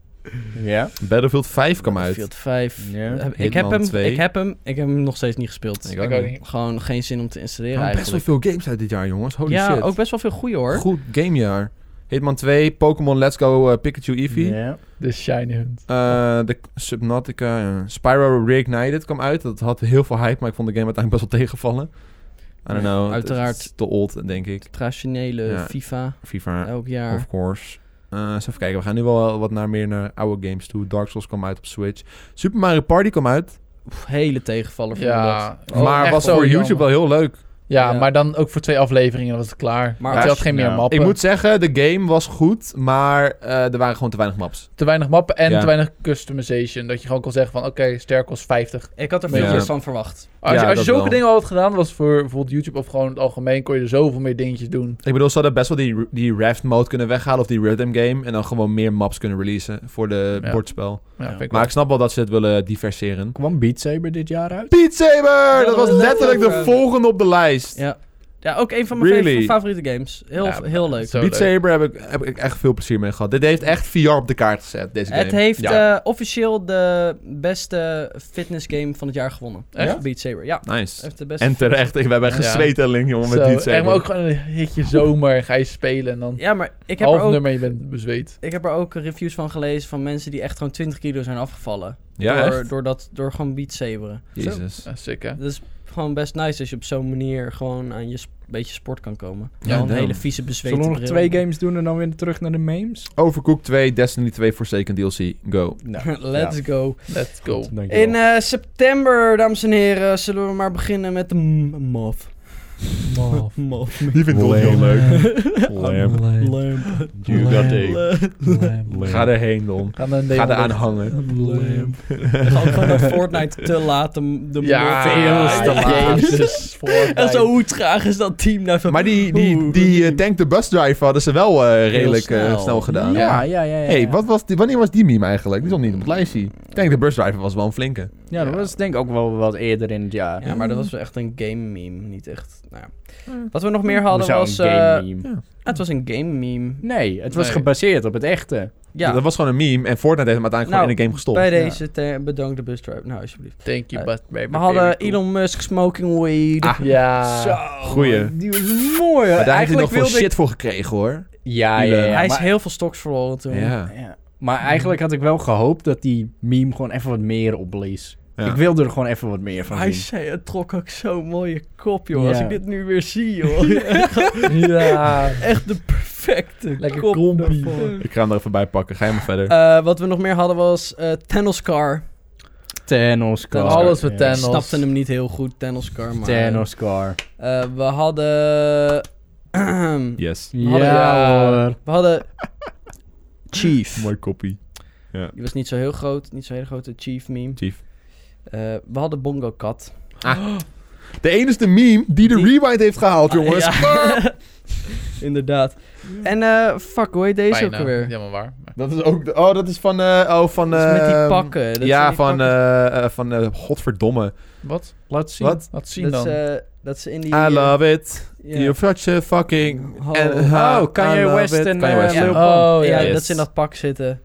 S2: Ja.
S1: Battlefield 5 kwam uit.
S4: Battlefield 5.
S2: Ja.
S4: Eh, Ik, heb
S1: Hitman
S4: hem,
S1: 2.
S4: ik heb hem. Ik heb hem nog steeds niet gespeeld.
S1: Ik
S3: Ik
S1: ook
S3: ook
S1: niet.
S3: niet.
S4: Gewoon geen zin om te installeren
S1: Er best wel
S4: eigenlijk.
S1: veel games uit dit jaar, jongens. Holy
S4: ja,
S1: shit.
S4: ook best wel veel goeie hoor.
S1: Goed gamejaar. Hitman 2, Pokémon Let's Go, eh, Pikachu Eevee.
S2: Ja.
S3: De Shiny Hunt.
S1: Eh, de Subnautica, eh, Spyro Reignited kwam uit. Dat had heel veel hype, maar ik vond de game uiteindelijk best wel tegenvallen. I don't know. het-
S4: Uiteraard.
S1: Het is te old, denk ik.
S4: Traditionele
S1: Ja.
S4: FIFA.
S1: FIFA,
S4: Elk jaar.
S1: of course. Eh, eens even kijken, we gaan nu wel wat naar, meer naar oude games toe. Dark Souls kwam uit op Switch. Super Mario Party kwam uit.
S4: Pff, hele tegenvaller vond ik dat.
S3: Ja. Oh,
S1: maar
S3: echt
S1: was
S3: zo
S1: voor
S3: jammer.
S1: YouTube wel heel leuk.
S3: Ja,
S4: Ja.
S3: maar dan ook voor twee afleveringen dan was het klaar.
S4: Maar
S3: Maar het
S4: als-
S3: had geen
S2: ja.
S3: meer mappen.
S1: Ik moet zeggen, de game was goed, maar eh, er waren gewoon te weinig maps.
S3: Te weinig mappen en
S1: Ja.
S3: te weinig customization. Dat je gewoon kon zeggen van, oké, sterk kost 50.
S4: Ik had er
S1: Ja.
S4: veel meer van verwacht.
S3: Als,
S1: Ja,
S3: je, als je
S1: dat
S3: zulke
S1: wel.
S3: dingen al had gedaan, was voor bijvoorbeeld YouTube of gewoon het algemeen, kon je er zoveel meer dingetjes doen.
S1: Ik bedoel, ze hadden best wel die, die raft mode kunnen weghalen of die rhythm game. En dan gewoon meer maps kunnen releasen voor de
S3: Ja.
S1: bordspel.
S3: Ja,
S2: Ja.
S3: vind ik
S1: Maar
S3: wel.
S1: ik snap wel dat ze het willen diverseren.
S2: Kwam Beat Saber dit jaar uit?
S1: Beat Saber! Dat
S4: dat
S1: was
S4: was
S1: letterlijk de
S4: leuk.
S1: volgende op de lijst.
S4: Ja. Ja, ook een van mijn
S1: Really?
S4: favoriete- favoriete games. Heel,
S3: Ja,
S4: heel leuk.
S3: zo
S1: Beat
S3: leuk.
S1: Saber heb ik, heb ik echt veel plezier mee gehad. Dit heeft echt VR op de kaart gezet, deze game.
S4: Het heeft
S1: Ja.
S4: eh, officieel de beste fitnessgame van het jaar gewonnen.
S3: Echt?
S4: Ja? Beat Saber, ja.
S1: nice.
S4: Heeft de beste
S1: En terecht, ik- we hebben
S3: Ja.
S1: gezweet en link, jongen,
S3: Zo,
S1: met Beat
S3: echt, maar
S1: Saber.
S3: ook gewoon een hitje zomer, ga je spelen en dan
S4: Ja, maar ik heb, er
S3: half
S4: ook,
S3: nummer je bent bezweet.
S4: ik heb er ook reviews van gelezen van mensen die echt gewoon 20 kilo zijn afgevallen.
S1: Ja,
S4: door,
S1: echt?
S4: door, dat, door gewoon Beat Saberen.
S1: Jezus.
S3: Ja, sick hè.
S4: Dat is gewoon best nice als je op zo'n manier gewoon aan je sp- beetje sport kan komen.
S1: Ja,
S4: Ja, een
S1: damn.
S4: hele vieze bezweten
S2: Zullen we nog
S4: bril.
S2: twee games doen en dan weer terug naar de memes?
S1: Overcooked 2, Destiny 2, Forsaken DLC, go.
S2: Nou,
S4: [laughs] Let's
S2: ja.
S4: go.
S3: Let's go.
S2: Goed, dankjewel.
S4: In eh, september, dames en heren, zullen we maar beginnen met de m- mof. [laughs] Mof. mof.
S1: Die vind ik heel leuk. Lamp.
S4: Lamp.
S2: You got it.
S1: Ga erheen, Don.
S3: Ga dan
S1: Ga eraan hangen.
S4: Lamp. Gewoon van [laughs] dat Fortnite te laat de, de
S3: Ja,
S4: mof-
S2: Veel te laat.
S3: Jezus. Fortnite.
S4: En zo, hoe traag is dat team nou? van-
S1: Maar die, die, die eh, Tank the Bus Drive hadden ze wel eh, redelijk eh, snel.
S4: snel.
S1: gedaan.
S2: Ja, ja, ja. ja, ja.
S1: hey, wat was die, wanneer was die meme eigenlijk? Die stond niet op het lijstje. Tank the Bus Driver was wel een flinke.
S2: Ja, dat was denk ik ook wel wat eerder in het jaar.
S4: Ja, maar dat was wel echt een game meme, niet echt. Nou, ja. Wat we nog meer hadden
S2: Hoezo
S4: was.
S2: een
S4: eh,
S2: game meme?
S4: ah, het was een game meme.
S2: Nee, het was
S3: Nee.
S2: gebaseerd op het echte.
S4: Ja,
S1: Dat was gewoon een meme en Fortnite heeft hem uiteindelijk
S4: Nou,
S1: gewoon in de game gestopt.
S4: bij
S2: ja.
S4: deze ter- bedankt de busdrive. Nou, alsjeblieft.
S3: Thank you,
S4: Eh,
S3: but baby,
S4: We hadden
S3: baby, cool.
S4: Elon Musk smoking weed.
S1: Ah,
S3: Ja.
S2: Zo,
S1: goeie.
S2: man, Die was mooi. hè.
S1: Maar daar heeft hij
S2: Eigenlijk
S1: nog veel
S2: wilde ik-
S1: shit voor gekregen hoor.
S2: Ja, ja, ja.
S4: Hij is
S2: maar-
S4: heel veel stocks verloren toen.
S1: Ja.
S2: Ja. Maar eigenlijk had ik wel gehoopt dat die meme gewoon even wat meer opblies.
S1: Ja.
S2: Ik wilde er gewoon even wat meer van
S4: Hij
S2: zien.
S4: zei, het trok ook zo'n mooie kop, joh.
S2: Ja.
S4: Als ik dit nu weer zie, joh.
S3: ja.
S4: [laughs] Echt de perfecte
S3: Lekker
S4: kop
S3: krompie.
S4: daarvoor.
S1: Ik ga hem er even bij pakken. Ga je maar verder.
S4: Eh, wat we nog meer hadden was eh Tenoskar.
S2: Thanos Car.
S3: Alles met
S2: Ja.
S4: Ik
S3: Thanos.
S4: snapte hem niet heel goed, Tenoskar. Maar,
S2: Thanos Car.
S4: eh, we hadden... [clears throat]
S1: Yes.
S2: Ja,
S4: hadden-
S2: hoor.
S4: We hadden Chief.
S1: Mooi kopie.
S4: Die was niet zo heel groot, niet zo'n hele grote Chief meme.
S1: Chief.
S4: Eh, we hadden Bongo Cat.
S1: De enige meme die de rewind heeft gehaald, jongens.
S4: Ah, ja. [laughs] Inderdaad. En eh, fuck, hoe heet deze ook alweer?
S3: Ja, maar waar. Maar-
S1: Dat is ook... de- oh, dat is van... eh, oh, van...
S4: Dat is met die
S1: ehm,
S4: pakken. Dat zijn
S1: ja,
S4: die
S1: van...
S4: pakken.
S1: eh, eh, van eh, godverdomme.
S3: Wat? Laat zien.
S1: Wat?
S3: Laat zien
S4: dat,
S3: dan.
S4: is, eh, dat ze in die...
S1: I
S4: eh,
S1: love it.
S4: ja. Oh,
S1: You're such a fucking...
S4: Ho-
S1: en-
S2: Oh,
S1: I
S2: Kanye
S1: love
S2: West
S1: it.
S2: en,
S1: Kanye
S2: eh,
S1: West.
S4: ja.
S1: Lil Pump.
S3: Oh,
S4: ja,
S1: yes.
S4: dat ze in dat pak zitten.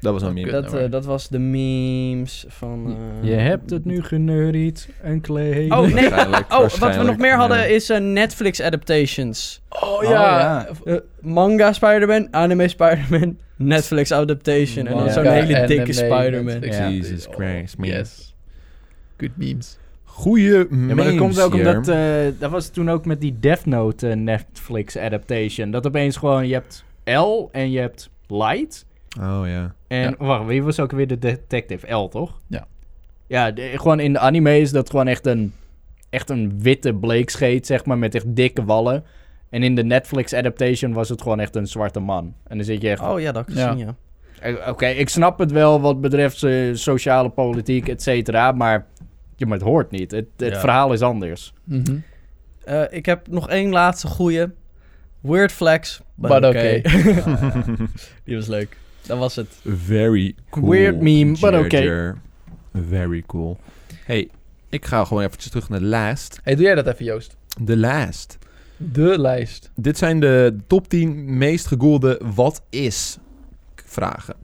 S1: Dat was een meme.
S4: Dat, eh, dat was de memes van... eh,
S2: Je hebt het nu genuried, een klee.
S4: Oh, nee.
S1: Waarschijnlijk,
S4: Oh, wat we nog
S1: waarschijnlijk,
S4: meer
S1: ja.
S4: hadden is eh, Netflix adaptations.
S3: Oh
S2: ja.
S3: ja.
S4: Eh, manga Spider-Man, anime Spider-Man, Netflix adaptation. en dan
S2: Manga,
S4: zo'n hele dikke Spider-Man.
S2: Ja.
S1: Jesus Christ, man.
S3: Oh, Yes. Good memes.
S1: Goeie memes
S2: Ja, maar dat komt ook
S1: hier.
S2: omdat... eh, dat was toen ook met die Death Note eh, Netflix adaptation. Dat opeens gewoon, je hebt L en je hebt Light.
S1: Oh, ja.
S2: En wacht, wie was ook weer de detective? L, toch?
S3: Ja.
S2: Ja, de- gewoon in de anime is dat gewoon echt een, echt een witte bleekscheet, zeg maar, met echt dikke wallen. En in de Netflix adaptation was het gewoon echt een zwarte man. En dan zit je echt...
S4: Oh ja, dat kan
S3: Ja.
S4: zien, ja.
S2: Eh, Oké, ik snap het wel wat betreft eh, sociale politiek, et cetera. Maar, ja, maar het hoort niet. Het, het
S3: Ja.
S2: verhaal is anders.
S3: Mhm.
S4: Eh, ik heb nog één laatste goeie. Weird flex, but,
S3: But
S4: okay.
S3: okay.
S4: Die was leuk. [laughs] Dat was het.
S1: Very cool.
S2: Weird meme, but okay.
S1: Ginger. Very cool. hey, ik ga gewoon eventjes terug naar de last.
S3: Hey, doe jij dat even, Joost?
S1: De last.
S3: De lijst.
S1: Dit zijn de top 10 meest gegoogelde wat is vragen.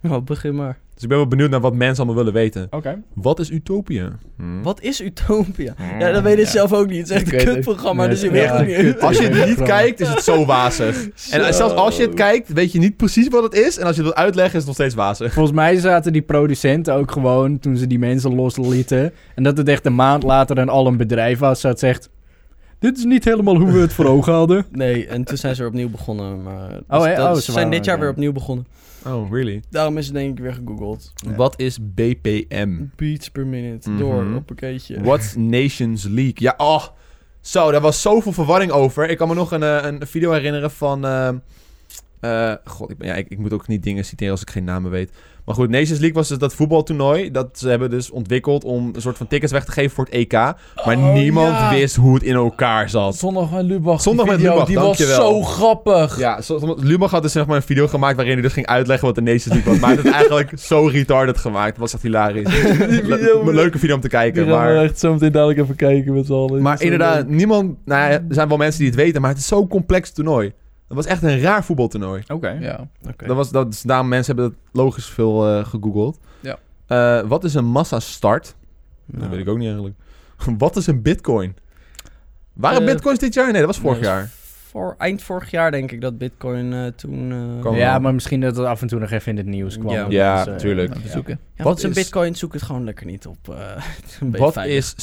S4: Nou, begin maar.
S1: Dus ik ben wel benieuwd naar wat mensen allemaal willen weten.
S2: Oké.
S1: Wat is utopie? Hm.
S4: Wat is Utopia? Ja, dat weet ik
S3: Ja.
S4: zelf ook niet. Het is echt
S3: Ik
S4: een
S3: weet het.
S4: kutprogramma,
S2: Nee,
S4: dus je
S2: het is
S4: weet
S2: echt
S4: het
S2: een
S4: niet.
S2: kut-
S1: Als je het niet kijkt, is het zo wazig. En zelfs als je het kijkt, weet je niet precies wat het is. En als je het wilt uitleggen, is het nog steeds wazig.
S2: Volgens mij zaten die producenten ook gewoon toen ze die mensen loslieten. En dat het echt een maand later en al een bedrijf was dat zegt... Dit is niet helemaal hoe we het voor ogen hadden.
S4: Nee, en toen zijn ze weer opnieuw begonnen. Maar dus
S2: Oh, hè?
S4: dat-
S2: Oh, ze
S4: ze zijn
S2: waren-
S4: dit jaar
S2: oké.
S4: weer opnieuw begonnen.
S1: Oh, really?
S4: Daarom is het denk ik weer gegoogeld.
S1: Wat is BPM?
S4: Beats per minute.
S1: Mhm.
S4: Door, op pakketje.
S1: [laughs] What's Nations League? Ja, oh. Zo, daar was zoveel verwarring over. Ik kan me nog een, eh, een video herinneren van... ehm, eh, God, ik, ben- ja, ik, ik moet ook niet dingen citeren als ik geen namen weet. Maar goed, Nations League was dus dat voetbaltoernooi. Dat ze hebben dus ontwikkeld om een soort van tickets weg te geven voor het EK. Maar
S3: Oh,
S1: niemand
S3: ja.
S1: wist hoe het in elkaar zat.
S3: Zondag met Lubach.
S1: Zondag
S3: die
S1: met
S3: video,
S1: Lubach,
S3: Die was
S1: dankjewel.
S3: zo grappig. [laughs]
S1: Ja, zo- soms- Lumach had dus zeg maar een video gemaakt waarin hij dus ging uitleggen wat de Nations League was. Maar hij
S3: [laughs]
S1: had het eigenlijk zo retarded gemaakt. Het was echt hilarisch. Le- een leuke video om te kijken,
S3: Die gaan
S1: maar...
S3: we echt zo meteen dadelijk even kijken met z'n allen.
S1: Maar inderdaad, niemand... Nou, ja, er zijn wel mensen die het weten, maar het is zo'n complex toernooi. Dat was echt een raar voetbaltoernooi.
S2: Oké.
S3: Ja.
S1: Dat was, dat, dus daarom mensen hebben dat logisch veel eh, gegoogeld.
S3: Ja.
S1: Eh, wat is een massastart? Dat weet ik ook niet eigenlijk. [laughs] wat is een bitcoin? Waren
S4: Eh,
S1: bitcoins dit jaar? Nee, dat was vorig
S4: Nee, dat
S1: jaar.
S4: Voor, eind vorig jaar denk ik dat Bitcoin eh, toen... eh,
S1: Kan
S2: Ja,
S1: wel.
S2: maar misschien dat het af en toe nog even in het nieuws kwam.
S4: Ja.
S1: Ja,
S2: eh,
S1: tuurlijk.
S3: Even
S2: ja.
S3: zoeken.
S4: Ja,
S1: Wat
S4: wat is een
S1: is-
S4: bitcoin? Zoek het gewoon lekker niet op. eh, [laughs] het is een beetje
S1: Wat
S4: veilig.
S1: is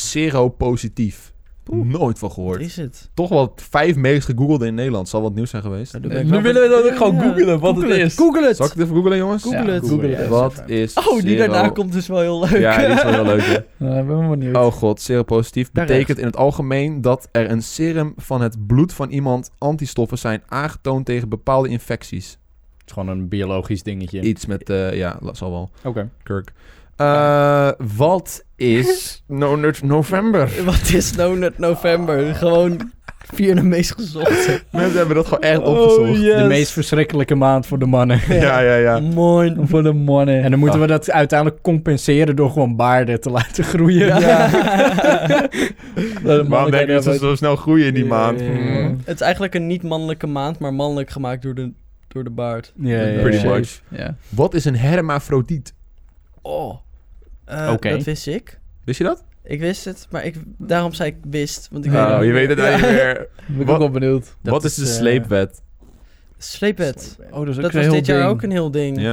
S1: seropositief? Nooit van
S4: Wat
S1: gehoord.
S4: is het?
S1: Toch wel vijf meest gegoogelde in Nederland. Zal wat nieuws zijn geweest.
S4: Nou, doe
S3: Eh,
S4: ik
S3: Nu
S4: wel-
S3: willen we dat ook
S4: Ja,
S3: gewoon
S4: ja.
S3: googelen wat
S4: Google
S3: het
S4: het.
S3: is.
S4: Google het.
S1: Zal ik het even googelen, jongens?
S4: Google
S3: Ja,
S4: het.
S3: Google
S2: het.
S1: Wat is
S4: Oh, die
S1: sero-
S4: daarna komt is wel heel leuk.
S1: Ja, die is wel heel leuk. hè?
S3: Nou, ik ben wel benieuwd.
S1: Oh god, seropositief
S4: Daar
S1: betekent
S4: rechts.
S1: in het algemeen dat er een serum van het bloed van iemand antistoffen zijn aangetoond tegen bepaalde infecties.
S2: Het is gewoon een biologisch dingetje.
S1: Iets met, eh, ja, dat zal wel.
S2: Oké.
S1: Kirk. Eh, wat is [laughs] no Nut november?
S4: [laughs] Wat is nou net november? Gewoon via de meest gezochte.
S1: Mensen hebben dat gewoon echt opgezocht.
S2: De meest verschrikkelijke maand voor de mannen. [laughs]
S1: Ja, ja, ja.
S4: Mooi.
S3: [laughs] Voor de
S1: [laughs]
S3: money.
S2: En dan
S1: Ah.
S2: moeten we dat uiteindelijk compenseren door gewoon baarden te laten groeien. [laughs]
S1: Waarom denk je dat ze zo snel groeien in die
S4: Ja,
S1: maand?
S4: ja, ja.
S1: Hmm.
S4: [laughs] Het is eigenlijk een niet-mannelijke maand, maar mannelijk gemaakt door de, door de baard.
S2: Ja, ja, ja.
S1: Pretty
S3: Shape.
S1: much.
S3: Ja.
S1: Wat is een hermafrodiet?
S4: Oh. Eh,
S2: Oké.
S4: Dat wist ik.
S1: Wist je dat?
S4: Ik wist het, maar ik, daarom zei ik wist. Want ik weet
S1: Oh,
S4: het
S1: je
S4: niet.
S1: weet het
S4: Ja.
S1: eigenlijk
S4: [laughs]
S1: weer.
S3: Ben ik
S1: Wat-
S3: ook wel benieuwd.
S2: Dat
S1: Wat is de
S2: eh,
S1: sleepwet?
S4: Sleepwet.
S3: Oh, dat is ook
S4: Dat
S3: een
S4: was
S3: heel
S4: dit jaar
S3: ding.
S4: ook een heel ding.
S1: Ja.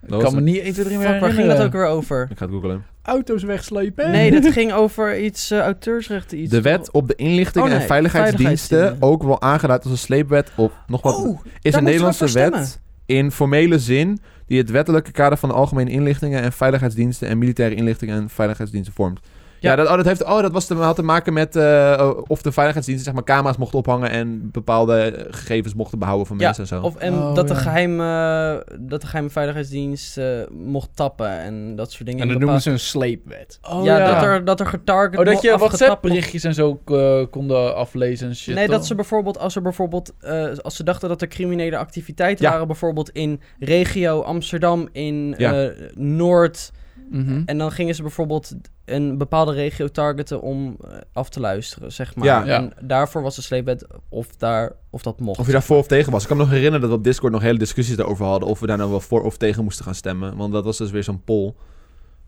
S1: was
S3: Ik kan me
S1: het.
S3: niet 1, 2, 3 meer
S4: Fuck, waar ging
S3: herinneren.
S4: dat ook weer over?
S1: Ik ga het googlen.
S2: Auto's wegslepen.
S4: Nee, dat ging over iets eh, auteursrechten. Iets
S1: De wet op de inlichtingen
S4: Oh, nee,
S1: en veiligheidsdiensten,
S4: veiligheidsdiensten.
S1: ook wel aangeraad als een sleepwet op nog wat,
S4: Oh,
S1: is
S4: daar
S1: een
S4: moeten we
S1: Nederlandse
S4: voor
S1: wet in formele zin die het wettelijke kader van de algemene inlichtingen en veiligheidsdiensten en militaire inlichtingen en veiligheidsdiensten vormt. Ja,
S4: Ja.
S1: dat, oh, dat, heeft, oh, dat was te, had te maken met eh, of de veiligheidsdiensten zeg maar, camera's mochten ophangen en bepaalde eh, gegevens mochten behouden van
S4: Ja,
S1: mensen en zo.
S4: Of, en
S3: Oh,
S4: dat, de
S3: ja.
S4: geheime, dat de geheime veiligheidsdienst eh, mocht tappen en dat soort dingen.
S2: En dat
S4: In
S2: noemen
S4: bepaal-
S2: ze een sleepwet.
S3: Oh,
S4: ja,
S3: ja,
S4: Dat, er, dat er getarget
S3: Oh, dat
S4: mo-
S3: je
S4: afgetapt mocht-
S3: WhatsApp-berichtjes en zo eh, konden aflezen en shit.
S4: nee,
S3: toch?
S4: dat ze bijvoorbeeld, als ze bijvoorbeeld, eh, als ze dachten dat er criminele activiteiten
S1: Ja.
S4: waren, bijvoorbeeld in regio Amsterdam, in
S1: Ja.
S4: eh, Noord,
S3: Mhm.
S4: en dan gingen ze bijvoorbeeld een bepaalde regio targeten om eh, af te luisteren, zeg maar.
S1: Ja.
S3: Ja.
S4: En daarvoor was de sleepwet of, daar, of dat mocht.
S1: Of je daar voor of tegen was. Ik kan me nog herinneren dat we op Discord nog hele discussies daarover hadden. Of we daar nou wel voor of tegen moesten gaan stemmen. Want dat was dus weer zo'n poll.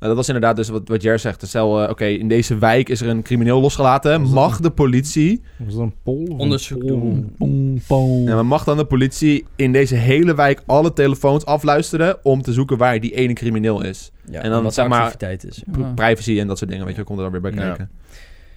S1: Nou, dat was inderdaad dus wat, wat Jer zegt. Dus Stel, eh, oké, in deze wijk is er een crimineel losgelaten.
S2: Was dat-
S1: Mag de politie...
S2: Was dat een pol?
S4: Onderzoek doen.
S3: Boom, boom.
S1: Ja, maar mag dan de politie in deze hele wijk alle telefoons afluisteren... om te zoeken waar die ene crimineel is?
S4: Ja,
S1: En dan,
S4: wat
S1: zeg
S4: de
S1: maar-
S4: activiteit is.
S1: P- Privacy en dat soort dingen, weet je, komt er dan weer bij
S2: Ja.
S1: kijken.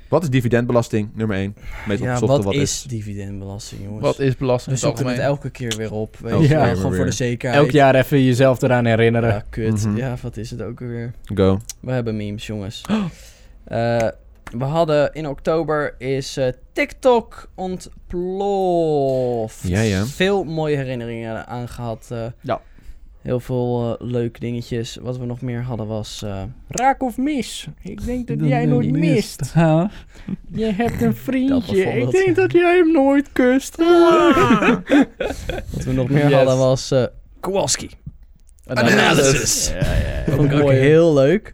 S1: Wat is dividendbelasting, nummer 1? Meest
S4: Ja,
S1: opgezochte wat
S4: wat, is, dividendbelasting, jongens?
S3: Wat is belasting
S4: we
S3: in het
S4: zoeken het
S3: algemeen?
S4: elke keer weer op. Weet
S1: Ja.
S4: je, wel,
S2: Ja.
S4: gewoon voor de zekerheid.
S2: Elk jaar even jezelf eraan herinneren.
S4: Ja, kut.
S1: Mhm.
S4: Ja, wat is het ook weer?
S1: Go.
S4: We hebben memes, jongens. Eh, we hadden in oktober is eh, TikTok ontploft.
S1: Ja, ja.
S4: Veel mooie herinneringen aan gehad. eh.
S2: Ja.
S4: Heel veel eh, leuke dingetjes. Wat we nog meer hadden was... eh,
S2: Raak of mis. Ik denk dat
S3: Dat
S2: jij
S3: ik
S2: nooit
S3: niet
S2: mist.
S3: mist. Huh?
S2: Je hebt [laughs] een vriendje. Ik
S4: bijvoorbeeld.
S2: denk dat jij hem nooit kust.
S3: Ah.
S4: wat we nog meer
S3: Yes.
S4: hadden was... eh Kowalski. Analysis.
S2: Ja, ja.
S4: Dat vond ik ook
S3: Mooi.
S4: heel leuk.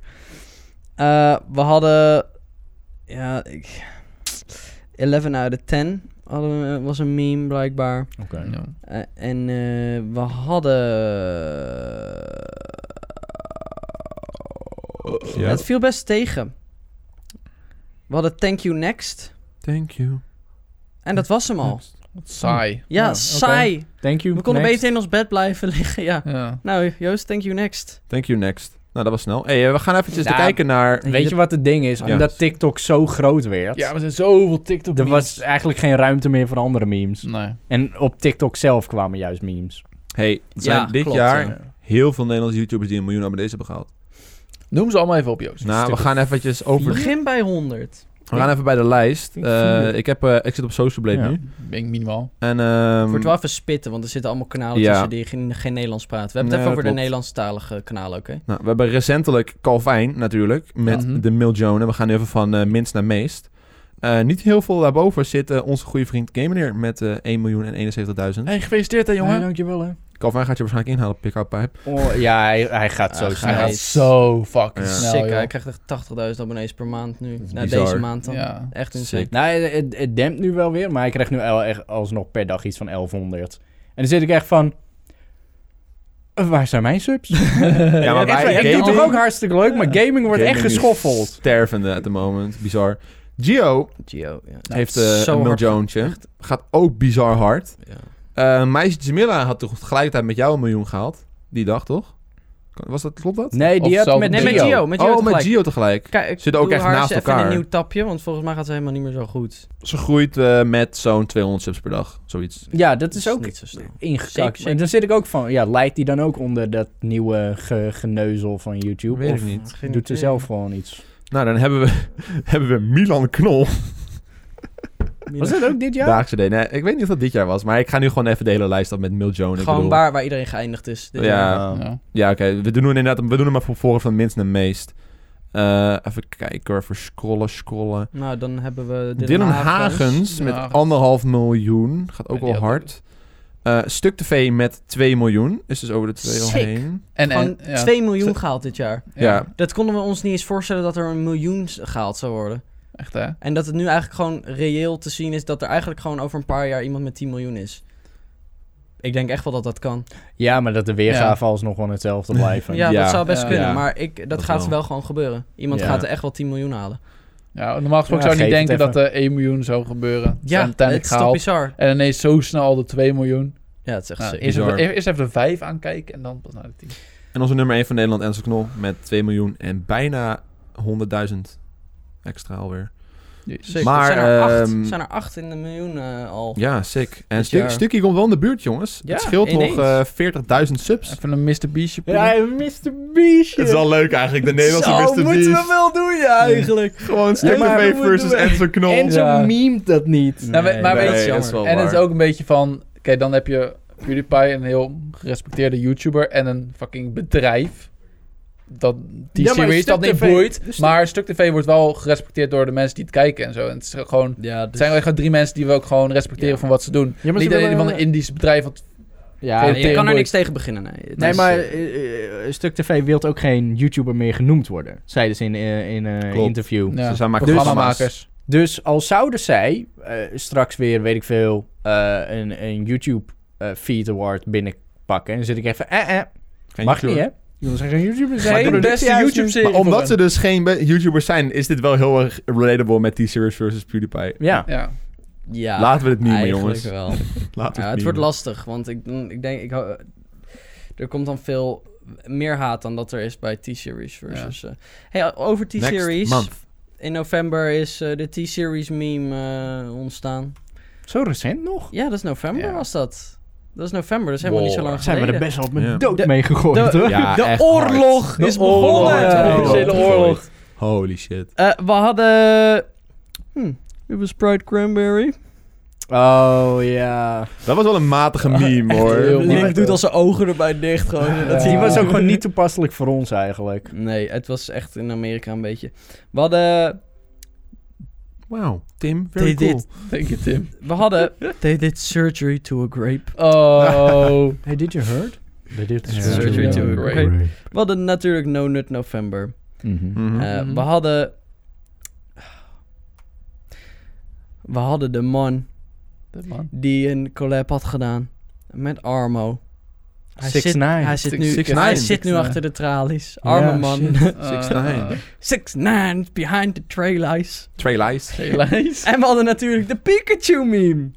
S4: Eh, we hadden... Ja, ik... 11 uit de 10 hadden we, was een meme blijkbaar.
S3: Ja.
S4: Eh, en eh, we hadden...
S1: Ja.
S4: Het viel best tegen. We hadden Thank You Next.
S1: Thank you.
S4: En dat was hem al.
S3: Wat saai.
S4: Ja,
S3: oké.
S4: saai.
S2: Thank you.
S4: We konden
S2: next.
S4: beter in ons bed blijven [laughs] liggen, ja.
S3: Ja.
S4: Nou, Joost, Thank You Next.
S1: Thank you, next. Nou, dat was snel. hey, eh, we gaan eventjes
S2: Ja.
S1: kijken naar...
S2: Weet je wat het ding is?
S1: Ja.
S2: Omdat TikTok zo groot werd.
S3: ja, er zijn zoveel tiktok
S2: er was eigenlijk geen ruimte meer voor andere memes.
S3: Nee.
S2: En op TikTok zelf kwamen juist memes.
S1: hey, er zijn
S4: Ja,
S1: dit
S4: klopt,
S1: jaar
S4: ja.
S1: heel veel Nederlandse YouTubers die een miljoen abonnees hebben gehaald.
S3: Noem ze allemaal even op, Joost.
S1: Nou, we gaan eventjes over...
S4: Begin bij 100.
S1: We gaan even bij de lijst.
S2: Ik
S1: Eh,
S2: vier.
S1: ik, heb, eh, ik zit op Social Blade
S2: Ja.
S1: nu.
S3: Ben ik minimaal.
S1: En, ehm,
S4: Wordt wel even spitten, want er zitten allemaal kanalen
S1: ja.
S4: tussen die geen, geen Nederlands praten. We hebben
S1: Nee,
S4: het even
S1: dat
S4: over de
S1: klopt.
S4: Nederlandstalige kanalen, oké?
S1: nou, we hebben recentelijk Calvijn natuurlijk, met
S3: Ja. Mhm.
S1: de Miljone. We gaan nu even van eh, minst naar meest. Eh, niet heel veel daarboven zit eh, onze goede vriend Gameneer met eh 1 miljoen en 71.000.
S3: Hey, gefeliciteerd hè, jongen.
S2: Ja, dankjewel hè.
S1: Calvijn gaat je waarschijnlijk inhalen op Pick-up Pipe.
S2: Oh, [laughs] ja, hij, hij gaat zo
S4: Hij
S2: snel.
S3: Hij gaat
S4: Nice.
S3: zo fucking
S1: Ja. Nou,
S3: snel,
S4: Sick,
S3: joh.
S4: hij krijgt echt 80.000 abonnees per maand nu.
S1: is
S4: Na
S1: bizar.
S4: deze maand dan.
S3: Ja.
S4: Echt insane.
S1: Sick.
S2: Nou, het, het- het dempt nu wel weer, maar hij krijgt nu al, echt alsnog per dag iets van 1100. En dan zit ik echt van... eh, Waar zijn mijn subs?
S1: Ja, maar
S2: ik
S1: wij-
S2: ik doe
S1: gaming-
S2: toch ook hartstikke leuk, maar gaming wordt
S1: Gaming
S2: echt
S1: is
S2: geschoffeld.
S1: Stervende at the moment. Bizar. Gio
S4: Gio, ja.
S1: heeft eh
S4: zo
S1: een
S4: hard
S1: miljoentje. Gaat ook bizar hard.
S4: Ja.
S1: Eh meisje Jamila had toch tegelijkertijd met jou een miljoen gehaald? Die dag, toch? Was dat, klopt dat?
S2: Nee,
S3: Of
S2: die had
S3: zelf-
S2: met
S4: Nee,
S2: Gio.
S4: met Gio. Met Gio
S1: oh, met
S4: tegelijk.
S1: Gio tegelijk.
S4: Kijk, ik
S1: Zitten ook
S4: doe
S1: echt
S4: haar
S1: naast
S4: eens even
S1: elkaar.
S4: een nieuw tapje, want volgens mij gaat ze helemaal niet meer zo goed.
S1: Ze groeit eh, met zo'n 200 subs per dag, zoiets.
S2: Ja, dat is ook
S4: niet zo snel. Zeker,
S2: ingekakt.
S4: zeker.
S2: En dan zit ik ook van, ja, leidt die dan ook onder dat nieuwe ge- geneuzel van YouTube?
S1: Weet ik
S2: of
S1: niet.
S4: Geen
S2: doet ze
S4: idee.
S2: zelf gewoon iets?
S1: Nou, dan hebben we, [laughs] hebben we Milan Knol.
S2: Was dat ook dit jaar?
S1: Daagse deed. Nee, ik weet niet of dat dit jaar was, maar ik ga nu gewoon even de hele lijst af met Miljoen.
S4: Gewoon waar, waar iedereen geëindigd is. Dus Dit jaar.
S1: Ja,
S3: Ja.
S1: ja oké. We doen hem inderdaad, we doen hem maar voor voren van minst naar meest. Eh, even kijken, hoor, even scrollen, scrollen.
S4: Nou, dan hebben we Dylan,
S1: Dylan
S4: Hagens.
S1: Hagens
S3: Dylan
S1: met
S3: Hagens.
S1: anderhalf miljoen. Gaat ook
S3: Ja, die
S1: wel
S3: had-
S1: hard. Eh, Stuk TV met 2 miljoen. Is dus over de 2 al
S4: Sick.
S1: heen.
S3: En, en,
S4: Gewoon
S3: ja.
S4: 2 miljoen gehaald dit jaar.
S1: Ja,
S4: Dat konden we ons niet eens voorstellen dat er een miljoen s- gehaald zou worden.
S3: Echt, hè?
S4: En dat het nu eigenlijk gewoon reëel te zien is dat er eigenlijk gewoon over een paar jaar iemand met 10 miljoen is. Ik denk echt wel dat dat kan.
S2: Ja, maar dat de weergave alsnog gewoon hetzelfde blijven.
S4: Ja,
S1: Ja.
S4: dat zou best
S3: Ja.
S4: kunnen,
S1: Ja.
S4: maar ik, dat,
S1: Dat
S4: gaat
S1: wel.
S4: wel gewoon gebeuren. Iemand
S2: Ja.
S4: gaat er echt wel 10 miljoen halen.
S3: Ja, normaal gesproken
S2: Ja,
S3: zou je
S2: geef
S3: niet
S2: het
S3: denken dat er 1 miljoen zou gebeuren. Ja,
S4: Ja, het
S3: uiteindelijk
S4: is toch
S3: gehaald.
S4: bizar.
S3: En ineens zo snel al de 2 miljoen.
S4: Ja, het is echt
S3: Nou,
S4: sick.
S3: eerst,
S1: Bizar.
S3: even, eerst even de 5 aankijken en dan pas naar de 10.
S1: En onze nummer 1 van Nederland, Enzo Knol, met 2 miljoen en bijna 100.000 extra alweer.
S4: Zeker.
S1: Maar,
S4: zijn, er acht,
S1: ehm,
S4: zijn er acht in de miljoen eh, al.
S1: Ja, sick. En
S4: Dit
S1: Stu
S4: jaar.
S1: Stukie komt wel in de buurt, jongens.
S4: Ja,
S1: het scheelt nog eh,
S4: ineens.
S1: 40.000 subs.
S3: Even een Mr. Beastje.
S2: Ja,
S3: poelen.
S2: Mr. Beastje.
S1: leuk eigenlijk, de
S4: Zo, moeten we wel doen, ja, eigenlijk.
S1: Gewoon
S4: Stuk maar- of A versus
S1: Enzo Knol.
S2: En zo
S3: Ja.
S2: memet dat niet.
S3: Nou, we- maar weet je,
S1: dat is wel
S3: en het is
S1: waar.
S3: ook een beetje van... Oké, dan heb je PewDiePie, een heel gerespecteerde YouTuber... en een fucking bedrijf. Dat die
S2: Ja, maar
S3: series
S2: Stuk
S3: dat niet
S2: TV
S3: boeit.
S2: dus-
S3: maar Stuk TV wordt wel gerespecteerd door de mensen die het kijken en zo. En het is gewoon...
S4: Ja,
S3: Het
S4: dus...
S3: zijn wel gewoon drie mensen die we ook gewoon respecteren
S4: Ja.
S3: van wat ze doen.
S2: Ja, maar
S3: niet
S2: ze
S3: een
S2: willen-
S3: van een Indisch bedrijf. Wat,
S2: Ja,
S4: Ja,
S3: Geen
S4: je kan er
S3: tegenwoordig.
S4: niks tegen beginnen, nee. Het
S2: Nee,
S4: is,
S2: maar
S4: eh,
S2: eh, eh, Stuk TV wil ook geen YouTuber meer genoemd worden, zeiden ze in een in, eh,
S1: Klopt.
S2: interview.
S3: ja,
S1: zijn maar
S3: programmamakers.
S2: Dus al zouden zij eh, straks weer, weet ik veel, eh, een, een YouTube eh, Feed Award binnenpakken, en dan zit ik even, eh, eh, mag niet hè? Je wil zeggen YouTuber
S3: Maar
S2: zijn.
S3: de beste YouTube-serie.
S1: Maar omdat
S3: voor
S1: ze dus geen be- YouTubers zijn, is dit wel heel erg relatable met T-Series versus PewDiePie.
S2: Ja.
S3: Ja.
S4: ja,
S1: Laten we dit niet meer,
S4: eigenlijk
S1: jongens.
S4: wel.
S1: Laten we
S4: Ja, het
S1: niet
S4: wordt
S1: meer.
S4: lastig, want ik, ik denk, ik, hou- er komt dan veel meer haat dan dat er is bij T-Series versus... eh, hey, over
S1: Next
S4: T-Series,
S1: month.
S4: in november is eh, de T-Series meme eh, ontstaan.
S2: Zo recent nog?
S4: Ja, dat is november
S2: Ja.
S4: was dat. Dat is november, dat is helemaal niet zo lang
S2: zijn we er
S4: geleden.
S2: best wel met
S1: Ja.
S2: dood
S4: De-
S2: mee gegooid,
S4: de-
S2: hoor.
S1: Ja, echt
S4: oorlog
S1: hard.
S4: is
S1: De
S3: Oh,
S4: begonnen.
S1: oorlog wordt
S4: Ja,
S1: echt
S4: officiële
S1: gegooid.
S4: oorlog.
S1: Holy shit.
S4: Eh, we hadden... Hm, dit was Sprite Cranberry.
S2: Oh, ja.
S1: Dat was wel een matige meme,
S3: heel
S1: hoor.
S3: Die matig.
S4: Link doet al zijn ogen erbij dicht gewoon. Dat
S2: Die
S4: hij-
S2: was ook gewoon niet toepasselijk voor ons, eigenlijk.
S4: Nee, het was echt in Amerika een beetje. We hadden...
S1: Wauw, Tim,
S4: They
S1: very
S4: did.
S1: cool.
S3: Thank you,
S4: [laughs]
S3: Tim.
S4: We hadden... They did surgery to a grape.
S3: Oh.
S2: Hey, did you heard? They did
S4: surgery
S3: to a
S4: grape. We hadden natuurlijk No Nut November.
S1: Mhm.
S4: Eh,
S3: Mhm.
S4: We hadden... We hadden de man
S3: man.
S4: die een collab had gedaan met Armo. Hij
S2: Six
S4: zit,
S2: Nine.
S4: hij zit
S1: Six-
S4: nu,
S1: Six
S4: hij
S1: Nine.
S4: zit nu
S3: Six
S4: achter de tralies. Arme
S2: Ja,
S4: man. [laughs]
S3: Ah,
S1: Six Nine.
S4: Six Nine behind the tralies.
S1: Trey Lies.
S3: [laughs] Helaas.
S4: En we hadden natuurlijk de Pikachu meme.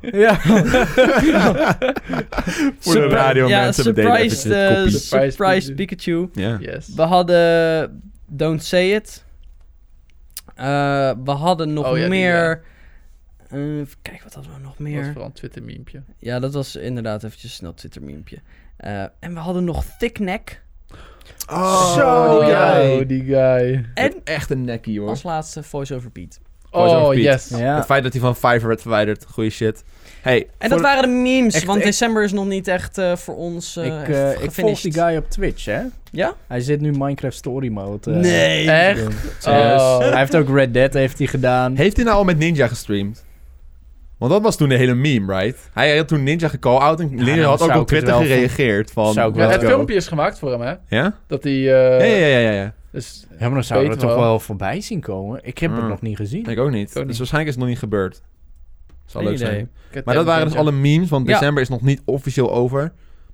S2: Ja. [laughs]
S1: Voor de radio
S4: ja,
S1: mensen bedenken
S4: surprised,
S1: even dit
S4: eh,
S1: kopie.
S4: surprised
S3: Surprised
S4: Pikachu.
S1: Ja.
S3: Yes.
S4: We hadden Don't Say It. Eh, we hadden nog
S3: Oh ja, die,
S4: meer... eh, even kijken, wat hadden we nog
S3: Dat was
S4: meer?
S3: vooral een Twitter memepje.
S4: Ja, dat was inderdaad eventjes snel Twitter memepje. Eh, en we hadden nog Thick Neck.
S1: Oh,
S2: Zo,
S1: die
S2: ja.
S1: guy.
S3: Oh, die guy.
S4: En
S1: Echt een nekkie, hoor.
S4: als laatste Voice Over Beat.
S1: Voice
S3: Oh,
S1: over Piet.
S3: yes.
S1: Het feit dat hij van Fiverr werd verwijderd, goeie shit. Hey,
S4: En
S1: voor-
S4: dat waren de memes,
S2: echt-
S4: want
S2: ik-
S4: december is nog niet echt eh, voor ons eh
S2: ik,
S4: echt
S2: eh ik volg
S4: gefinished.
S2: die guy op Twitch, hè?
S4: Ja?
S2: Hij zit nu Minecraft Story Mode. eh,
S4: Nee.
S2: te
S3: Echt?
S2: doen.
S3: Serieus?
S2: Oh. Hij heeft ook Red Dead heeft hij gedaan.
S1: heeft hij nou al met Ninja gestreamd? Want dat was toen de hele meme, right? Hij had toen Ninja gecall-out en Ninja
S2: dan
S1: had ook
S2: zou
S1: op
S2: ik het
S1: Twitter
S2: wel van-
S1: gereageerd van...
S2: zou ik
S3: Ja,
S2: wel.
S1: let's
S3: het
S1: go.
S3: filmpje is gemaakt voor hem, hè?
S1: Ja?
S3: Dat hij... eh
S1: Ja, ja, ja, ja, ja.
S3: Dus,
S2: Ja, maar dan zou
S3: Weet
S2: er
S3: wel.
S2: toch wel voorbij zien komen. Ik heb het
S1: Mm.
S2: nog niet gezien.
S1: Ik ook niet.
S3: ook niet.
S1: Dus waarschijnlijk is het nog niet gebeurd. Zal
S4: Geen
S1: leuk
S4: idee.
S1: zijn. Maar dat waren dus alle memes, want
S4: Ja.
S1: december is nog niet officieel over.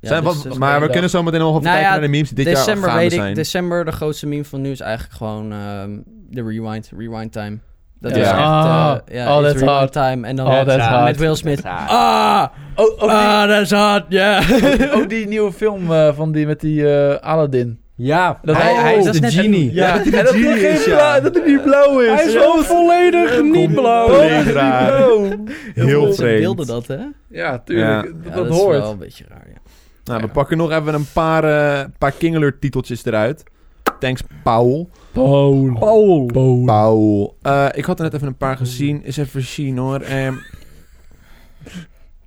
S4: Ja,
S1: zijn
S4: dus
S1: wat-
S4: het is
S1: maar we
S4: gewoon-
S1: kunnen zo meteen nog even
S4: Nou
S1: kijken
S4: ja,
S1: naar de memes die dit
S4: december
S1: jaar gaande
S4: weet ik,
S1: zijn.
S4: december de grootste meme van nu is eigenlijk gewoon ehm, de rewind, rewind time. Dat
S1: Ja.
S4: is echt,
S3: Ah,
S4: eh, ja,
S3: oh,
S4: it's
S3: that's
S4: rewind
S3: hard.
S4: time. En dan
S3: Oh,
S4: met-
S3: that's hard.
S4: met Will Smith.
S2: That's hard.
S4: Ah,
S3: Oh, ook,
S4: ah, that's hard, ja.
S3: die, oh, ook die nieuwe film eh, van die met die eh, Aladdin.
S2: Ja,
S3: Dat
S2: hij,
S3: hij-
S2: hij is
S4: dat is
S2: de
S4: net een-
S2: genie.
S1: Ja, dat hij
S3: en
S1: de
S3: dat,
S1: genie
S3: hij geen
S1: is, ja.
S3: blauw- dat hij niet blauw is.
S2: Hij is gewoon volledig niet blauw.
S1: Compleet raar.
S3: oh,
S1: Heel
S4: Ze
S1: vreemd.
S4: wilden dat, hè? Ja,
S3: Ja,
S1: Oh.
S3: tuurlijk.
S1: Ja.
S3: Dat,
S4: dat
S3: dat
S4: is
S3: hoort.
S4: wel een beetje raar, ja.
S1: Nou, we
S3: Ja.
S1: pakken nog even een paar, eh paar King Alert titeltjes eruit. Thanks, Paul.
S3: Paul.
S2: Paul.
S1: Paul. Eh, ik had er net even een paar gezien. Is even zien hoor. Ehm,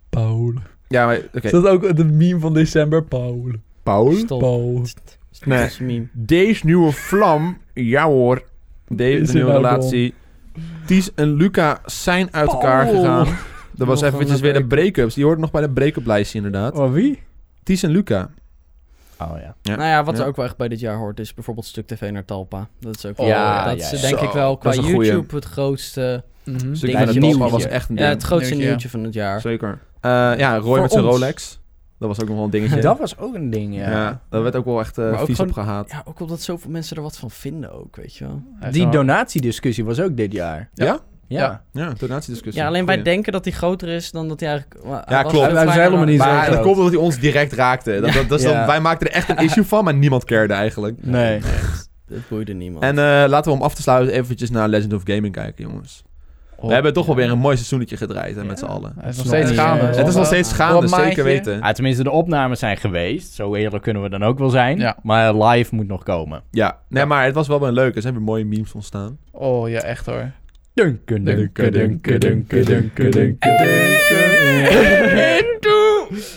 S3: Paul.
S1: ja, maar oké.
S3: Is dat ook de meme van december? Paul.
S1: Paul?
S4: Stop.
S3: Paul.
S4: Stop
S1: Nee.
S4: met zo'n meme.
S1: Deze nieuwe vlam. Ja hoor. Deze
S3: Is
S1: de nieuwe
S3: het nou
S1: relatie. Ties en Luca zijn uit
S4: Paul.
S1: elkaar gegaan. Dat was
S4: Nog
S1: eventjes
S4: een
S1: weer de break-ups. Die hoort nog bij de break-up lijstje inderdaad.
S2: Oh, wie?
S1: Ties en Luca.
S2: Oh ja.
S1: Ja.
S4: Nou ja, wat
S1: Ja.
S4: er ook wel echt bij dit jaar hoort, is bijvoorbeeld Stuk TV naar Talpa. Dat is ook
S3: Oh,
S4: wel-
S2: ja,
S4: dat
S2: ja,
S4: is
S2: ja.
S4: denk
S1: Zo,
S4: ik wel
S1: dat
S4: qua
S1: is een goeie.
S4: YouTube het grootste,
S3: Mhm.
S1: Stuk
S4: Dingetje.
S1: van het Talpa was
S4: Nieuwtje.
S1: echt een
S4: ja,
S1: ding.
S4: het grootste
S3: Dingetje, ja.
S4: nieuwtje van het jaar.
S1: Zeker. Eh, ja, Roy
S4: Voor
S1: met zijn
S4: ons.
S1: Rolex. Dat was ook nog wel een
S4: [laughs]
S1: dingetje.
S2: Dat was ook een ding, ja.
S1: ja. dat werd ook wel echt eh,
S4: Maar ook
S1: vies
S4: gewoon-
S1: op gehaat.
S4: Ja, ook omdat zoveel mensen er wat van vinden ook, weet je wel.
S3: Hij is
S2: Die
S3: wel-
S2: donatiediscussie was ook dit jaar.
S1: Ja?
S2: Ja.
S3: Ja.
S1: Ja, donatiediscussie.
S4: Ja, alleen wij
S1: Goeie.
S4: denken dat die groter is dan dat hij eigenlijk... wa-
S1: Ja, klopt.
S4: was. Hij was
S1: Wij
S4: kleiner
S2: zijn
S4: dan-
S2: helemaal niet zo-
S1: Maar dat
S2: groot.
S1: komt omdat hij ons direct raakte. Dat, dat, dat is dan,
S2: Ja.
S1: wij maakten er echt een issue van, maar niemand cared eigenlijk.
S2: Nee.
S4: Het boeide niemand.
S1: En eh, laten we om af te sluiten eventjes naar Legend of Gaming kijken, jongens.
S2: Oh.
S1: We hebben toch wel weer een mooi seizoennetje gedraaid hè, met z'n
S3: Ja.
S1: allen. eh,
S3: Hij is nog
S2: Snap
S3: steeds
S2: ik.
S3: gaande.
S2: Ja.
S1: Het is nog steeds gaande,
S3: Wat maandje?
S1: zeker weten.
S2: Ah, tenminste, de opnames zijn geweest. Zo eerlijk kunnen we dan ook wel zijn.
S3: Ja.
S2: Maar live moet nog komen.
S1: Ja, nee, maar het was wel weer leuk. Er zijn weer mooie memes ontstaan.
S3: Oh ja, echt hoor.
S2: Dunken, dunken, dunken, dunken, dunken,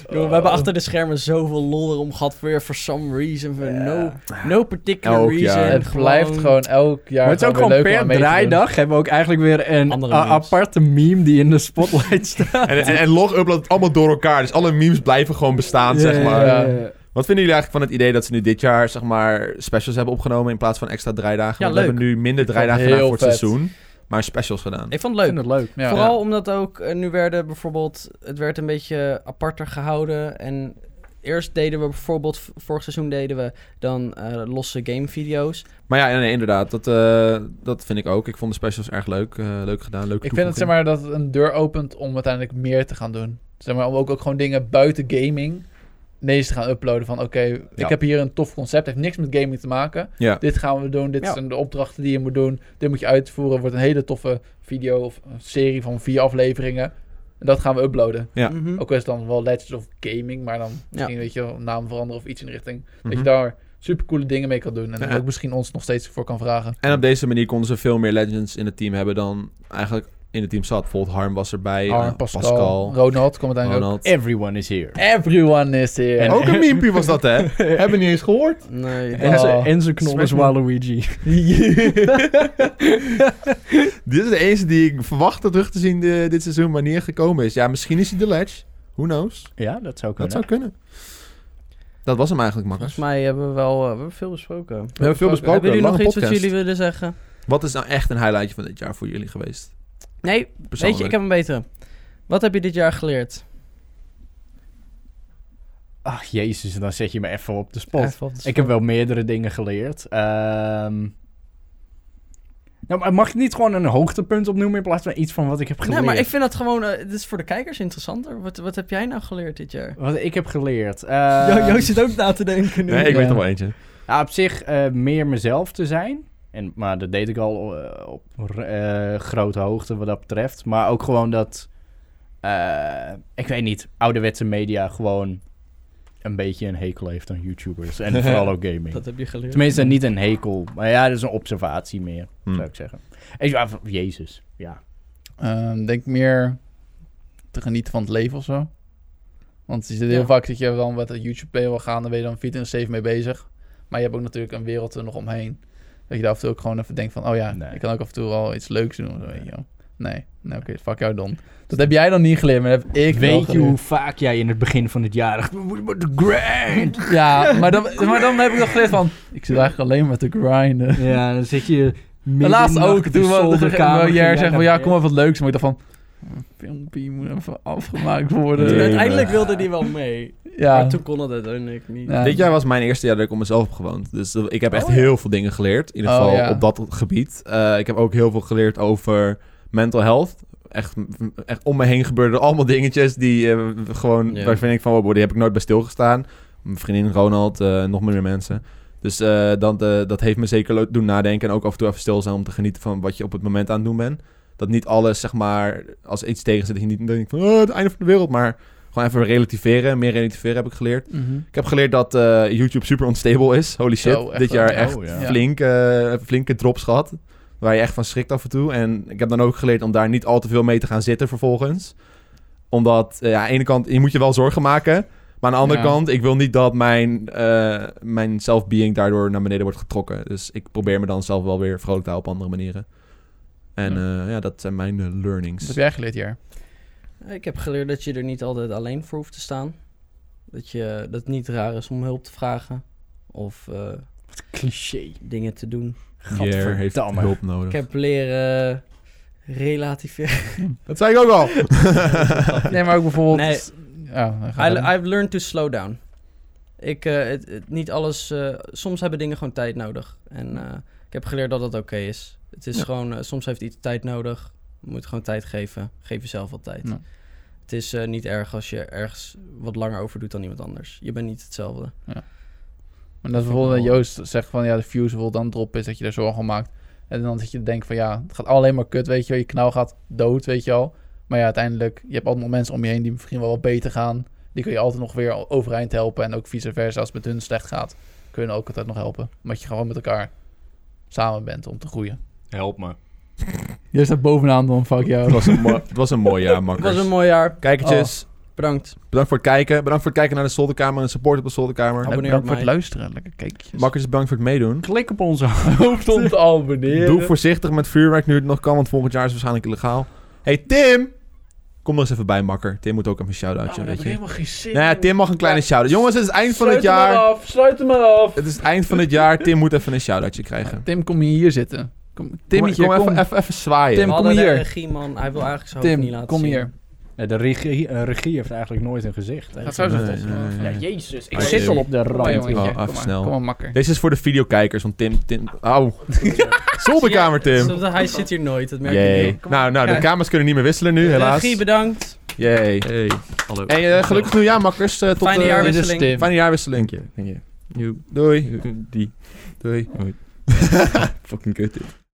S4: Joh, we hebben achter de schermen zoveel lol erom gehad. Weer for some reason. for
S3: Ja.
S4: No, no particular
S1: Elk
S4: reason.
S1: jaar.
S3: het blijft gewoon elk jaar
S2: Maar het is ook gewoon
S3: weer leuk om
S2: per
S3: aan mee te doen.
S2: draaidag hebben we ook eigenlijk weer een
S4: Andere
S2: a-
S4: memes.
S2: aparte meme die in de spotlight staat.
S1: [laughs] En, en, en Log uploadt het allemaal door elkaar. Dus alle memes blijven gewoon bestaan, zeg maar.
S3: ja.
S1: Wat vinden jullie eigenlijk van het idee dat ze nu dit jaar, zeg maar, specials hebben opgenomen in plaats van extra draaidagen?
S4: Ja,
S1: Want
S4: leuk.
S1: we hebben nu minder
S3: vond
S1: draaidagen
S3: het
S1: gedaan voor
S3: heel
S1: het
S3: vet.
S1: seizoen, maar specials gedaan.
S4: Ik vond
S2: Ik
S4: het leuk.
S2: vind het leuk.
S3: Ja.
S4: Vooral omdat ook, eh, nu werden bijvoorbeeld, het werd een beetje aparter gehouden. En eerst deden we bijvoorbeeld, v- vorig seizoen deden we dan eh, losse gamevideo's.
S1: Maar ja, nee, inderdaad, dat, eh, dat vind ik ook. Ik vond de specials erg leuk, eh, leuk gedaan, leuke
S3: Ik vind het zeg maar dat het een deur opent om uiteindelijk meer te gaan doen. Zeg maar om ook, ook gewoon dingen buiten gaming ineens te gaan uploaden. Van oké,
S1: Ja.
S3: ik heb hier een tof concept, heeft niks met gaming te maken.
S1: Ja.
S3: Dit gaan we doen, dit
S4: Ja.
S3: zijn de opdrachten die je moet doen. Dit moet je uitvoeren, wordt een hele toffe video of een serie van vier afleveringen. En dat gaan we uploaden.
S1: Ja.
S4: Mhm.
S2: Hm.
S3: Ook al is het dan wel Legends of Gaming, maar dan misschien weet je wel, naam veranderen of iets in de richting. Dat
S1: Mhm.
S2: Mhm.
S3: je daar supercoole dingen mee kan doen. En
S1: Ja.
S3: ook misschien ons nog steeds voor kan vragen.
S1: En op deze manier konden ze veel meer legends in het team hebben dan eigenlijk in het team zat. Bijvoorbeeld Harm was erbij,
S3: Arn,
S1: eh,
S3: Pascal,
S1: Pascal,
S3: Ronald, komt uiteindelijk ook.
S1: Ronald.
S2: Everyone is here.
S3: Everyone is here.
S2: En-
S1: ook een memepie was dat,
S2: [laughs]
S1: hè? Hebben niet eens gehoord.
S4: Nee,
S3: En-
S4: dat-
S2: Enzo,
S3: Oh.
S2: Enzo Knol is
S1: Smack
S2: Waluigi.
S4: [laughs]
S1: Dit is de enige die ik verwachtte terug te zien eh, dit seizoen, wanneer hij gekomen is. Ja, misschien is hij de ledge. Who knows?
S2: Ja, dat zou
S1: Dat
S2: kunnen.
S1: zou kunnen. Dat was hem eigenlijk, makkers.
S4: volgens mij hebben we wel eh, we hebben veel besproken.
S1: We hebben veel besproken.
S4: hebben jullie nog
S1: lange
S4: iets wat
S1: podcast.
S4: jullie willen zeggen?
S1: Wat is nou echt een highlightje van dit jaar voor jullie geweest?
S4: Nee, weet je, ik heb een betere. Wat heb je dit jaar geleerd?
S2: Ach, jezus, dan zet je me even op de spot.
S4: Even op de
S2: Ik heb wel meerdere dingen geleerd. Ehm, Nou, maar mag ik niet gewoon een hoogtepunt opnoemen in plaats van iets van wat ik heb
S4: Nee,
S2: geleerd?
S4: Nou, maar ik vind dat gewoon, eh, dit is voor de kijkers interessanter. Wat, wat heb jij nou geleerd dit jaar?
S2: Wat ik heb geleerd. eh,
S4: Jo- Joost zit ook na te denken nu.
S1: Nee, ik
S2: Ja.
S1: weet er wel eentje.
S2: Ja, op zich eh, meer mezelf te zijn. En, maar dat deed ik al eh, op r- eh, grote hoogte wat dat betreft. Maar ook gewoon dat, eh, ik weet niet, ouderwetse media gewoon een beetje een hekel heeft aan YouTubers.
S4: [laughs]
S2: En vooral ook gaming.
S4: Dat heb je geleerd.
S2: Tenminste, niet een hekel. Maar ja, dat is een observatie meer,
S1: Hm.
S2: zou ik zeggen. En, ja, v- Jezus, ja.
S3: Ehm, denk meer te genieten van het leven of zo. Want het is heel
S4: Ja.
S3: vaak dat je dan met het YouTube play wil gaan, dan ben je dan 24 en mee bezig. Maar je hebt ook natuurlijk een wereld er nog omheen. Dat je daar af en toe ook gewoon even denkt van, oh ja,
S2: Nee.
S3: ik kan ook af en toe wel iets leuks doen. of zo, weet je wel. Nee, nee oké, fuck jou dan. Dat heb jij dan niet geleerd, maar dat heb ik
S2: Ik
S3: wel
S2: weet je
S3: geleerd.
S2: hoe vaak jij in het begin van het jaar dacht... "We moeten de [laughs] grind.
S3: Ja, maar dan, maar dan heb ik nog geleerd van, ik zit eigenlijk alleen maar te grinden.
S2: Ja, dan zit je...
S3: En laatst ook, toen we
S2: de
S3: de jaar zeggen van, ja, kom maar wat leuks. Maar ik dacht van, "Hm, filmpje moet even afgemaakt worden.
S1: Nee,
S4: Uiteindelijk wilde die wel mee.
S3: eh, Ja.
S4: Maar toen kon dat uiteindelijk niet.
S3: Ja.
S1: Dit jaar was mijn eerste jaar dat ik op mezelf heb gewoond. Dus eh, ik heb echt
S3: Oh, ja.
S1: heel veel dingen geleerd. In ieder
S3: Oh,
S1: geval
S3: ja.
S1: op dat gebied. Eh, ik heb ook heel veel geleerd over mental health. Echt, echt om me heen gebeurden allemaal dingetjes die eh, gewoon...
S4: Ja.
S1: Waarvan ik van, wow, die heb ik nooit bij stilgestaan. Mijn vriendin Ronald, eh, nog meer mensen. Dus eh, dat, eh, dat heeft me zeker lo- doen nadenken. En ook af en toe even stil zijn om te genieten van wat je op het moment aan het doen bent. Dat niet alles, zeg maar, als iets tegen zit, dat je niet denkt van... Oh, het einde van de wereld, maar... Gewoon even relativeren. Meer relativeren heb ik geleerd.
S3: Mhm.
S1: Ik heb geleerd dat eh, YouTube super unstable is. Holy shit.
S3: Zo, echt
S1: Dit
S3: wel.
S1: jaar
S3: Oh,
S1: echt
S2: ja.
S1: flink, eh, flinke drops gehad. Waar je echt van schrikt af en toe. En ik heb dan ook geleerd om daar niet al te veel mee te gaan zitten vervolgens. Omdat, eh, ja, aan de ene kant, je moet je wel zorgen maken. Maar aan de andere
S3: Ja.
S1: kant, ik wil niet dat mijn, eh mijn self-being daardoor naar beneden wordt getrokken. Dus ik probeer me dan zelf wel weer vrolijk te houden op andere manieren. En ja, ja dat zijn mijn eh, learnings.
S3: Wat heb jij geleerd hier?
S4: Ik heb geleerd dat je er niet altijd alleen voor hoeft te staan. Dat, je, dat het niet raar is om hulp te vragen. Of eh,
S2: Cliché.
S4: dingen te doen.
S1: Jer heeft
S2: Gadverdamme.
S1: hulp nodig.
S4: Ik heb leren relativeren.
S1: Dat zei ik ook
S3: [laughs]
S1: al. [laughs]
S3: Nee, maar ook bijvoorbeeld...
S4: Nee.
S3: Ja, dan
S4: I-
S3: ga je-
S4: I've learned to slow down. Ik, eh, het, het- niet alles... eh, soms hebben dingen gewoon tijd nodig. En eh, ik heb geleerd dat dat oké is. Het is
S1: Ja.
S4: gewoon... eh, soms heeft iets tijd nodig. moet gewoon tijd geven. Geef jezelf wat tijd.
S3: Ja.
S4: Het is eh, niet erg als je ergens wat langer over doet dan iemand anders. Je bent niet hetzelfde.
S3: Maar dat bijvoorbeeld dat Joost zegt van ja, de views bijvoorbeeld aan het drop is, dat je daar zorgen om maakt. En dan zit je te denken van ja, het gaat alleen maar kut, weet je wel. Je knauw gaat dood, weet je al. Maar ja, uiteindelijk, je hebt altijd nog mensen om je heen die misschien wel wat beter gaan. Die kun je altijd nog weer overeind helpen. En ook vice versa, als het met hun slecht gaat, kun je hen ook altijd nog helpen. Omdat je gewoon met elkaar samen bent om te groeien.
S5: Help me.
S3: Je staat bovenaan dan, fuck
S1: Het
S3: jou.
S1: was een, mo- het was een mooi jaar,
S4: Het
S1: makkers.
S4: was een mooi jaar. Oh,
S1: Kijkertjes,
S4: Bedankt.
S1: bedankt voor het kijken. Bedankt voor het kijken naar de zolderkamer en support op de zolderkamer.
S4: Abonneer
S3: Bedankt
S4: op
S3: voor
S4: mij.
S3: het luisteren. Lekker kijkjes.
S1: Makkers, bedankt voor het meedoen.
S2: Klik op onze hoofd om te abonneren.
S1: Doe voorzichtig met vuurwerk nu het nog kan, want volgend jaar is het waarschijnlijk illegaal. Hey Tim! Kom er eens even bij, makker. Tim moet ook even een
S2: Oh,
S1: shout-outje, weet je.
S3: geen zin.
S1: Nou ja, Tim mag een kleine shout-out. Jongens, het is het eind van het jaar.
S3: af, sluit hem maar af.
S1: Het is het eind van het jaar. Tim moet even een shout-outje krijgen.
S3: Tim, kom hier zitten. Kom, Timmetje,
S1: kom,
S3: kom.
S1: Even, even, even zwaaien.
S3: Tim,
S4: We
S3: kom
S4: hadden de
S3: hier.
S4: regieman. Hij wil eigenlijk zijn hoofd niet
S3: Tim,
S4: laten
S3: kom
S4: zien.
S3: hier.
S2: Ja, de regie, eh, regie heeft eigenlijk nooit een gezicht. hè.
S3: Gaat zo
S1: Nee,
S3: zijn top.
S1: nee, nee.
S2: Ja, jezus. Dus Ik
S1: Maar
S2: zit
S1: Tim-
S2: al op de
S3: Kom maar,
S2: rand.
S1: jongen.
S3: jongetje.
S1: Oh, even
S3: Kom maar.
S1: snel.
S3: Kom maar, makker.
S1: Deze is voor de videokijkers, want Tim... Tim Au. Zolderkamer, Tim.
S4: Zodat Hij zit hier nooit, dat merk je
S1: Jee.
S4: niet.
S1: Nou, nou, de kamers kunnen niet meer wisselen nu, helaas.
S4: Regie, bedankt.
S1: Jee.
S5: Hey, hallo.
S1: Hey, eh, gelukkig nieuwjaar, makkers. Eh, tot
S4: Fijne
S1: eh,
S4: jaarwisseling.
S3: Dit is Tim.
S1: Fijne jaarwisseling.
S5: Dank je. Dank je.
S1: Doei.
S5: [laughs] Die.
S1: [laughs]
S5: [laughs]
S1: Doei.
S5: Fucking kut dit.